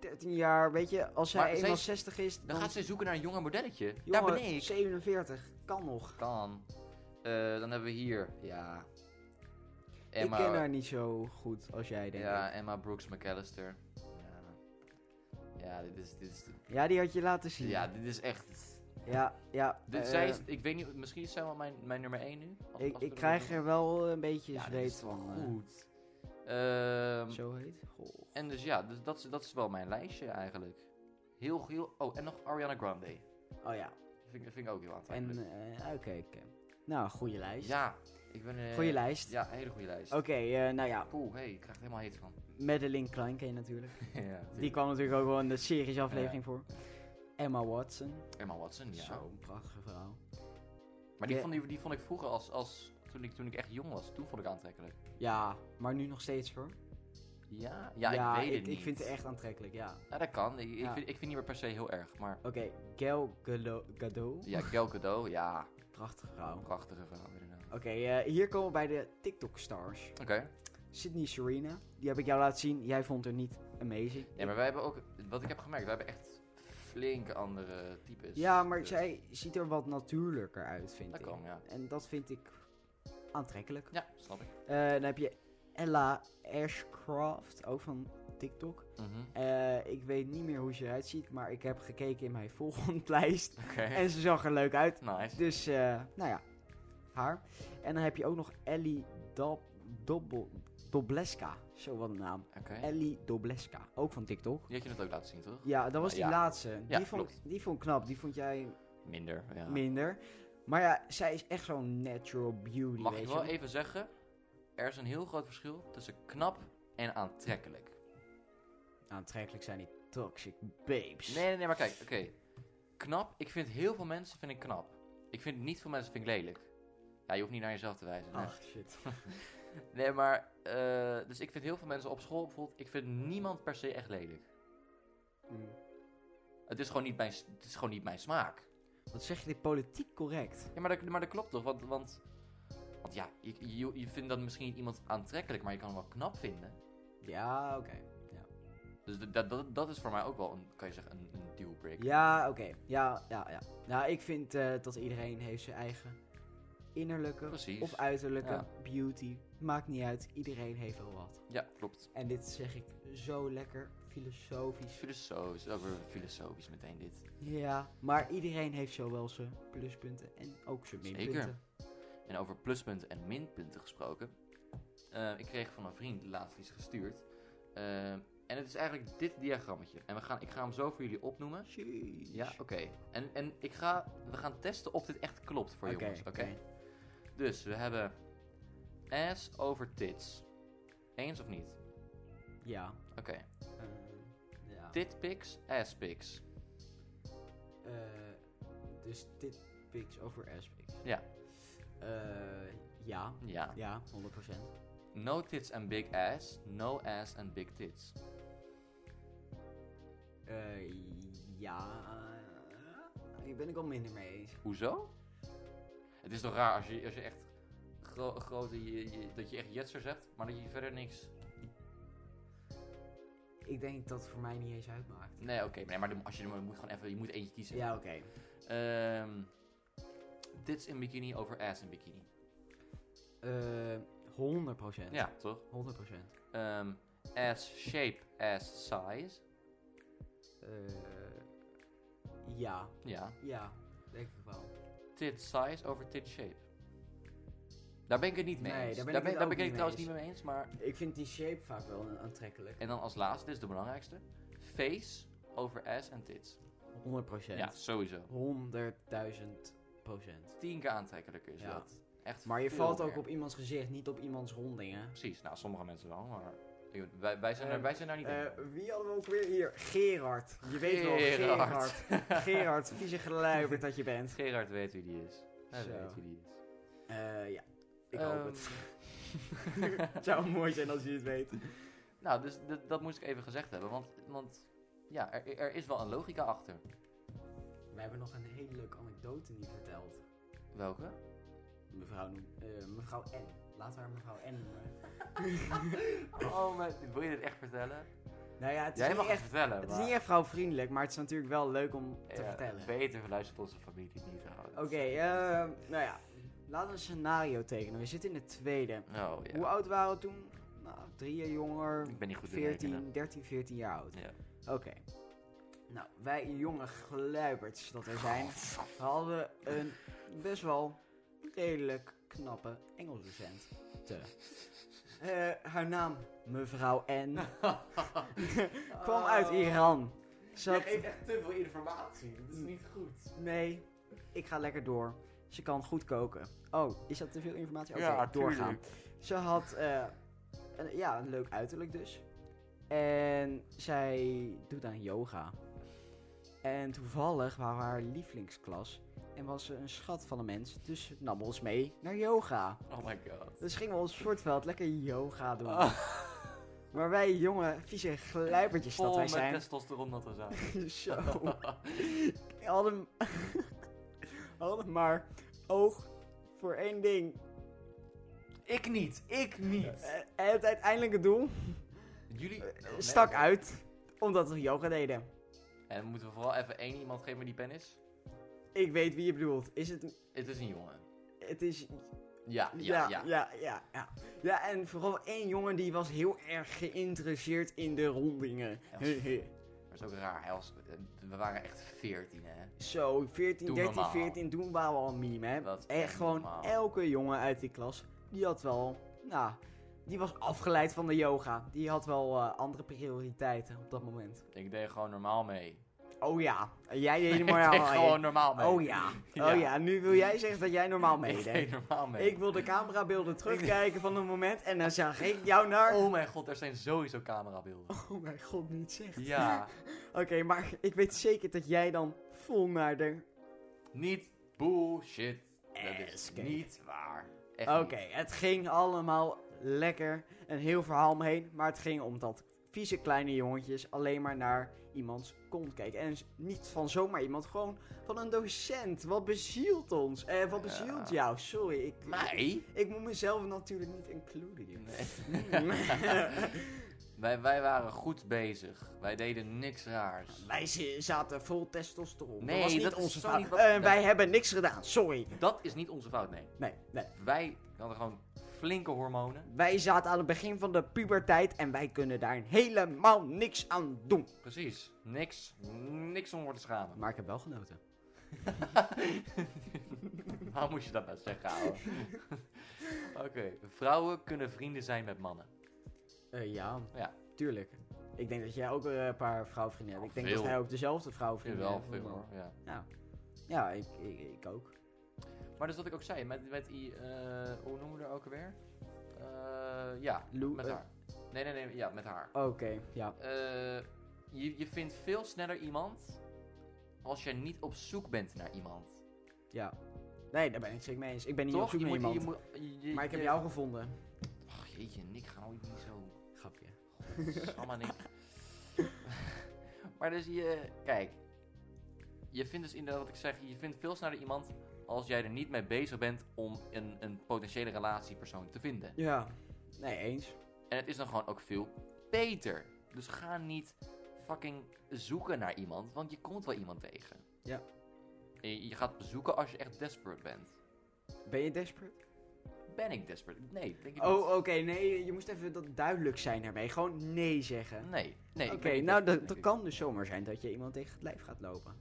Speaker 1: 13 jaar, weet je, als zij
Speaker 2: Maar zij
Speaker 1: eenmaal
Speaker 2: is-
Speaker 1: 60 is,
Speaker 2: Dan
Speaker 1: dan
Speaker 2: gaat ze zoeken naar een jonger modelletje.
Speaker 1: Jongen,
Speaker 2: Daar ben ik.
Speaker 1: 47, kan nog.
Speaker 2: Kan. Eh, dan hebben we hier. Ja.
Speaker 1: Ik ken haar niet zo goed als jij, denk
Speaker 2: Ja,
Speaker 1: ik.
Speaker 2: Emma Brooks McAllister. Ja, ja dit is... Dit is
Speaker 1: Ja, die had je laten zien.
Speaker 2: ja, dit is echt...
Speaker 1: ja. ja,
Speaker 2: Dit,
Speaker 1: eh,
Speaker 2: zij is, ik weet niet, misschien is zij wel mijn, mijn nummer 1 nu. als-
Speaker 1: ik,
Speaker 2: als we
Speaker 1: ik
Speaker 2: er
Speaker 1: krijg
Speaker 2: nog-
Speaker 1: er wel eh, een beetje
Speaker 2: Ja, dit
Speaker 1: zweet
Speaker 2: is
Speaker 1: van. eh,
Speaker 2: Goed. Ehm,
Speaker 1: zo heet. Goh.
Speaker 2: en dus ja, dus dat, is, dat is wel mijn lijstje eigenlijk. Heel, heel... Oh, en nog Ariana Grande.
Speaker 1: Oh ja,
Speaker 2: Dat vind, ik- vind ik ook heel
Speaker 1: en
Speaker 2: aantrekkelijk.
Speaker 1: eh, oké. oké. Nou, goede lijst.
Speaker 2: ja, ik ben... eh,
Speaker 1: Goede lijst.
Speaker 2: Ja, hele goede lijst.
Speaker 1: Oké, eh, nou ja,
Speaker 2: Poeh, hey, ik krijg er helemaal heet van.
Speaker 1: Madeleine Klein ken je natuurlijk.
Speaker 2: ja,
Speaker 1: Die kwam natuurlijk ook wel in de series aflevering voor. Emma Watson.
Speaker 2: Emma Watson, ja.
Speaker 1: Zo'n prachtige vrouw.
Speaker 2: Maar die
Speaker 1: Ja.
Speaker 2: vond, die, die vond ik vroeger als... als toen, ik, toen ik echt jong was, toen vond ik aantrekkelijk.
Speaker 1: Ja, maar nu nog steeds hoor.
Speaker 2: Ja, ja, ik weet het
Speaker 1: ik,
Speaker 2: niet.
Speaker 1: ik vind het echt aantrekkelijk, ja.
Speaker 2: Ja, dat kan. Ik, ik,
Speaker 1: Ja.
Speaker 2: vind, ik vind niet meer per se heel erg. Maar
Speaker 1: Oké, Gail Galo- Gadot.
Speaker 2: ja, Gal Gadot, ja.
Speaker 1: Prachtige vrouw. Oké,
Speaker 2: Prachtige vrouw, inderdaad. Oké.
Speaker 1: eh, hier komen we bij de TikTok-stars. Sydney Serena, die heb ik jou laten zien. Jij vond haar niet amazing.
Speaker 2: Ja, maar wij hebben ook... Wat ik heb gemerkt, wij hebben echt flinke andere types.
Speaker 1: Ja, maar
Speaker 2: Dus
Speaker 1: zij ziet er wat natuurlijker uit, vind
Speaker 2: Dat
Speaker 1: ik.
Speaker 2: kan, ja.
Speaker 1: En dat vind ik aantrekkelijk.
Speaker 2: Ja, snap ik.
Speaker 1: Eh, dan heb je Ella Ashcroft, ook van TikTok.
Speaker 2: Mhm.
Speaker 1: Eh, ik weet niet meer hoe ze eruit ziet, maar ik heb gekeken in mijn volgende lijst.
Speaker 2: Oké.
Speaker 1: En ze zag er leuk uit.
Speaker 2: Nice.
Speaker 1: Dus, eh, nou ja, haar. En dan heb je ook nog Ellie Dob Dobbel- Dobleska. Zo wat een naam.
Speaker 2: Oké.
Speaker 1: Ellie Dobleska, ook van TikTok.
Speaker 2: Die had je net ook laten zien, toch?
Speaker 1: Ja, dat was die
Speaker 2: Ja.
Speaker 1: laatste.
Speaker 2: Ja,
Speaker 1: Die, vond, die vond ik knap, die vond jij
Speaker 2: Minder, ja.
Speaker 1: minder. Maar ja, zij is echt zo'n natural beauty.
Speaker 2: Mag
Speaker 1: weet
Speaker 2: ik
Speaker 1: je
Speaker 2: wel even zeggen? Er is een heel groot verschil tussen knap en aantrekkelijk.
Speaker 1: Aantrekkelijk zijn die toxic babes.
Speaker 2: Nee, nee, nee, maar kijk, oké. Knap, ik vind heel veel mensen vind ik knap. Ik vind niet veel mensen vind ik lelijk. Ja, je hoeft niet naar jezelf te wijzen. nee.
Speaker 1: Ach, Ah, shit.
Speaker 2: Nee, maar, eh, dus ik vind heel veel mensen op school bijvoorbeeld, ik vind niemand per se echt lelijk.
Speaker 1: Hmm.
Speaker 2: Het is gewoon niet mijn, s- het is gewoon niet mijn smaak.
Speaker 1: Wat zeg je dit politiek correct?
Speaker 2: Ja, maar dat, maar dat klopt toch, want, want, want ja, je, je, je vindt dan misschien iemand aantrekkelijk, maar je kan hem wel knap vinden.
Speaker 1: Ja, oké.
Speaker 2: Dus d- dat, dat, dat is voor mij ook wel, een, kan je zeggen, een, een dealbreaker.
Speaker 1: Ja, oké. Ja, ja, ja. Nou, ik vind eh, dat iedereen heeft zijn eigen innerlijke
Speaker 2: Precies.
Speaker 1: of uiterlijke
Speaker 2: Ja.
Speaker 1: beauty. Maakt niet uit, iedereen heeft wel wat.
Speaker 2: Ja, klopt.
Speaker 1: En dit zeg ik zo lekker filosofisch.
Speaker 2: Filosofisch, oh, we- filosofisch meteen dit.
Speaker 1: Ja, maar iedereen heeft zo wel zijn pluspunten en ook zijn
Speaker 2: Zeker.
Speaker 1: minpunten.
Speaker 2: En over pluspunten en minpunten gesproken. Eh, ik kreeg van een vriend laatst iets gestuurd. Eh, en het is eigenlijk dit diagrammetje. En we gaan, ik ga hem zo voor jullie opnoemen.
Speaker 1: Sheesh.
Speaker 2: Ja, oké. En, en ik ga, we gaan testen of dit echt klopt voor
Speaker 1: Oké,
Speaker 2: jongens. Oké.
Speaker 1: oké.
Speaker 2: Dus we hebben ass over tits. Eens of niet?
Speaker 1: Ja.
Speaker 2: Oké.
Speaker 1: eh, ja.
Speaker 2: Tit pics, ass pics.
Speaker 1: Eh, dus dit pics over aspects.
Speaker 2: Ja.
Speaker 1: Eh, ja.
Speaker 2: Ja.
Speaker 1: Ja, 100%.
Speaker 2: No tits and big ass. No ass and big tits.
Speaker 1: Eh, ja. eh, Hier ben ik al minder mee eens.
Speaker 2: Hoezo? Het is toch raar als je, als je echt gro grote, je, je- dat je echt jetser zegt, maar dat je verder niks...
Speaker 1: Ik denk dat het voor mij niet eens uitmaakt.
Speaker 2: Nee, oké, maar nee, maar dan- als je, dan moet gewoon even, je moet eentje kiezen.
Speaker 1: Ja, oké.
Speaker 2: Ehm, tits in bikini over ass in bikini.
Speaker 1: Eh, 100%.
Speaker 2: Ja, toch?
Speaker 1: 100%.
Speaker 2: Ehm, ass shape, ass size.
Speaker 1: Eh, ja.
Speaker 2: Ja.
Speaker 1: Ja, denk ik wel.
Speaker 2: Tit size over tit shape. Daar ben ik het niet mee
Speaker 1: Nee,
Speaker 2: eens.
Speaker 1: daar ben ik het
Speaker 2: daar
Speaker 1: ook
Speaker 2: ben ik
Speaker 1: niet
Speaker 2: het trouwens
Speaker 1: mee
Speaker 2: niet mee eens, maar...
Speaker 1: Ik vind die shape vaak wel een- aantrekkelijk.
Speaker 2: En dan als laatste, dit is de belangrijkste. Face over ass en tits.
Speaker 1: 100%.
Speaker 2: Ja, sowieso.
Speaker 1: 100.000 procent.
Speaker 2: Tien keer aantrekkelijker is
Speaker 1: Ja.
Speaker 2: Dus dat. Echt
Speaker 1: Maar je
Speaker 2: veel
Speaker 1: valt ook
Speaker 2: meer.
Speaker 1: op iemands gezicht, niet op iemands rondingen.
Speaker 2: Precies, nou sommige mensen wel, maar ik- wij, wij, zijn,
Speaker 1: Eh,
Speaker 2: daar, wij zijn daar niet in.
Speaker 1: wie hadden we ook weer hier? Gerard. Je weet wel,
Speaker 2: Gerard.
Speaker 1: Gerard. Gerard, vieze geluiverd dat je bent.
Speaker 2: Gerard weet wie die is. Hij
Speaker 1: Zo.
Speaker 2: weet wie die is.
Speaker 1: Eh, ja, ik
Speaker 2: Ehm,
Speaker 1: hoop het. het zou mooi zijn als je het weet.
Speaker 2: Nou, dus dat, dat moest ik even gezegd hebben, want, want ja, er, er is wel een logica achter.
Speaker 1: We hebben nog een hele leuke anekdote niet verteld.
Speaker 2: Welke?
Speaker 1: Mevrouw, noem- eh, mevrouw N. Laten we haar mevrouw N eh. noemen.
Speaker 2: Oh, maar wil je dit echt vertellen?
Speaker 1: Nou ja, het is,
Speaker 2: Jij
Speaker 1: niet
Speaker 2: mag het
Speaker 1: echt,
Speaker 2: vertellen,
Speaker 1: het is
Speaker 2: maar...
Speaker 1: niet echt vrouwvriendelijk, maar het is natuurlijk wel leuk om te
Speaker 2: Ja,
Speaker 1: vertellen.
Speaker 2: Beter luistert onze familie niet, Oh, trouwens.
Speaker 1: Oké, ehm, nou ja. Laten we een scenario tekenen. We zitten in de tweede.
Speaker 2: Oh, ja.
Speaker 1: Hoe oud waren we toen? Nou, drieën jonger.
Speaker 2: Ik ben niet goed in
Speaker 1: 14,
Speaker 2: rekenen.
Speaker 1: 13, 14 jaar oud.
Speaker 2: Ja.
Speaker 1: Oké. Nou, wij jonge gluiperds dat we zijn,
Speaker 2: Oh,
Speaker 1: hadden een best wel redelijk knappe Engelsdocent. Te. Eh, haar naam, mevrouw N, kwam
Speaker 2: Oh.
Speaker 1: uit Iran. Ze had-
Speaker 2: echt te veel informatie. Dat is niet goed.
Speaker 1: Nee, ik ga lekker door. Ze kan goed koken. Oh, is dat te veel informatie? Oké,
Speaker 2: Ja,
Speaker 1: doorgaan.
Speaker 2: tuurlijk.
Speaker 1: Ze had eh, een, ja, een leuk uiterlijk dus. En zij doet aan yoga. En toevallig waren we haar lievelingsklas. En was ze een schat van een mens. Dus ze nam ons mee naar yoga.
Speaker 2: Oh my god.
Speaker 1: Dus gingen we ons sportveld lekker yoga doen.
Speaker 2: Ah,
Speaker 1: Maar wij jonge, vieze gluipertjes dat
Speaker 2: vol
Speaker 1: wij
Speaker 2: met
Speaker 1: zijn.
Speaker 2: testosteron dat we zijn.
Speaker 1: Zo. We hadden, we hadden maar oog voor één ding.
Speaker 2: ik niet, ik niet.
Speaker 1: Eh, En het uiteindelijke doel
Speaker 2: Jullie... Oh, Nee.
Speaker 1: Eh, stak uit omdat we yoga deden.
Speaker 2: En moeten we vooral even één iemand geven die pen is?
Speaker 1: Ik weet wie je bedoelt. Is het...
Speaker 2: Het is een jongen.
Speaker 1: Het is...
Speaker 2: Ja, ja,
Speaker 1: Ja,
Speaker 2: ja.
Speaker 1: ja, ja, ja. Ja, en vooral één jongen die was heel erg geïnteresseerd in de rondingen.
Speaker 2: Ja. Maar dat is ook raar. Hij was, we waren echt 14, hè.
Speaker 1: Zo, 14,
Speaker 2: Doe
Speaker 1: 13,
Speaker 2: normaal.
Speaker 1: 14, toen waren we al een meme, hè.
Speaker 2: Dat is
Speaker 1: Echt
Speaker 2: echt
Speaker 1: gewoon
Speaker 2: normaal.
Speaker 1: elke jongen uit die klas, die had wel, nou, die was afgeleid van de yoga. Die had wel eh, andere prioriteiten op dat moment.
Speaker 2: Ik deed gewoon normaal mee.
Speaker 1: Oh ja, en jij deed
Speaker 2: ik
Speaker 1: helemaal
Speaker 2: deed gewoon normaal mee.
Speaker 1: Oh ja,
Speaker 2: Ja.
Speaker 1: oh ja, nu wil jij zeggen dat jij normaal
Speaker 2: Ik
Speaker 1: meedeed.
Speaker 2: deed normaal mee.
Speaker 1: Ik wil de camerabeelden terugkijken van een moment en dan zag ik jou naar...
Speaker 2: Oh mijn god, er zijn sowieso camerabeelden.
Speaker 1: Oh mijn god, niet zeggen.
Speaker 2: Ja,
Speaker 1: Oké, maar ik weet zeker dat jij dan vol naar de...
Speaker 2: niet bullshit. Dat is
Speaker 1: Ass cake.
Speaker 2: niet waar. Echt
Speaker 1: Oké,
Speaker 2: niet.
Speaker 1: het ging allemaal lekker. Een heel verhaal omheen. Maar het ging om dat vieze kleine jongetjes alleen maar naar iemands kont kijken. En s- niet van zomaar iemand, gewoon van een docent. Wat bezielt ons? Eh, wat bezielt
Speaker 2: Ja.
Speaker 1: jou? Sorry, ik,
Speaker 2: Mij?
Speaker 1: ik moet mezelf natuurlijk niet includen hier.
Speaker 2: Nee.
Speaker 1: Hmm.
Speaker 2: Wij, wij waren goed bezig. Wij deden niks raars.
Speaker 1: Wij zi- zaten vol testosteron.
Speaker 2: Nee,
Speaker 1: dat was niet
Speaker 2: dat is
Speaker 1: onze
Speaker 2: zo
Speaker 1: fout.
Speaker 2: niet wat-
Speaker 1: Eh, wij hebben niks gedaan, sorry.
Speaker 2: Dat is niet onze fout, nee.
Speaker 1: Nee, nee.
Speaker 2: Wij hadden gewoon flinke hormonen.
Speaker 1: Wij zaten aan het begin van de puberteit en wij kunnen daar helemaal niks aan doen.
Speaker 2: Precies. Niks. Niks om voor te schamen.
Speaker 1: Maar ik heb wel genoten.
Speaker 2: Waarom moest je dat nou zeggen, ouwe? Oké. Vrouwen kunnen vrienden zijn met mannen.
Speaker 1: ja,
Speaker 2: Ja.
Speaker 1: Eh, tuurlijk. Ik denk dat jij ook eh, een paar vrouwvrienden hebt. Ik denk
Speaker 2: Veel.
Speaker 1: dat wij ook dezelfde vrouwvrienden
Speaker 2: Jawel,
Speaker 1: hebben.
Speaker 2: veel hoor. Ja.
Speaker 1: Ja, ja ik, ik, ik ook.
Speaker 2: Maar dus wat ik ook zei, met, met die, eh, hoe noemen we haar ook alweer? Eh, ja,
Speaker 1: Lou-
Speaker 2: met
Speaker 1: eh,
Speaker 2: haar. Nee, nee, nee, ja, met haar.
Speaker 1: Oké, ja.
Speaker 2: Eh, je, je vindt veel sneller iemand als je niet op zoek bent naar iemand.
Speaker 1: ja. Nee, daar ben ik het zeker mee eens. Ik ben niet op
Speaker 2: Toch?
Speaker 1: zoek
Speaker 2: Je
Speaker 1: naar
Speaker 2: moet-
Speaker 1: iemand.
Speaker 2: je moet- je- je-
Speaker 1: Maar ik heb
Speaker 2: je-
Speaker 1: jou gevonden.
Speaker 2: Ach, jeetje, Nick, ga nou niet zo.
Speaker 1: Grapje.
Speaker 2: Samma Nick. maar dus je, kijk. Je vindt dus inderdaad wat ik zeg, je vindt veel sneller iemand als jij er niet mee bezig bent om een, een potentiële relatiepersoon te vinden.
Speaker 1: Ja. Nee, eens.
Speaker 2: En het is dan gewoon ook veel beter. Dus ga niet fucking zoeken naar iemand, want je komt wel iemand tegen.
Speaker 1: Ja.
Speaker 2: En je- je gaat zoeken als je echt desperate bent.
Speaker 1: Ben je desperate?
Speaker 2: Ben ik desperate? Nee, denk ik
Speaker 1: Oh,
Speaker 2: niet.
Speaker 1: oké. nee, je moest even dat duidelijk zijn daarmee. Gewoon nee zeggen.
Speaker 2: Nee, nee. ik
Speaker 1: Oké,
Speaker 2: ben niet desperate,
Speaker 1: nou dat, dat
Speaker 2: denk
Speaker 1: kan dus zomaar zijn dat je iemand tegen het lijf gaat lopen.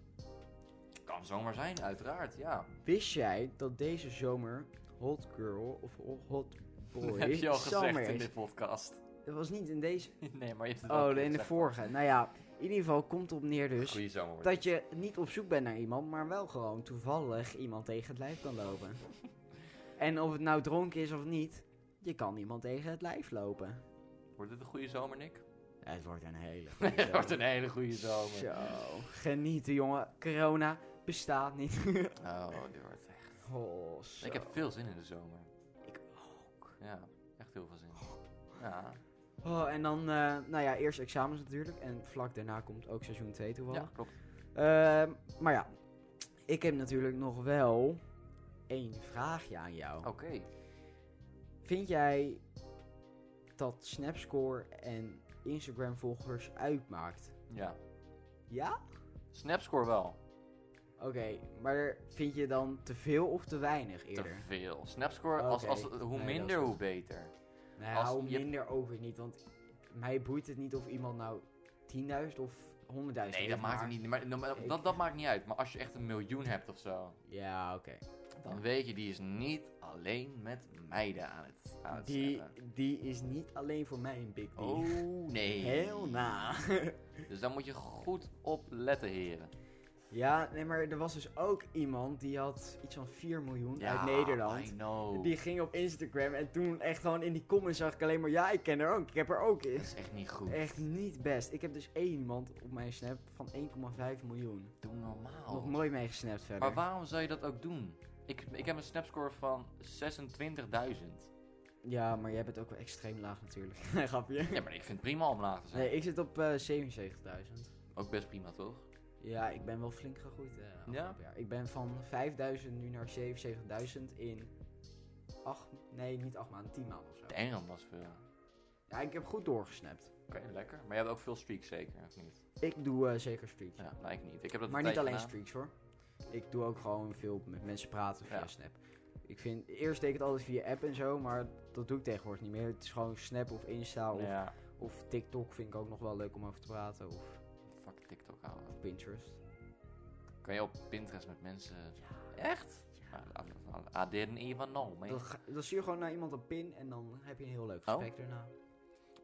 Speaker 2: ik. Kan zomaar zijn, uiteraard, ja.
Speaker 1: Wist jij dat deze zomer hot girl of hot boy
Speaker 2: Dat heb je al gezegd
Speaker 1: zomer
Speaker 2: in
Speaker 1: is?
Speaker 2: de podcast.
Speaker 1: Dat was niet in deze.
Speaker 2: nee, maar je hebt het wel
Speaker 1: Oh,
Speaker 2: een keer
Speaker 1: in de
Speaker 2: gezegd.
Speaker 1: vorige. Nou ja, in ieder geval komt op neer dus
Speaker 2: Goeie zomer. wordt
Speaker 1: dat je niet op zoek bent naar iemand, maar wel gewoon toevallig iemand tegen het lijf kan lopen. en of het nou dronken is of niet, je kan iemand tegen het lijf lopen.
Speaker 2: dit. Wordt dit een goede zomer, Nick?
Speaker 1: Ja, het wordt een hele. goeie
Speaker 2: het wordt
Speaker 1: zomer.
Speaker 2: een hele goede zomer.
Speaker 1: Zo, genieten jongen. Corona bestaat niet.
Speaker 2: Oh, dit wordt echt...
Speaker 1: Oh, zo.
Speaker 2: Ik heb veel zin in de zomer.
Speaker 1: Ik ook.
Speaker 2: Ja, echt heel veel zin. Ja.
Speaker 1: Oh, en dan, eh, nou ja, eerst examens natuurlijk. En vlak daarna komt ook seizoen 2
Speaker 2: ja,
Speaker 1: toevallig.
Speaker 2: klopt.
Speaker 1: Ehm, maar ja, ik heb natuurlijk nog wel één vraagje aan jou.
Speaker 2: Oké.
Speaker 1: Vind jij dat Snapscore en Instagram volgers uitmaakt?
Speaker 2: Ja.
Speaker 1: Ja?
Speaker 2: Snapscore wel.
Speaker 1: Oké, maar vind je dan te veel of te weinig
Speaker 2: Te
Speaker 1: eerder?
Speaker 2: veel. Snapscore, als,
Speaker 1: Oké.
Speaker 2: als, hoe
Speaker 1: Nee, dat is
Speaker 2: minder,
Speaker 1: goed.
Speaker 2: hoe beter. Als
Speaker 1: Nou,
Speaker 2: je-
Speaker 1: minder ook weer niet, want mij boeit het niet of iemand nou 10.000 of 100.000
Speaker 2: Nee, dat
Speaker 1: heeft,
Speaker 2: maakt
Speaker 1: maar-
Speaker 2: het niet. Maar, maar
Speaker 1: Ik-
Speaker 2: dat, dat maakt niet uit. Maar als je echt een miljoen hebt of zo,
Speaker 1: Ja, oké.
Speaker 2: dan weet je, die is niet alleen met meiden aan het, aan het
Speaker 1: Die,
Speaker 2: snappen.
Speaker 1: die is niet alleen voor mij een big deal.
Speaker 2: eh. Oh, nee.
Speaker 1: Heel na.
Speaker 2: Dus daar moet je goed op letten, heren.
Speaker 1: ja, nee, maar er was dus ook iemand die had iets van 4 miljoen
Speaker 2: Ja,
Speaker 1: uit Nederland.
Speaker 2: I know.
Speaker 1: Die ging op Instagram en toen echt gewoon in die comments zag ik alleen maar... Ja, ik ken haar ook. Ik heb haar ook.
Speaker 2: Dat is echt niet goed.
Speaker 1: Echt niet best. Ik heb dus één iemand op mijn snap van 1,5 miljoen.
Speaker 2: Doe normaal.
Speaker 1: Nog nooit mee gesnapt verder.
Speaker 2: Oh. maar waarom zou je dat ook doen? Ik, ik heb een snapscore van 26.000.
Speaker 1: Ja, maar jij bent ook wel extreem laag natuurlijk. Nee, Grapje.
Speaker 2: Ja, maar ik vind het prima om laag te zijn.
Speaker 1: Nee, ik zit op eh, 77.000.
Speaker 2: Ook best prima, toch?
Speaker 1: Ja, ik ben wel flink gegroeid. eh, afgelopen jaar. Ik ben van 5000 nu naar 77.000 in 8, nee, niet 8 maanden, 10 maanden of zo.
Speaker 2: Engeland was veel. Oké,
Speaker 1: Ja, ik heb goed doorgesnapt.
Speaker 2: lekker. Maar jij hebt ook veel streaks zeker, of niet?
Speaker 1: Ik doe eh, zeker streaks.
Speaker 2: Ja, nou ik niet. Ik heb dat
Speaker 1: maar
Speaker 2: een
Speaker 1: niet
Speaker 2: tijdje
Speaker 1: alleen
Speaker 2: gedaan.
Speaker 1: streaks hoor. Ik doe ook gewoon veel met mensen praten via
Speaker 2: Ja.
Speaker 1: Snap. Ik vind, eerst deed ik het altijd via app en zo, maar dat doe ik tegenwoordig niet meer. Het is gewoon Snap of Insta of,
Speaker 2: Ja,
Speaker 1: of TikTok vind ik ook nog wel leuk om over te praten. Of
Speaker 2: fuck TikTok houden.
Speaker 1: Pinterest.
Speaker 2: Kan je op Pinterest met mensen... ah,
Speaker 1: Echt?
Speaker 2: I didn't even know, man.
Speaker 1: Dan, ga- dan stuur je gewoon naar iemand een pin en dan heb je een heel leuk
Speaker 2: Oh.
Speaker 1: gesprek daarna.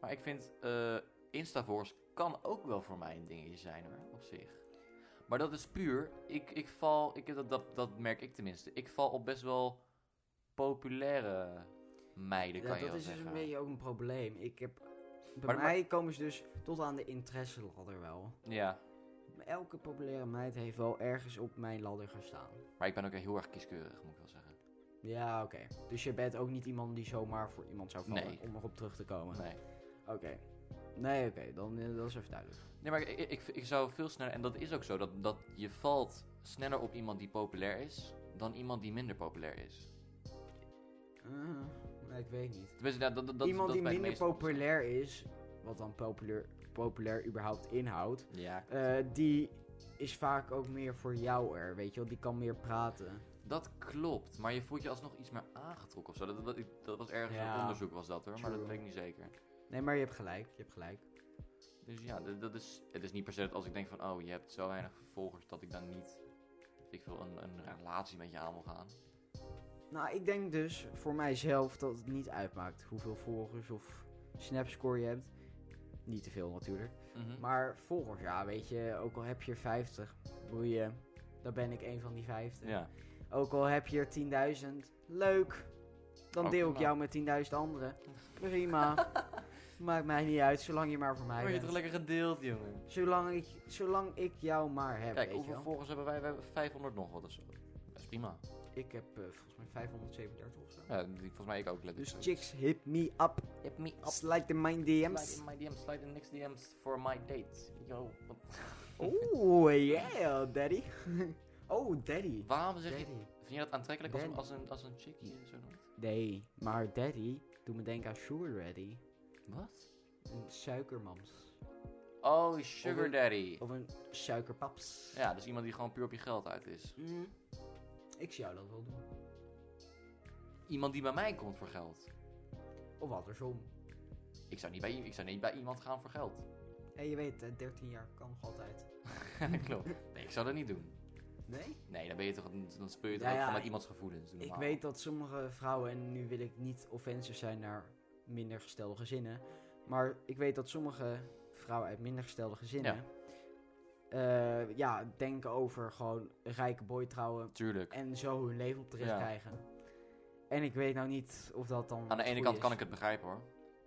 Speaker 2: Maar ik vind eh Instavoors kan ook wel voor mij een dingetje zijn hoor, op zich. Maar dat is puur, ik, ik val, ik, dat, dat, dat merk ik tenminste, ik val op best wel populaire meiden,
Speaker 1: Ja,
Speaker 2: kan je
Speaker 1: dat
Speaker 2: wel
Speaker 1: is dus
Speaker 2: zeggen.
Speaker 1: een beetje ook een probleem. Ik heb, bij
Speaker 2: Maar- maar-
Speaker 1: mij komen ze dus tot aan de interesseladder wel.
Speaker 2: Ja,
Speaker 1: Elke populaire meid heeft wel ergens op mijn ladder gestaan.
Speaker 2: maar ik ben ook heel erg kieskeurig, moet ik wel zeggen.
Speaker 1: Ja, oké. Dus je bent ook niet iemand die zomaar voor iemand zou vallen
Speaker 2: Nee.
Speaker 1: om erop terug te komen.
Speaker 2: Nee.
Speaker 1: Oké. Nee, oké. Dan eh, dat is even duidelijk.
Speaker 2: Nee, maar ik, ik, ik zou veel sneller, en dat is ook zo, dat, dat je valt sneller op iemand die populair is dan iemand die minder populair is.
Speaker 1: Eh, nee, ik weet niet.
Speaker 2: Tenminste, nou, dat, dat, dat,
Speaker 1: iemand
Speaker 2: dat is
Speaker 1: die
Speaker 2: bij de meeste
Speaker 1: minder
Speaker 2: mensen.
Speaker 1: populair is, wat dan populair, populair überhaupt inhoudt,
Speaker 2: Ja,
Speaker 1: eh, die is vaak ook meer voor jou er, weet je wel. Die kan meer praten.
Speaker 2: dat klopt. Maar je voelt je alsnog iets meer aangetrokken of zo. Dat, dat, dat was ergens
Speaker 1: Ja.
Speaker 2: een onderzoek was dat hoor, maar dat
Speaker 1: True.
Speaker 2: weet ik niet zeker.
Speaker 1: Nee, maar je hebt gelijk, je hebt gelijk.
Speaker 2: Dus ja, dat, dat is, het is niet per se dat als ik denk van, oh, je hebt zo weinig volgers dat ik dan niet, weet ik wil een, een relatie met je aan wil gaan.
Speaker 1: Nou, ik denk dus voor mijzelf dat het niet uitmaakt hoeveel volgers of snapscore je hebt. Niet te veel natuurlijk.
Speaker 2: Mhm.
Speaker 1: Maar volgers, ja, weet je, ook al heb je er 50, boeien, dan ben ik een van die 50.
Speaker 2: ja.
Speaker 1: Ook al heb je er 10.000, leuk. Dan
Speaker 2: Ook
Speaker 1: deel ik
Speaker 2: prima.
Speaker 1: jou met 10.000 anderen. Prima. Maakt mij niet uit, zolang je maar voor mij
Speaker 2: Maar je hebt
Speaker 1: bent.
Speaker 2: toch lekker gedeeld, jongen.
Speaker 1: Zolang ik, zolang ik jou maar heb,
Speaker 2: Kijk,
Speaker 1: weet je
Speaker 2: hoeveel
Speaker 1: wel.
Speaker 2: volgers hebben wij? We hebben 500 nog wat of zo. Dat is prima.
Speaker 1: Ik heb eh, volgens mij 537 of zo.
Speaker 2: Ja, die- volgens mij ik ook letterlijk.
Speaker 1: Dus chicks, hit me up.
Speaker 2: Hit me up.
Speaker 1: Slide in mijn DM's.
Speaker 2: in my DM's, slide in next DM's for my date. Yo. Wat-
Speaker 1: Oeh, yeah, daddy. oh, daddy.
Speaker 2: Waarom zeg je...
Speaker 1: Daddy.
Speaker 2: Vind je dat aantrekkelijk als, een-
Speaker 1: Ben.
Speaker 2: als, een, als een chick die je zo noemt?
Speaker 1: Nee, maar daddy doet me denken aan sugar daddy.
Speaker 2: Wat?
Speaker 1: Een suikermams.
Speaker 2: Oh,
Speaker 1: Of
Speaker 2: sugar
Speaker 1: een-
Speaker 2: daddy.
Speaker 1: Of een suikerpaps.
Speaker 2: Ja, dus iemand die gewoon puur op je geld uit is.
Speaker 1: Mm. Ik zou dat wel doen.
Speaker 2: Iemand die bij mij komt voor geld.
Speaker 1: Of andersom.
Speaker 2: Ik zou niet bij, i- ik zou niet bij iemand gaan voor geld.
Speaker 1: En je weet, eh, 13 jaar kan nog altijd.
Speaker 2: Klopt. Nee, ik zou dat niet doen.
Speaker 1: Nee?
Speaker 2: Nee, dan, ben je toch, dan speel je toch
Speaker 1: Ja,
Speaker 2: ook
Speaker 1: ja,
Speaker 2: gewoon met
Speaker 1: ik-
Speaker 2: iemands gevoelens. Doe
Speaker 1: Ik
Speaker 2: normaal.
Speaker 1: weet dat sommige vrouwen, en nu wil ik niet offensief zijn naar minder gestelde gezinnen, maar ik weet dat sommige vrouwen uit minder gestelde gezinnen, ja, ja denken over gewoon een rijke boy trouwen
Speaker 2: Tuurlijk.
Speaker 1: en zo hun leven op de rit
Speaker 2: Ja.
Speaker 1: krijgen. En ik weet nou niet of dat dan.
Speaker 2: Aan de
Speaker 1: het
Speaker 2: ene
Speaker 1: goede
Speaker 2: kant
Speaker 1: is.
Speaker 2: kan ik het begrijpen hoor.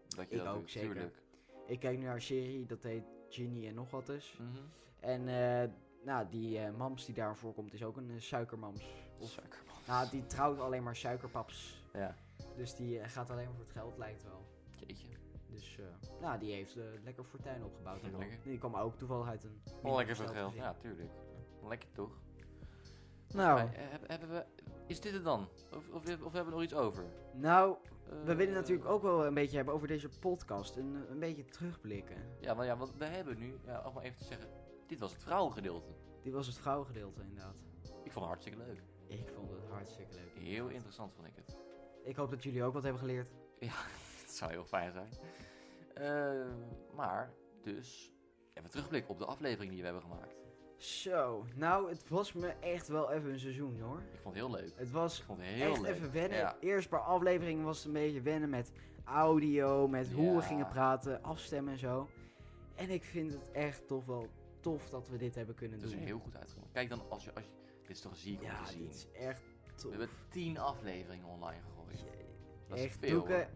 Speaker 2: Dat je
Speaker 1: Ik
Speaker 2: dat
Speaker 1: ook,
Speaker 2: doet,
Speaker 1: zeker.
Speaker 2: tuurlijk.
Speaker 1: Ik kijk nu naar een serie dat heet Ginny en nog wat dus.
Speaker 2: Mhm.
Speaker 1: En eh, nou, die eh, mams die daar voorkomt is ook een eh, suikermams. Of, nou, die trouwt alleen maar suikerpaps.
Speaker 2: Ja.
Speaker 1: Dus die eh, gaat alleen maar voor het geld, lijkt wel.
Speaker 2: Jeetje.
Speaker 1: Dus eh, nou, die heeft eh, lekker fortuin opgebouwd. en al.
Speaker 2: Lekker.
Speaker 1: Die kwam ook toevallig uit een.
Speaker 2: Oh, lekker veel
Speaker 1: gesteld
Speaker 2: geld.
Speaker 1: gezin.
Speaker 2: Ja, tuurlijk. Lekker toch?
Speaker 1: Nou,
Speaker 2: Hey, eh, heb- hebben we, is dit het dan? Of, of, of hebben we nog iets over?
Speaker 1: nou, we
Speaker 2: Eh,
Speaker 1: willen natuurlijk ook wel een beetje hebben over deze podcast. Een, een beetje terugblikken.
Speaker 2: Ja, maar ja, want we hebben nu, ja, om maar even te zeggen, dit was het vrouwengedeelte.
Speaker 1: Dit was het vrouwengedeelte, inderdaad.
Speaker 2: Ik vond het hartstikke leuk.
Speaker 1: Ik vond het hartstikke leuk.
Speaker 2: Heel interessant vond ik het.
Speaker 1: Ik hoop dat jullie ook wat hebben geleerd.
Speaker 2: Het zou heel fijn zijn. Eh, maar, dus, even terugblik op de aflevering die we hebben gemaakt.
Speaker 1: Zo, nou, het was me echt wel even een seizoen hoor.
Speaker 2: Ik vond het heel leuk.
Speaker 1: Het was
Speaker 2: Ik vond het heel
Speaker 1: echt
Speaker 2: leuk.
Speaker 1: even wennen.
Speaker 2: Ja.
Speaker 1: Eerst paar afleveringen was het een beetje wennen met audio, met hoe
Speaker 2: Ja.
Speaker 1: we gingen praten, afstemmen en zo. En ik vind het echt toch wel tof dat we dit hebben kunnen
Speaker 2: Het is
Speaker 1: doen.
Speaker 2: heel goed uitgekomen. Kijk dan, als je, als je, dit is toch ziek om
Speaker 1: ja,
Speaker 2: te zien.
Speaker 1: dit is echt
Speaker 2: We
Speaker 1: tof.
Speaker 2: hebben tien afleveringen online gegooid.
Speaker 1: Jee,
Speaker 2: Dat is
Speaker 1: echt
Speaker 2: veel,
Speaker 1: Doeke,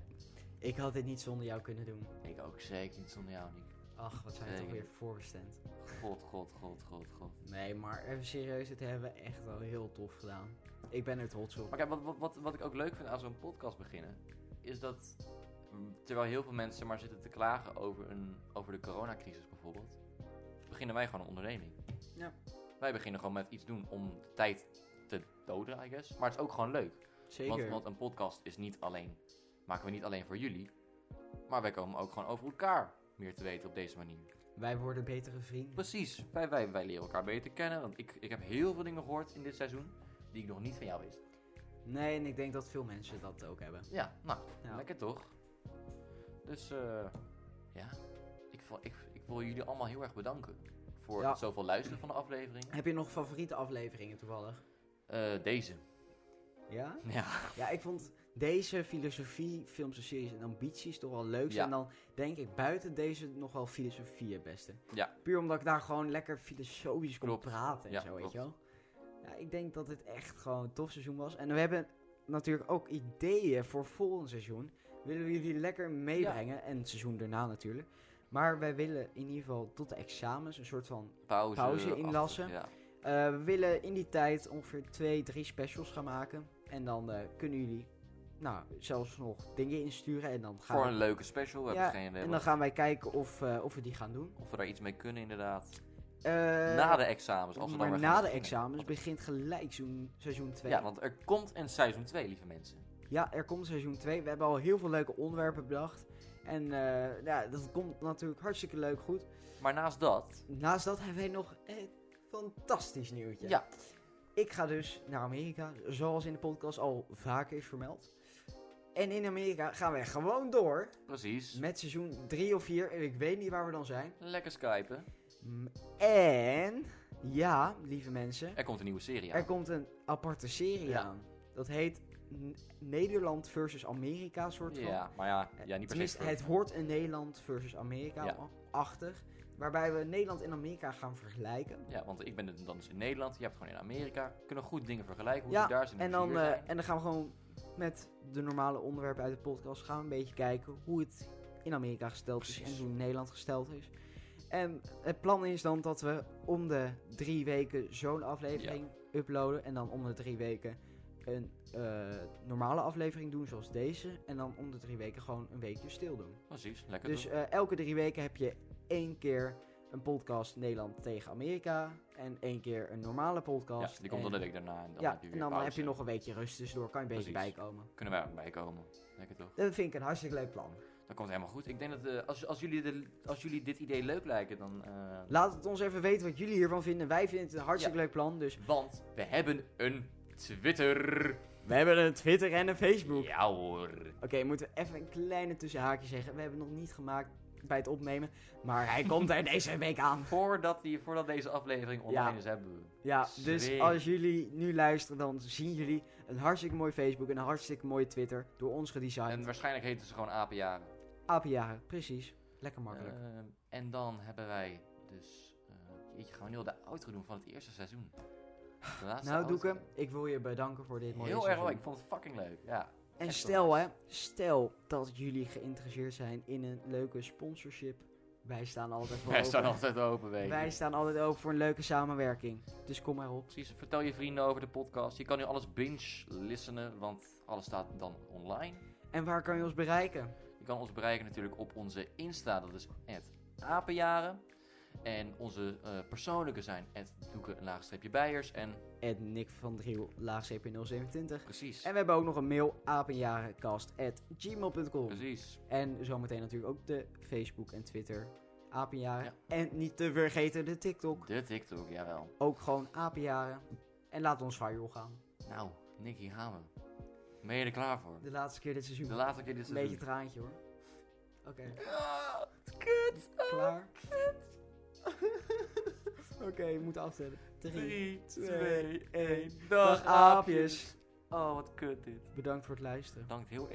Speaker 1: ik had dit niet zonder jou kunnen doen.
Speaker 2: Ik ook zeker niet zonder jou niet.
Speaker 1: Ach, wat zijn we toch
Speaker 2: Zeker.
Speaker 1: weer voorbestemd.
Speaker 2: God, god, god, god, god.
Speaker 1: Nee, maar even serieus, dit hebben we echt wel heel tof gedaan. Ik ben er trots op.
Speaker 2: Maar kijk, wat, wat, wat, wat ik ook leuk vind aan zo'n podcast beginnen, is dat mm, terwijl heel veel mensen maar zitten te klagen over, een, over de coronacrisis bijvoorbeeld, beginnen wij gewoon een onderneming.
Speaker 1: Ja.
Speaker 2: Wij beginnen gewoon met iets doen om de tijd te doden, I guess. Maar het is ook gewoon leuk.
Speaker 1: Zeker.
Speaker 2: Want, want een podcast is niet alleen, maken we niet alleen voor jullie, maar wij komen ook gewoon over elkaar meer te weten op deze manier.
Speaker 1: Wij worden betere vrienden.
Speaker 2: Precies, wij, wij, wij leren elkaar beter kennen. Want ik, ik heb heel veel dingen gehoord in dit seizoen die ik nog niet van jou wist.
Speaker 1: Nee, en ik denk dat veel mensen dat ook hebben.
Speaker 2: Ja, nou,
Speaker 1: Ja.
Speaker 2: lekker toch? Dus eh, ja, ik, vo- ik, ik wil jullie allemaal heel erg bedanken voor
Speaker 1: Ja.
Speaker 2: het zoveel luisteren van de aflevering.
Speaker 1: Heb je nog favoriete afleveringen toevallig?
Speaker 2: Eh, deze.
Speaker 1: Ja?
Speaker 2: Ja.
Speaker 1: Ja, ik vond deze filosofie, films en series en ambities toch wel leuk.
Speaker 2: Ja.
Speaker 1: En dan denk ik buiten deze nog wel filosofie het beste.
Speaker 2: Ja.
Speaker 1: Puur omdat ik daar gewoon lekker filosofisch kon
Speaker 2: Klopt.
Speaker 1: praten en
Speaker 2: Ja,
Speaker 1: zo, weet je
Speaker 2: klopt.
Speaker 1: wel. Ja, ik denk dat dit echt gewoon een tof seizoen was. En we hebben natuurlijk ook ideeën voor volgend seizoen. Willen we jullie lekker meebrengen. En het seizoen daarna natuurlijk. Maar wij willen in ieder geval tot de examens een soort van
Speaker 2: Pauze.
Speaker 1: Pauze
Speaker 2: achter-
Speaker 1: inlassen.
Speaker 2: Ja.
Speaker 1: eh, we willen in die tijd ongeveer twee, drie specials gaan maken. En dan eh, kunnen jullie nou, zelfs nog dingen insturen. En dan gaan,
Speaker 2: Voor
Speaker 1: we,
Speaker 2: een leuke special. We
Speaker 1: Ja,
Speaker 2: hebben geen idee
Speaker 1: en dan
Speaker 2: wat-
Speaker 1: gaan wij kijken of, eh, of we die gaan doen.
Speaker 2: of we daar iets mee kunnen inderdaad.
Speaker 1: Eh,
Speaker 2: na de examens. Als we dan
Speaker 1: maar
Speaker 2: weer gaan
Speaker 1: na de
Speaker 2: beginnen.
Speaker 1: examens
Speaker 2: Want-
Speaker 1: begint gelijk zoen- seizoen 2.
Speaker 2: Ja, want er komt een seizoen 2, lieve mensen.
Speaker 1: er komt seizoen 2. We hebben al heel veel leuke onderwerpen bedacht. En En eh, ja, dat komt natuurlijk hartstikke leuk goed.
Speaker 2: Maar naast dat,
Speaker 1: Naast dat hebben wij nog een fantastisch nieuwtje.
Speaker 2: Ja.
Speaker 1: Ik ga dus naar Amerika, zoals in de podcast al vaker is vermeld. En in Amerika gaan wij gewoon door
Speaker 2: precies,
Speaker 1: met seizoen 3 of 4. Ik weet niet waar we dan zijn.
Speaker 2: lekker skypen.
Speaker 1: M- En ja, lieve mensen,
Speaker 2: Er komt een nieuwe serie
Speaker 1: er
Speaker 2: aan.
Speaker 1: komt een aparte serie
Speaker 2: Ja.
Speaker 1: aan. Dat heet N- Nederland versus Amerika soort van.
Speaker 2: Ja, maar ja, ja niet per se.
Speaker 1: Tenminste, het hoort een Nederland versus Amerika-achtig. Waarbij we Nederland en Amerika gaan vergelijken.
Speaker 2: Ja, want ik ben het dan dus in Nederland, je hebt gewoon in Amerika. Kunnen goed dingen vergelijken, hoe
Speaker 1: Ja,
Speaker 2: ze daar zijn.
Speaker 1: En
Speaker 2: hoe ze
Speaker 1: dan,
Speaker 2: hier
Speaker 1: eh,
Speaker 2: zijn.
Speaker 1: en dan gaan we gewoon met de normale onderwerpen uit de podcast gaan we een beetje kijken hoe het in Amerika gesteld is
Speaker 2: Precies.
Speaker 1: en hoe in Nederland gesteld is. En het plan is dan dat we om de drie weken zo'n aflevering uploaden. En dan om de drie weken een eh, normale aflevering doen zoals deze. En dan om de drie weken gewoon een weekje stil doen.
Speaker 2: Precies, Oh, lekker
Speaker 1: Dus
Speaker 2: doen.
Speaker 1: eh, elke drie weken heb je één keer een podcast Nederland tegen Amerika. En één keer een normale podcast.
Speaker 2: Ja, die komt
Speaker 1: en,
Speaker 2: dan de week daarna en dan
Speaker 1: ja,
Speaker 2: heb je weer
Speaker 1: en dan eh,
Speaker 2: pauze.
Speaker 1: heb je nog een weekje rust tussendoor. Kan je een beetje
Speaker 2: Precies.
Speaker 1: bijkomen.
Speaker 2: Kunnen wij ook bijkomen. Lekker toch?
Speaker 1: Dat vind ik een hartstikke leuk plan.
Speaker 2: Dat komt helemaal goed. Ik denk dat eh, als, als, jullie de, als jullie dit idee leuk lijken, dan... eh,
Speaker 1: Laat het ons even weten wat jullie hiervan vinden. Wij vinden het een hartstikke leuk plan. Dus
Speaker 2: Want we hebben een Twitter.
Speaker 1: we hebben een Twitter en een Facebook.
Speaker 2: Ja hoor.
Speaker 1: Oké, moeten we even een kleine tussenhaakje zeggen. We hebben het nog niet gemaakt bij het opnemen. Maar hij komt er deze week aan.
Speaker 2: Voordat, die, voordat deze aflevering online
Speaker 1: Ja.
Speaker 2: is, hebben we...
Speaker 1: Ja, dus
Speaker 2: Zweer.
Speaker 1: als jullie nu luisteren, dan zien jullie een hartstikke mooi Facebook en een hartstikke mooie Twitter. Door ons
Speaker 2: En
Speaker 1: gedesigned.
Speaker 2: waarschijnlijk heten ze gewoon apenjaren.
Speaker 1: Apenjaren, precies. Lekker makkelijk.
Speaker 2: Ehm, en dan hebben wij dus... eh jeetje, gaan we nu al de outro doen van het eerste seizoen. De laatste
Speaker 1: nou,
Speaker 2: outro.
Speaker 1: Doeken, ik wil je bedanken voor dit mooie
Speaker 2: Heel erg
Speaker 1: seizoen.
Speaker 2: leuk. Ik vond het fucking leuk. Ja.
Speaker 1: En
Speaker 2: Echt
Speaker 1: stel, hè,
Speaker 2: onwijs.
Speaker 1: stel dat jullie geïnteresseerd zijn in een leuke sponsorship. Wij staan altijd voor
Speaker 2: Wij
Speaker 1: open.
Speaker 2: staan altijd open, weet je.
Speaker 1: Wij staan altijd open voor een leuke samenwerking. Dus kom maar op.
Speaker 2: Precies, vertel je vrienden over de podcast. Je kan nu alles binge-listenen, want alles staat dan online.
Speaker 1: En waar kan je ons bereiken?
Speaker 2: Je kan ons bereiken natuurlijk op onze Insta, dat is het apenjaren. En onze eh, persoonlijke zijn het doeken een laagstreepje bijers. En
Speaker 1: At Nick van Driel, laagstreepje 027.
Speaker 2: precies,
Speaker 1: En we hebben ook nog een mail, apenjarenkast.gmail.com.
Speaker 2: precies.
Speaker 1: En zometeen natuurlijk ook de Facebook en Twitter, apenjaren.
Speaker 2: Ja.
Speaker 1: En niet te vergeten de TikTok,
Speaker 2: De TikTok, jawel.
Speaker 1: ook gewoon apenjaren. En laat ons viral gaan.
Speaker 2: Nou, Nick, hier gaan we. Ben je er klaar voor?
Speaker 1: De laatste keer dit seizoen.
Speaker 2: De laatste keer dit
Speaker 1: Een beetje
Speaker 2: seizoen.
Speaker 1: traantje hoor. Oké,
Speaker 2: Ah, kut. Ah,
Speaker 1: klaar. Oké, we moeten aftellen. Drie.
Speaker 2: 3,
Speaker 1: twee,
Speaker 2: 2,
Speaker 1: één.
Speaker 2: 1.
Speaker 1: Dag, aapjes.
Speaker 2: Oh, wat kut dit.
Speaker 1: Bedankt voor het luisteren.
Speaker 2: Bedankt heel